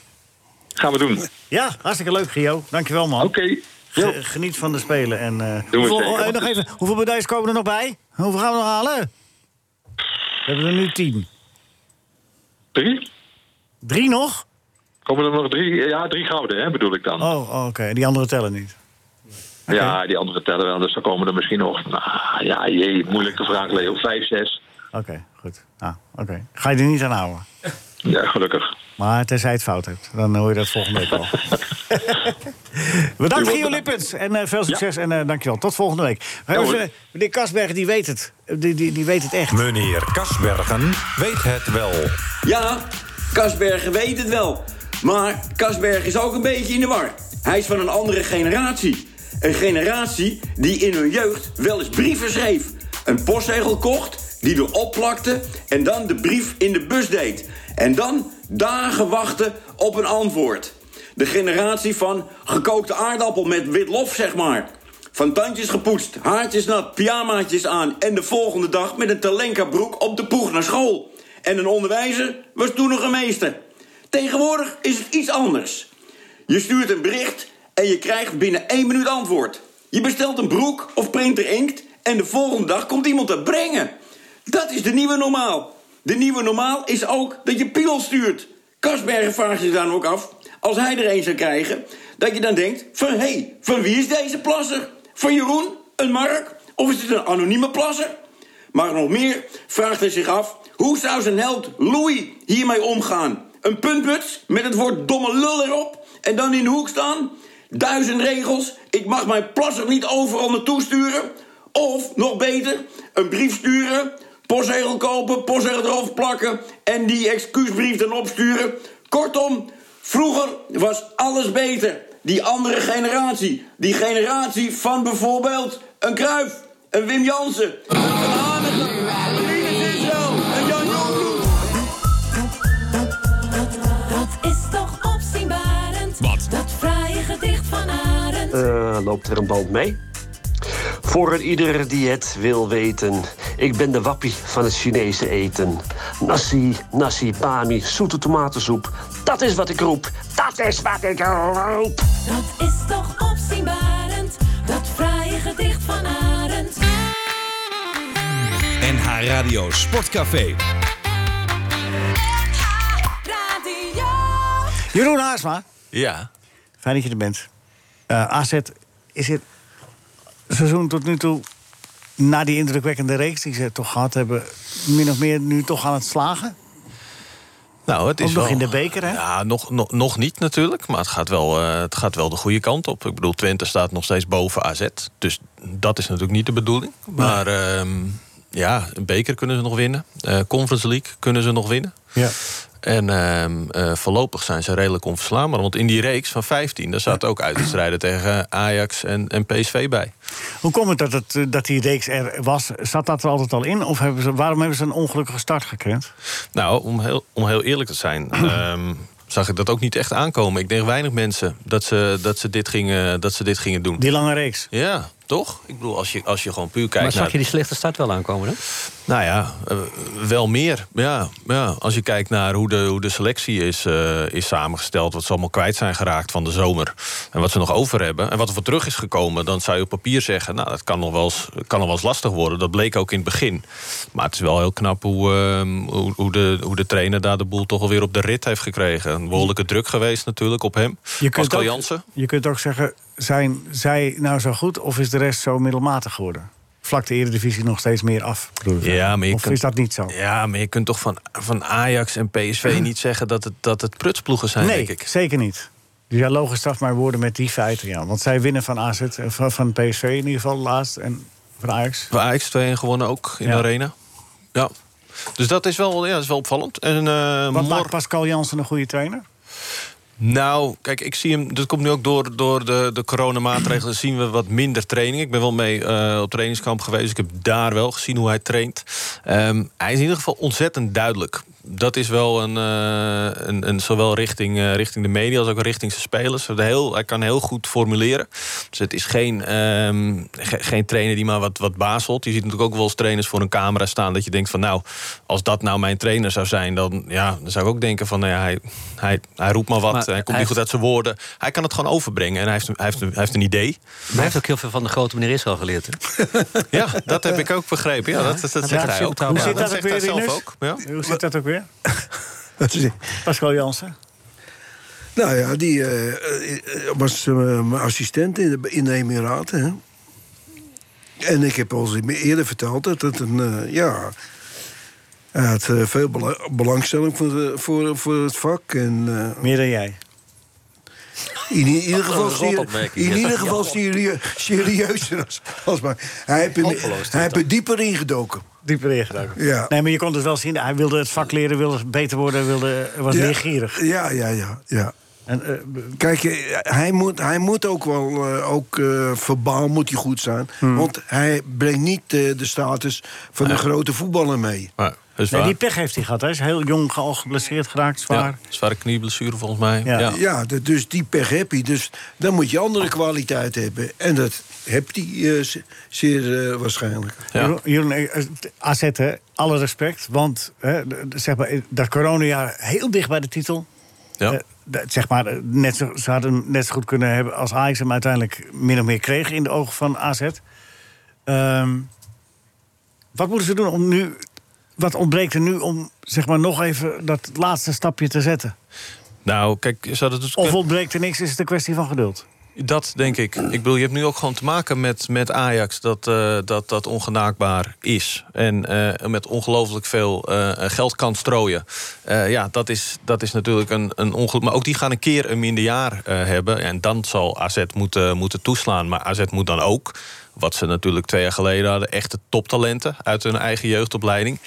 S11: Gaan we doen.
S3: Ja, hartstikke leuk, Gio. Dankjewel, man.
S11: Oké.
S3: Ge- Geniet van de Spelen. En, eh,
S11: Doen we
S3: hoeveel,
S11: zeker,
S3: oh, eh,
S11: want
S3: nog
S11: het-
S3: even, hoeveel medailles komen er nog bij? Hoeveel gaan we nog halen? We hebben er nu tien.
S11: Drie?
S3: Drie nog?
S11: Komen er nog drie? Ja, drie gouden, hè, bedoel ik dan.
S3: Oh, oh, oké. Die andere tellen niet.
S11: Ja, die andere tellen wel. Dus dan komen er misschien nog... Nou, ja, jee, moeilijke vraag, Leo. Vijf, zes.
S3: Oké, goed. Ah, oké. Ga je er niet aan houden.
S11: Ja, gelukkig.
S3: Maar tenzij het fout hebt, dan hoor je dat volgende week wel. Bedankt, Gio Lippens. En eh, veel succes en eh, dankjewel. Tot volgende week.
S11: Nou,
S3: We hebben
S12: hoor.
S3: ze- meneer Kasberg, die weet het. Eh, Die, die, die weet het echt.
S12: Meneer Kasbergen weet het wel.
S13: Ja, Kasbergen weet het wel. Maar Kasberg is ook een beetje in de war. Hij is van een andere generatie. Een generatie die in hun jeugd wel eens brieven schreef. Een postzegel kocht, die erop plakte en dan de brief in de bus deed. En dan dagen wachten op een antwoord. De generatie van gekookte aardappel met wit lof, zeg maar. Van tandjes gepoetst, haartjes nat, pyjamaatjes aan... en de volgende dag met een telenka broek op de poeg naar school. En een onderwijzer was toen nog een meester. Tegenwoordig is het iets anders. Je stuurt een bericht en je krijgt binnen één minuut antwoord. Je bestelt een broek of printer inkt... en de volgende dag komt iemand dat brengen. Dat is de nieuwe normaal. De nieuwe normaal is ook dat je piel stuurt. Kasbergen vraagt zich dan ook af, als hij er een zou krijgen... dat je dan denkt van, hé, hey, van wie is deze plasser? Van Jeroen? Een Mark? Of is het een anonieme plasser? Maar nog meer vraagt hij zich af... hoe zou zijn held Louis hiermee omgaan? Een puntbuts met het woord domme lul erop... en dan in de hoek staan? Duizend regels, ik mag mijn plasser niet overal naartoe sturen... of, nog beter, een brief sturen... postzegel kopen, postzegel erop plakken... en die excuusbrief dan opsturen. Kortom, vroeger was alles beter. Die andere generatie. Die generatie van bijvoorbeeld een Kruif, een Wim Jansen...
S1: Dat is toch opzienbarend? Wat? Dat fraaie gedicht van Arend.
S14: Eh, loopt er een band mee? Voor een ieder die het wil weten. Ik ben de wappie van het Chinese eten. Nasi, nasi, bami, zoete tomatensoep. Dat is wat ik roep. Dat is wat ik roep.
S1: Dat is toch opzienbarend? Dat fraaie gedicht van Arend.
S2: NH Radio Sportcafé.
S1: Radio.
S3: Jeroen Haasma.
S8: Ja.
S3: Fijn dat je er bent. Eh AZ is het seizoen tot nu toe na die indrukwekkende reeks die ze toch gehad hebben, min of meer nu toch aan het slagen?
S8: Nou, het is
S3: Ook nog
S8: wel-
S3: in de beker, hè?
S8: Ja, nog, nog, nog niet natuurlijk, maar het gaat, wel, eh, het gaat wel de goede kant op. Ik bedoel, Twente staat nog steeds boven AZ. Dus dat is natuurlijk niet de bedoeling. Maar ehm, ja, een beker kunnen ze nog winnen. Eh, Conference League kunnen ze nog winnen.
S3: Ja.
S8: En ehm, eh, voorlopig zijn ze redelijk onverslaanbaar. Want in die reeks van 15, daar zaten ook uitwedstrijden tegen Ajax en, en PSV bij.
S3: Hoe komt het dat, het eh, dat die reeks er was? Zat dat er altijd al in? Of hebben ze, waarom hebben ze een ongelukkige start gekend?
S8: Nou, om heel, om heel eerlijk te zijn, ehm, zag ik dat ook niet echt aankomen. Ik denk weinig mensen dat ze, dat ze, dit, gingen, dat ze dit gingen doen.
S3: Die lange reeks.
S8: Ja, toch? Ik bedoel, als je, als je gewoon puur kijkt
S5: maar
S8: naar...
S5: zag je die slechte start wel aankomen, hè?
S8: Nou ja, eh, wel meer. Ja, ja, als je kijkt naar hoe de, hoe de selectie is, eh, is samengesteld... wat ze allemaal kwijt zijn geraakt van de zomer... en wat ze nog over hebben en wat er voor terug is gekomen... dan zou je op papier zeggen, nou, dat kan nog wel eens, kan nog wel eens lastig worden. Dat bleek ook in het begin. Maar het is wel heel knap hoe, eh, hoe, hoe, de, hoe de trainer daar de boel toch alweer op de rit heeft gekregen. Een behoorlijke druk geweest natuurlijk op hem. Pascal
S3: ook,
S8: Jansen.
S3: je kunt ook zeggen, zijn zij nou zo goed of is de rest zo middelmatig geworden? Vlak de Eredivisie nog steeds meer af. bedoel ik.
S8: Ja, maar je
S3: of
S8: kunt-
S3: is dat niet zo?
S8: Ja, maar je kunt toch van, van Ajax en PSV niet zeggen dat het, dat het prutsploegen zijn,
S3: nee,
S8: denk ik.
S3: zeker niet. Dus ja, logisch straf maar woorden met die feiten. Ja. Want zij winnen van AZ, eh, van, van PSV in ieder geval laatst. En van Ajax.
S8: Bij Ajax 2-1 gewonnen ook in
S3: Ja.
S8: de arena. Ja. Dus dat is wel, ja, dat is wel opvallend. En, eh,
S3: Wat
S8: mor-
S3: maakt Pascal Jansen een goede trainer?
S8: Nou, kijk, ik zie hem. Dat komt nu ook door, door de, de coronamaatregelen. zien we wat minder training. Ik ben wel mee eh, op trainingskamp geweest. Ik heb daar wel gezien hoe hij traint. Ehm, hij is in ieder geval ontzettend duidelijk. Dat is wel een, eh, een, een zowel richting, eh, richting de media als ook richting zijn spelers. Het Heel, hij kan heel goed formuleren. Dus het is geen, ehm, ge- geen trainer die maar wat, wat bazelt. Je ziet natuurlijk ook wel eens trainers voor een camera staan. Dat je denkt van nou, als dat nou mijn trainer zou zijn, dan, ja, dan zou ik ook denken van nou ja, hij, hij, hij roept maar wat.
S5: Maar
S8: eh, hij komt niet
S5: hij heeft-
S8: goed uit zijn woorden. Hij kan het gewoon overbrengen en hij heeft, een- hij heeft, een- hij heeft een idee.
S5: Maar hij heeft ook heel veel van de grote meneer Israël geleerd. Hè?
S8: Ja, dat heb ik ook begrepen. Ja,
S5: Ja,
S8: dat, dat, dat
S5: ja,
S8: zegt
S5: dat
S8: hij ook.
S5: zit- hoe
S8: Ja,
S5: zit
S8: dat
S5: dat
S8: zegt
S5: ook
S8: hij
S5: weer,
S8: zelf
S5: Rinus?
S8: ook. Ja.
S3: Hoe zit dat ook weer?
S7: Dat is-
S3: Pascal Jansen.
S7: Nou ja, die eh, eh, was eh, mijn assistent in de, in de Emiraten. Hè? En ik heb al eens eerder verteld dat het een. eh, ja, hij had eh, veel bela- belangstelling voor, de- voor, voor het vak. En, eh,
S3: Meer dan jij.
S7: In, i- ieder
S3: Wat
S7: geval,
S3: een
S7: serie-
S3: rotopmerking.
S7: in
S3: Ja.
S7: ieder geval serie- serieuzer als, als maar. Hij heeft er-
S3: Hopeloos,
S7: hij heeft er dieper ingedoken.
S3: Dieper ingedoken.
S7: Ja.
S3: Nee, maar je kon dus wel zien, hij wilde het vak leren, wilde beter worden, wilde, was
S7: Ja.
S3: leergierig.
S7: Ja, ja, ja. ja.
S3: En, eh,
S7: Kijk, eh, hij moet, hij moet ook wel, eh, ook eh, verbaal moet hij goed zijn.
S8: Hmm.
S7: Want hij brengt niet eh, de status van de grote voetballer mee.
S8: Maar, dat is
S3: Nee,
S8: waar.
S3: die pech heeft hij gehad. Hij is heel jong ge- al geblesseerd geraakt, zwaar.
S8: Ja, zware knieblessure volgens mij.
S7: Ja,
S8: Ja.
S7: d- dus die pech heb je. Dus dan moet je andere kwaliteit hebben. En dat heeft hij eh, ze- zeer eh, waarschijnlijk.
S3: Jeroen- Jeroen, eh, eh, AZ, hè, alle respect. Want hè, d- d- zeg maar, eh, dat coronajaar heel dicht bij de titel.
S8: Ja.
S3: Eh, d- zeg maar, eh, net zo, ze hadden hem net zo goed kunnen hebben als Ajax hem uiteindelijk min of meer kreeg in de ogen van AZ. Ehm, wat moeten ze doen om nu. Wat ontbreekt er nu om zeg maar, nog even dat laatste stapje te zetten?
S8: Nou, kijk, zou dat dus
S3: Of ontbreekt er niks, is het een kwestie van geduld.
S8: Dat denk ik. Ik bedoel, je hebt nu ook gewoon te maken met, met Ajax dat, eh, dat dat ongenaakbaar is. En eh, met ongelooflijk veel eh, geld kan strooien. Eh, ja, dat is, dat is natuurlijk een, een ongeluk. Maar ook die gaan een keer een minder jaar eh, hebben. En dan zal AZ moeten, moeten toeslaan. Maar AZ moet dan ook, wat ze natuurlijk twee jaar geleden hadden... echte toptalenten uit hun eigen jeugdopleiding.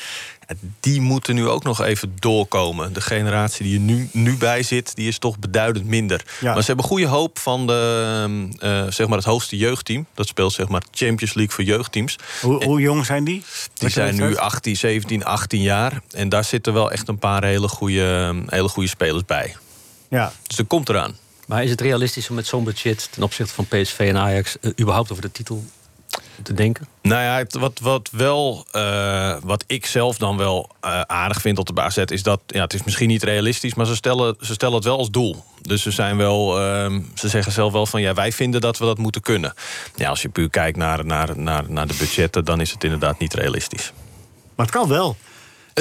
S8: En Die moeten nu ook nog even doorkomen. De generatie die er nu, nu bij zit, die is toch beduidend minder.
S3: Ja.
S8: Maar ze hebben goede hoop van de, eh, zeg maar het hoogste jeugdteam. Dat speelt zeg maar Champions League voor jeugdteams.
S3: Hoe, hoe jong zijn die?
S8: Eh, Die zijn nu 18, 17, 18 jaar. En daar zitten wel echt een paar hele goede, hele goede spelers bij.
S3: Ja.
S8: Dus dat komt eraan.
S5: Maar is het realistisch om met zo'n budget ten opzichte van PSV en Ajax eh, überhaupt over de titel te denken?
S8: Nou ja, het- wat, wat wel, eh, wat ik zelf dan wel eh, aardig vind op de basis is dat, ja, het is misschien niet realistisch, maar ze stellen, ze stellen het wel als doel. Dus ze zijn wel, ehm, ze zeggen zelf wel van, ja, wij vinden dat we dat moeten kunnen. Ja, als je puur kijkt naar, naar, naar, naar de budgetten, dan is het inderdaad niet realistisch.
S3: Maar het kan wel.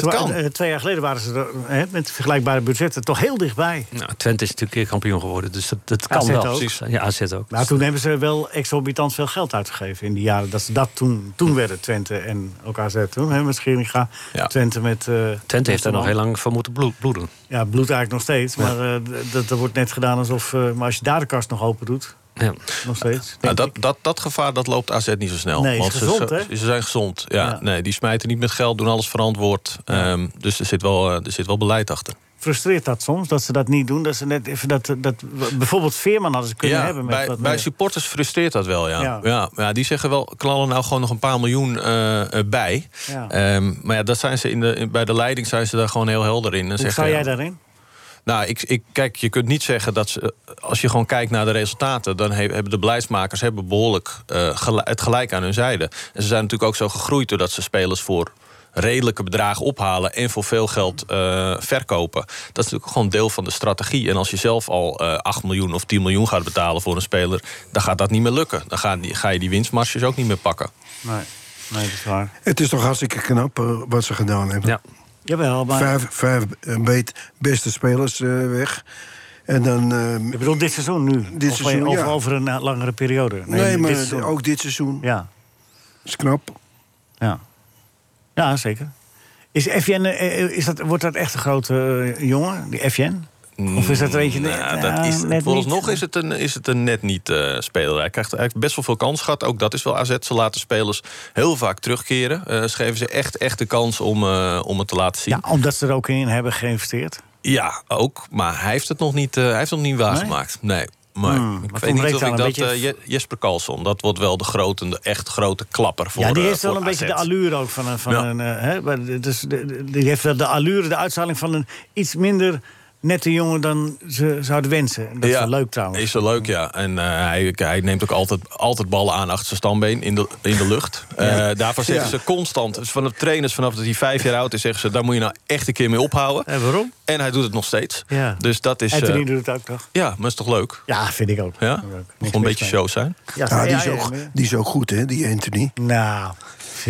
S3: Het twee jaar geleden waren ze er hè, met vergelijkbare budgetten toch heel dichtbij.
S5: Nou, Twente is natuurlijk keer kampioen geworden, dus dat, dat kan
S3: AZ
S5: wel.
S3: ook. Nou.
S5: Precies. Ja, AZ ook.
S3: Maar toen hebben ze wel exorbitant veel geld uitgegeven in die jaren. Dat, ze dat toen,
S8: Hm.
S3: toen werden Twente en ook AZ toen, hè, met Scheringa. Twente met... eh,
S5: Twente heeft daar nog
S3: Westerman.
S5: heel lang voor moeten bloed- bloeden.
S3: Ja, bloed eigenlijk nog steeds. Maar eh, d- dat, dat wordt net gedaan alsof... eh, maar als je daar de kast nog open doet,
S5: Ja.
S3: nog steeds.
S8: Nou, dat, dat, dat gevaar dat loopt AZ niet zo snel.
S3: Nee, is
S8: want
S3: gezond,
S8: ze,
S3: hè?
S8: ze, ze zijn gezond. Ja, Nee, die smijten niet met geld, doen alles verantwoord. Ehm, dus er zit, wel, eh, er zit wel beleid achter.
S3: Frustreert dat soms, dat ze dat niet doen? Dat ze net even dat, dat, bijvoorbeeld Veerman hadden ze kunnen
S8: ja,
S3: hebben. Met
S8: bij,
S3: wat
S8: bij
S3: meer.
S8: supporters frustreert dat wel, ja.
S3: Ja.
S8: Ja. Ja, die zeggen wel, knallen nou gewoon nog een paar miljoen eh, eh, bij.
S3: Ja.
S8: Ehm, maar ja, dat zijn ze in de, in- bij de leiding zijn ze daar gewoon heel helder in. En
S3: Hoe
S8: zeggen,
S3: sta
S8: ja,
S3: jij daarin?
S8: Nou, ik, ik, kijk, je kunt niet zeggen dat ze. eh, Als je gewoon kijkt naar de resultaten, dan he- hebben de beleidsmakers hebben behoorlijk eh, gel- het gelijk aan hun zijde. En ze zijn natuurlijk ook zo gegroeid doordat ze spelers voor redelijke bedragen ophalen en voor veel geld eh, verkopen. Dat is natuurlijk gewoon deel van de strategie. En als je zelf al eh 8 miljoen of 10 miljoen gaat betalen voor een speler, dan gaat dat niet meer lukken. Dan gaan die, ga je die winstmarges ook niet meer pakken.
S3: Nee, nee dat is waar.
S7: Het is toch hartstikke knap eh, wat ze gedaan hebben. Ja.
S3: Jawel, maar...
S7: Vijf, vijf eh, beet beste spelers eh, weg. En dan... eh,
S3: Ik bedoel, dit seizoen nu.
S7: Dit
S3: of
S7: seizoen,
S3: over,
S7: ja.
S3: over een eh, langere periode.
S7: nee, maar
S3: dit seizoen.
S7: ook dit seizoen.
S3: Ja.
S7: is knap.
S3: Ja, ja zeker. Is FN, eh, eh, is dat, wordt dat echt een grote eh, jongen, die FN? Of is dat er eentje...
S8: Nou,
S3: net-
S8: dat
S3: nou,
S8: is,
S3: net
S8: volgens
S3: niet?
S8: nog is het een, is het een net niet eh, speler. Hij krijgt eigenlijk best wel veel kans gehad. Ook dat is wel AZ. Ze laten spelers heel vaak terugkeren. Eh, ze geven ze echt, echt de kans om, eh, om het te laten zien.
S3: Ja,
S8: Ja.
S3: omdat ze er ook in hebben geïnvesteerd.
S8: ook. Maar hij heeft het nog niet, eh, hij heeft het nog niet waargemaakt. Nee. Maar
S3: Hmm, maar
S8: ik
S3: toen
S8: weet niet
S3: bleek
S8: of
S3: wel
S8: ik
S3: een
S8: dat...
S3: beetje-
S8: eh, Je- Jesper Karlsson, dat wordt wel de, grote, de echt grote klapper voor
S3: ja, die
S8: eh,
S3: heeft wel
S8: voor
S3: een
S8: AZ.
S3: beetje de allure ook van een... Van
S8: Ja.
S3: een eh, hè, maar dit is- de- de- die heeft wel de allure, de uitstraling van een iets minder nette jongen dan ze zouden wensen. Dat is wel leuk trouwens.
S8: Is wel leuk, ja. En eh, hij, hij neemt ook altijd, altijd ballen aan achter zijn stambeen in de, in de lucht. Eh, daarvoor
S15: Ja.
S8: zeggen ze constant, dus vanaf trainers vanaf dat hij vijf jaar oud is, zeggen ze: daar moet je nou echt een keer mee ophouden.
S3: En Eh, waarom?
S8: En hij doet het nog steeds.
S3: Ja.
S8: Dus dat is.
S3: Anthony
S8: eh,
S3: doet het ook, toch?
S8: ja, maar is toch leuk?
S3: Ja, vind ik ook.
S8: Ja? Nog een beetje show zijn.
S3: Ja,
S7: Ja, die,
S3: ja,
S7: is
S3: ja,
S7: ook,
S3: ja.
S7: die is ook goed, hè, die Anthony.
S3: Nou, ik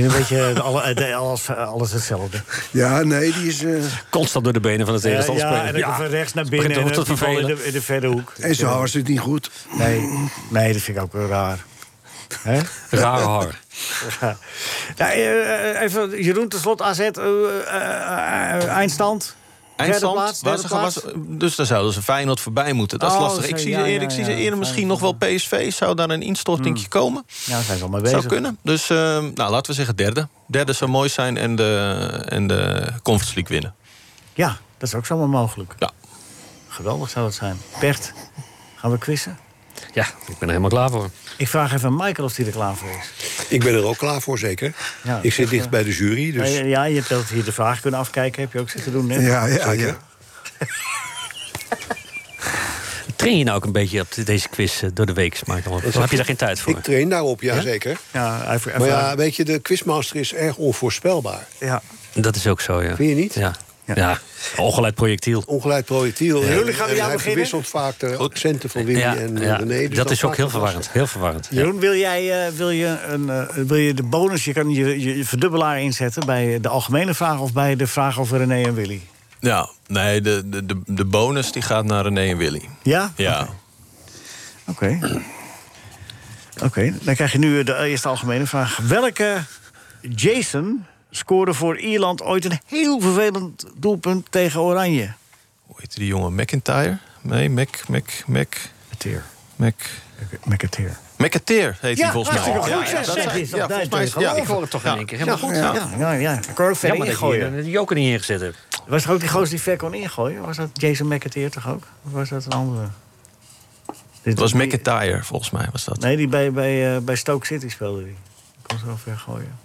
S3: vind een beetje eh, alle- eh, alles, alles hetzelfde.
S7: Ja, nee, die is... eh,
S5: Constant door de benen van de
S3: Ja,
S5: tegenstander
S3: ja, en
S5: spelen.
S3: dan van rechts naar
S5: het
S3: binnen
S5: begint
S3: en
S5: toch
S3: dan
S5: te
S3: die bal in
S5: vervelen.
S3: de, in de verre hoek.
S7: En zo hard is het niet goed.
S3: Nee, nee dat vind ik ook wel raar. Hè?
S5: Rare haar.
S3: Ja. Nou, eh, eh, even, Jeroen, tenslotte AZ, eh, eh, eh, eindstand. Derde
S8: Eindstand,
S3: plaats,
S8: waar
S3: derde
S8: ze gaan-
S3: plaats.
S8: waar ze- dus daar zouden ze Feyenoord voorbij moeten. Dat is
S3: Oh,
S8: lastig. Ik
S3: zo,
S8: zie
S3: ja,
S8: ze eerder,
S3: ja,
S8: ik zie ze
S3: ja,
S8: eerder misschien nog wel PSV. Zou daar een instortingje
S3: Hmm.
S8: komen?
S3: Ja, daar zijn ze al mee bezig.
S8: Zou kunnen. Dus eh, nou, laten we zeggen derde. Derde zou mooi zijn en de, en de Conference League winnen.
S3: Ja, dat is ook zomaar mogelijk.
S8: Ja.
S3: Geweldig zou dat zijn. Bert, gaan we quizzen?
S5: Ja, ik ben er helemaal klaar voor.
S3: Ik vraag even aan Michael of hij er klaar voor is.
S4: Ik ben er ook klaar voor, zeker.
S3: Ja,
S4: ik zit
S3: zeg,
S4: dicht
S3: eh,
S4: bij de jury, dus...
S3: Ja, ja, je hebt dat hier de vraag kunnen afkijken, heb je ook zitten doen net.
S4: Zeker.
S5: Train je nou ook een beetje op deze quiz eh, door de week, Michael? Of heb je daar geen tijd voor?
S4: Ik train daarop, ja, zeker.
S3: Ja,
S4: maar ja, weet je, de quizmaster is erg onvoorspelbaar.
S3: Ja.
S5: Dat is ook zo, ja.
S4: Vind je niet?
S5: Ja. Ja. Ongeleid projectiel.
S4: Ongeleid projectiel.
S5: Ja.
S4: En-
S5: Jullie gaan
S4: en
S5: met jou
S4: hij
S5: beginnen?
S4: verwisselt vaak de accenten van Willy en eh,
S5: ja,
S4: René. dus
S5: dat is ook
S4: maakt
S5: heel
S4: het
S5: verwarrend. Heel verwarrend. ja.
S3: Jeroen, wil jij eh, wil je een, eh, wil je de bonus, je kan je, je, je verdubbelaar inzetten bij eh, de algemene vraag of bij de vraag over René en Willy?
S8: Ja, nee, de, de, de, de bonus die gaat naar René en Willy.
S3: Ja?
S8: Ja.
S3: Oké. Oké, dan krijg je nu eh, de eerste algemene vraag. Welke Jason scoorde voor Ierland ooit een heel vervelend doelpunt tegen Oranje?
S8: Hoe heet die jongen? McIntyre? Nee, Mac, Mac, Mac.
S3: McAteer.
S8: Mac.
S3: McAteer.
S8: McAteer heet hij volgens mij.
S3: hartstikke goed.
S8: ja,
S3: zeg,
S8: dat
S3: zeg,
S8: zijn-
S3: is dat
S8: ja, volgens mij is-
S3: duidelijk.
S8: ja,
S3: Geloof
S8: ik-
S3: het toch
S8: ja.
S3: in één keer.
S8: Ja,
S3: Helemaal
S8: goed.
S3: goed. Ja, ja, ja. Ik kon ook verder
S5: Jammer dat je
S3: ingooien.
S5: hier de joker niet ingezet hebt.
S3: Was er ook die gozer die ver kon ingooien? Was dat Jason McAteer toch ook? Of was dat een andere?
S8: Het was McIntyre, volgens mij was dat.
S3: Nee, die bij, bij, eh, bij Stoke City speelde die. Die kon zo ver gooien.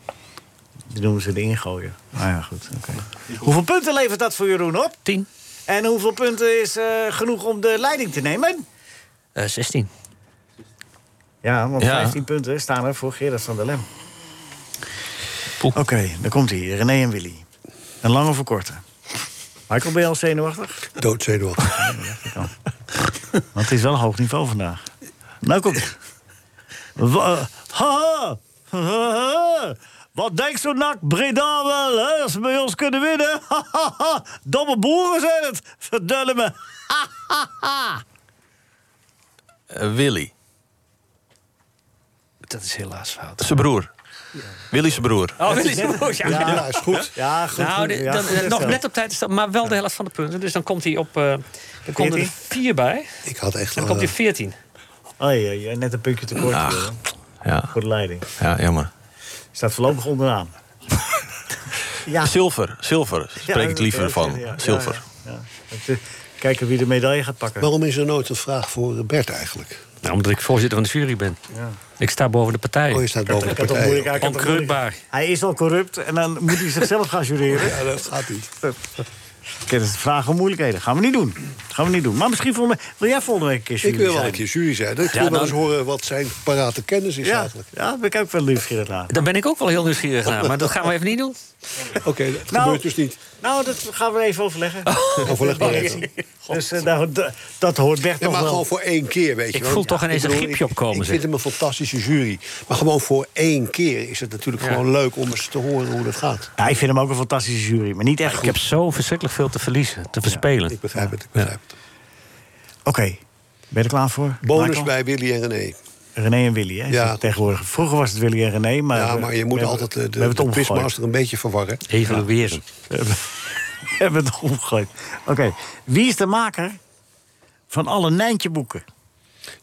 S3: Die noemen ze de ingooien. Nou ja, goed. oké. Hoeveel punten levert dat voor Jeroen op?
S5: Tien.
S3: En hoeveel punten is eh, genoeg om de leiding te nemen?
S5: Eh, 16.
S3: Ja, want
S5: Ja.
S3: 15 punten staan er voor Gerard van der Lem. Oké, daar komt hij. René en Willy. Een lange of een korte? Michael, ben je al zenuwachtig?
S4: Doodzenuwachtig.
S3: Want het is wel een hoog niveau vandaag. Nou komt. Wa- ha, ha, ha, Wat denkt zo'n nak Breda wel, hè? Als ze bij ons kunnen winnen. Domme boeren zijn het. Verdunnen me.
S8: Eh, Willy.
S5: Dat is helaas fout.
S8: Zijn broer. Willy zijn broer.
S5: Oh, Willy zijn broer, ja.
S8: Ja, is goed.
S3: Ja, goed,
S5: Nou,
S3: goed,
S5: dit-
S3: ja,
S5: dan-
S3: goed
S5: nog
S3: zo.
S5: net op tijd, is dat, maar wel de helft van de punten. Dus dan komt hij op... eh dan komt er
S3: 14?
S5: 4 bij.
S4: Ik had echt...
S5: Dan komt hij op 14.
S3: Oh, ja, ja, net een puntje tekort. Willem. Voor de leiding.
S8: Ja, jammer.
S3: Staat voorlopig onderaan. Ja.
S8: Zilver, zilver.
S3: Ja,
S8: Spreek ik liever
S3: dat-
S8: van.
S3: ja, ja,
S8: zilver.
S3: ja, ja. Kijken wie de medaille gaat pakken.
S4: Waarom is er nooit een vraag voor Bert eigenlijk?
S5: Nou, omdat ik voorzitter van de jury ben. Ik sta boven de partij.
S4: Oh, je staat
S3: boven de partij.
S5: Onkreukbaar.
S3: Hij is al corrupt en dan moet hij zichzelf gaan jureren.
S4: Ja, dat gaat niet.
S3: Oké, dat is vragen om moeilijkheden. Gaan we niet doen. Gaan we niet doen. Maar misschien volgende week- wil jij volgende week een keer jury
S4: Ik wil wel
S3: zijn?
S4: een keer jury zijn. Ik
S3: Ja,
S4: wil wel
S3: dan-
S4: eens horen wat zijn parate kennis is
S3: Ja,
S4: eigenlijk.
S3: Ja, daar ben ik ook wel nieuwsgierig naar.
S5: Dan ben ik ook wel heel nieuwsgierig naar, maar dat gaan we even niet doen.
S4: Oké, dat
S3: Nou-
S4: gebeurt dus niet.
S3: Nou, dat gaan we even overleggen.
S4: Oh. Overleg maar even.
S3: Dus eh, nou, d- dat hoort Bert
S4: Ja,
S3: nog
S4: maar
S3: wel.
S4: gewoon voor één keer, weet je
S5: Ik
S4: wel.
S5: voel toch ineens een
S4: Ik bedoel,
S5: griepje
S4: ik-
S5: opkomen,
S4: Ik
S5: zeg.
S4: vind hem een fantastische jury. Maar gewoon voor één keer is het natuurlijk gewoon leuk om eens te horen hoe dat gaat.
S3: Ja, Nou, ik vind hem ook een fantastische jury, maar niet echt
S5: Ik
S3: goed.
S5: heb zo verschrikkelijk veel te verliezen, te verspelen.
S4: Ik begrijp het, ik
S5: Ja.
S4: begrijp het.
S3: Oké, ben je er klaar voor?
S4: Bonus
S3: Michael?
S4: bij Willy en René.
S3: René en Willy, hè? is
S4: Ja.
S3: het Tegenwoordig. Vroeger was het Willy en René, maar...
S4: ja,
S3: we-
S4: maar je moet
S3: we hebben-
S4: altijd eh,
S3: we
S4: de,
S3: hebben
S4: de
S3: het omgegooid.
S4: quizmaster een beetje verwarren.
S5: Evalueren.
S3: We hebben het omgegooid. Oké, wie is de maker van alle Nijntje-boeken?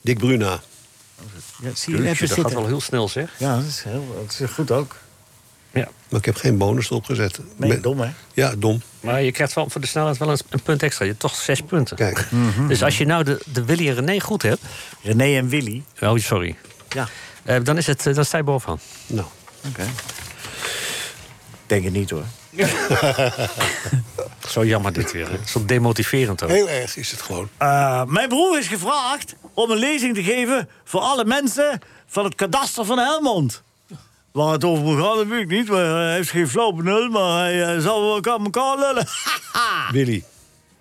S4: Dick Bruna.
S3: Ja, zie je
S5: Jeetje,
S3: even
S5: dat
S3: zitten.
S5: gaat wel heel snel, zeg.
S3: Ja, dat is, heel, dat is goed ook.
S4: Maar ik heb geen bonus erop gezet.
S3: Nee,
S4: Ben-
S3: dom, hè?
S4: Ja, dom.
S5: Maar je krijgt wel voor de snelheid wel een, een punt extra. Je hebt toch zes punten.
S4: Kijk.
S5: Dus als je nou de, de Willy en René goed hebt...
S3: Mhm. René en Willy.
S5: Oh, sorry.
S3: Ja,
S5: Eh, dan, is het, eh, dan sta je bovenaan.
S4: Nou,
S3: oké. Denk het niet, hoor.
S5: Zo jammer dit weer. hè. Zo demotiverend ook.
S4: heel erg is het gewoon.
S3: Eh, mijn broer is gevraagd om een lezing te geven voor alle mensen van het kadaster van Helmond. Waar het over moet gaan, dat weet ik niet. Maar hij heeft geen flauw benul, maar hij eh, zal wel elkaar, elkaar lullen. Ah.
S4: Willy.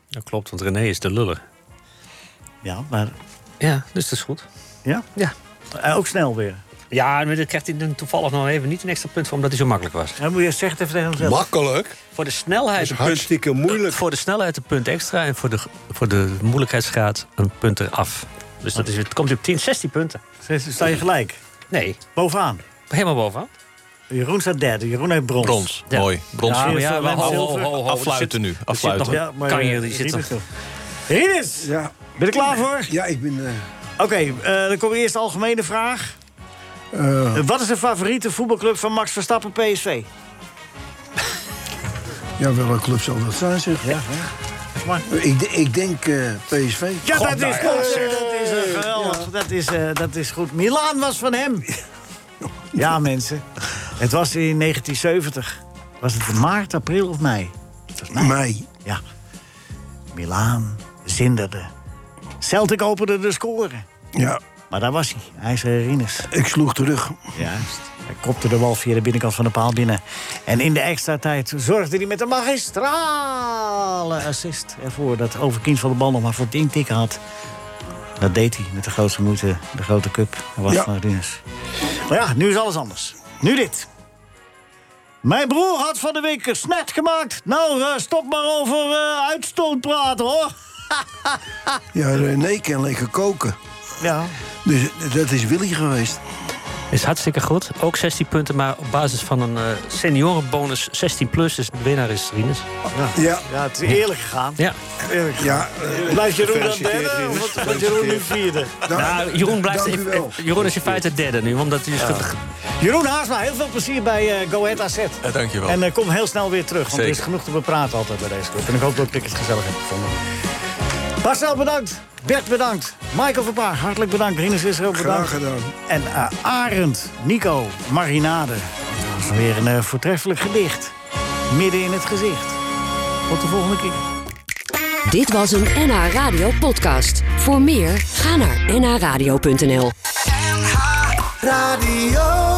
S5: Dat klopt, want René is de luller.
S3: Ja, maar...
S5: Ja, dus dat is goed.
S3: Ja?
S5: Ja.
S3: Eh, ook snel weer.
S5: Ja, maar dan krijgt hij dan toevallig nog even niet een extra punt voor... omdat hij zo makkelijk was.
S3: Hij moet je zeggen even tegen hemzelf.
S4: Makkelijk.
S5: Voor de snelheid
S4: is
S5: een punt,
S4: hartstikke moeilijk.
S5: voor de snelheid een punt extra... en voor de, voor de moeilijkheidsgraad een punt eraf. Dus dat is, het komt op 10, 16 punten.
S3: Ze- Sta je gelijk.
S5: Nee,
S3: Bovenaan.
S5: helemaal bovenaan.
S3: Jeroen staat derde. Jeroen heeft brons.
S8: Brons.
S5: Ja.
S8: Mooi. Brons.
S3: Ja,
S5: Ja, maar ja,
S3: zilver,
S5: maar ho, ho,
S3: zilver.
S5: ho, ho, er
S8: Afluiten nu.
S5: er zit nog-
S8: Afluiten.
S3: Ja, maar
S5: Kan je-
S3: eh,
S5: die zit
S3: Rinus
S5: nog-
S3: nog. Rinus!
S7: Ja,
S3: Ben je er klaar voor?
S7: ja ik ben... eh,
S3: Oké, eh, dan komt eerst de algemene vraag.
S7: eh,
S3: Eh, Wat is de favoriete voetbalclub van Max Verstappen PSV?
S7: ja, welke club zal dat zijn, zeg? Ja, ik, de- ik denk eh, PSV.
S3: Ja, dat
S7: nou
S3: is goed. Dat is eh, geweldig. Dat, is, eh, dat is goed. Milaan was van hem. Ja, mensen. Het was in 1970. Was het in maart, april of mei? Het was mei.
S7: Mij.
S3: Ja. Milaan zinderde. Celtic opende de score.
S7: Ja,
S3: Maar daar was hij. Hij is Rinus.
S7: ik sloeg terug.
S3: Juist. Hij kopte de bal via de binnenkant van de paal binnen. En in de extra tijd zorgde hij met een magistrale assist ervoor... dat Overkind van de bal nog maar voor het intikken had. Dat deed hij met de grootste moeite, de grote cup. Hij was
S7: Ja.
S3: van Rinus. Maar ja, nu is alles anders. Nu dit. Mijn broer had van de week een snet gemaakt. Nou, eh, stop maar over eh, uitstoot praten, hoor.
S7: Ja, René kan lekker koken.
S3: Ja.
S7: Dus dat is Willy geweest.
S5: Is hartstikke goed. Ook 16 punten, maar op basis van een eh, seniorenbonus 16 plus. Dus de winnaar is Rinus.
S7: Ja,
S3: Ja, het is eerlijk gegaan.
S5: Ja.
S3: Eerlijk gegaan.
S7: ja eh,
S3: Blijft Jeroen dan
S4: Gefeliciteerd,
S3: derde
S4: Rinus.
S3: of wordt- wordt Jeroen nu vierde?
S7: dank-
S5: Nou, Jeroen, blijft,
S7: dank u wel.
S5: Jeroen is in feite derde nu, omdat hij is ge-
S3: Jeroen Haasma, heel veel plezier bij eh Go Ahead AZ.
S8: Ja, dankjewel.
S3: En eh, kom heel snel weer terug, want er is
S8: Zeker.
S3: genoeg te bepraten altijd bij deze club. En ik hoop dat ik het gezellig heb gevonden. Marcel, bedankt. Bert, bedankt. Michael Verpaar, hartelijk bedankt. Rinus Israël, bedankt.
S7: graag gedaan.
S3: En eh, Arend, Nico, Marinade. Dat is weer een eh, voortreffelijk gedicht. Midden in het gezicht. Tot de volgende keer.
S15: Dit was een NH Radio podcast. Voor meer, ga naar nhradio.nl.
S1: Radio.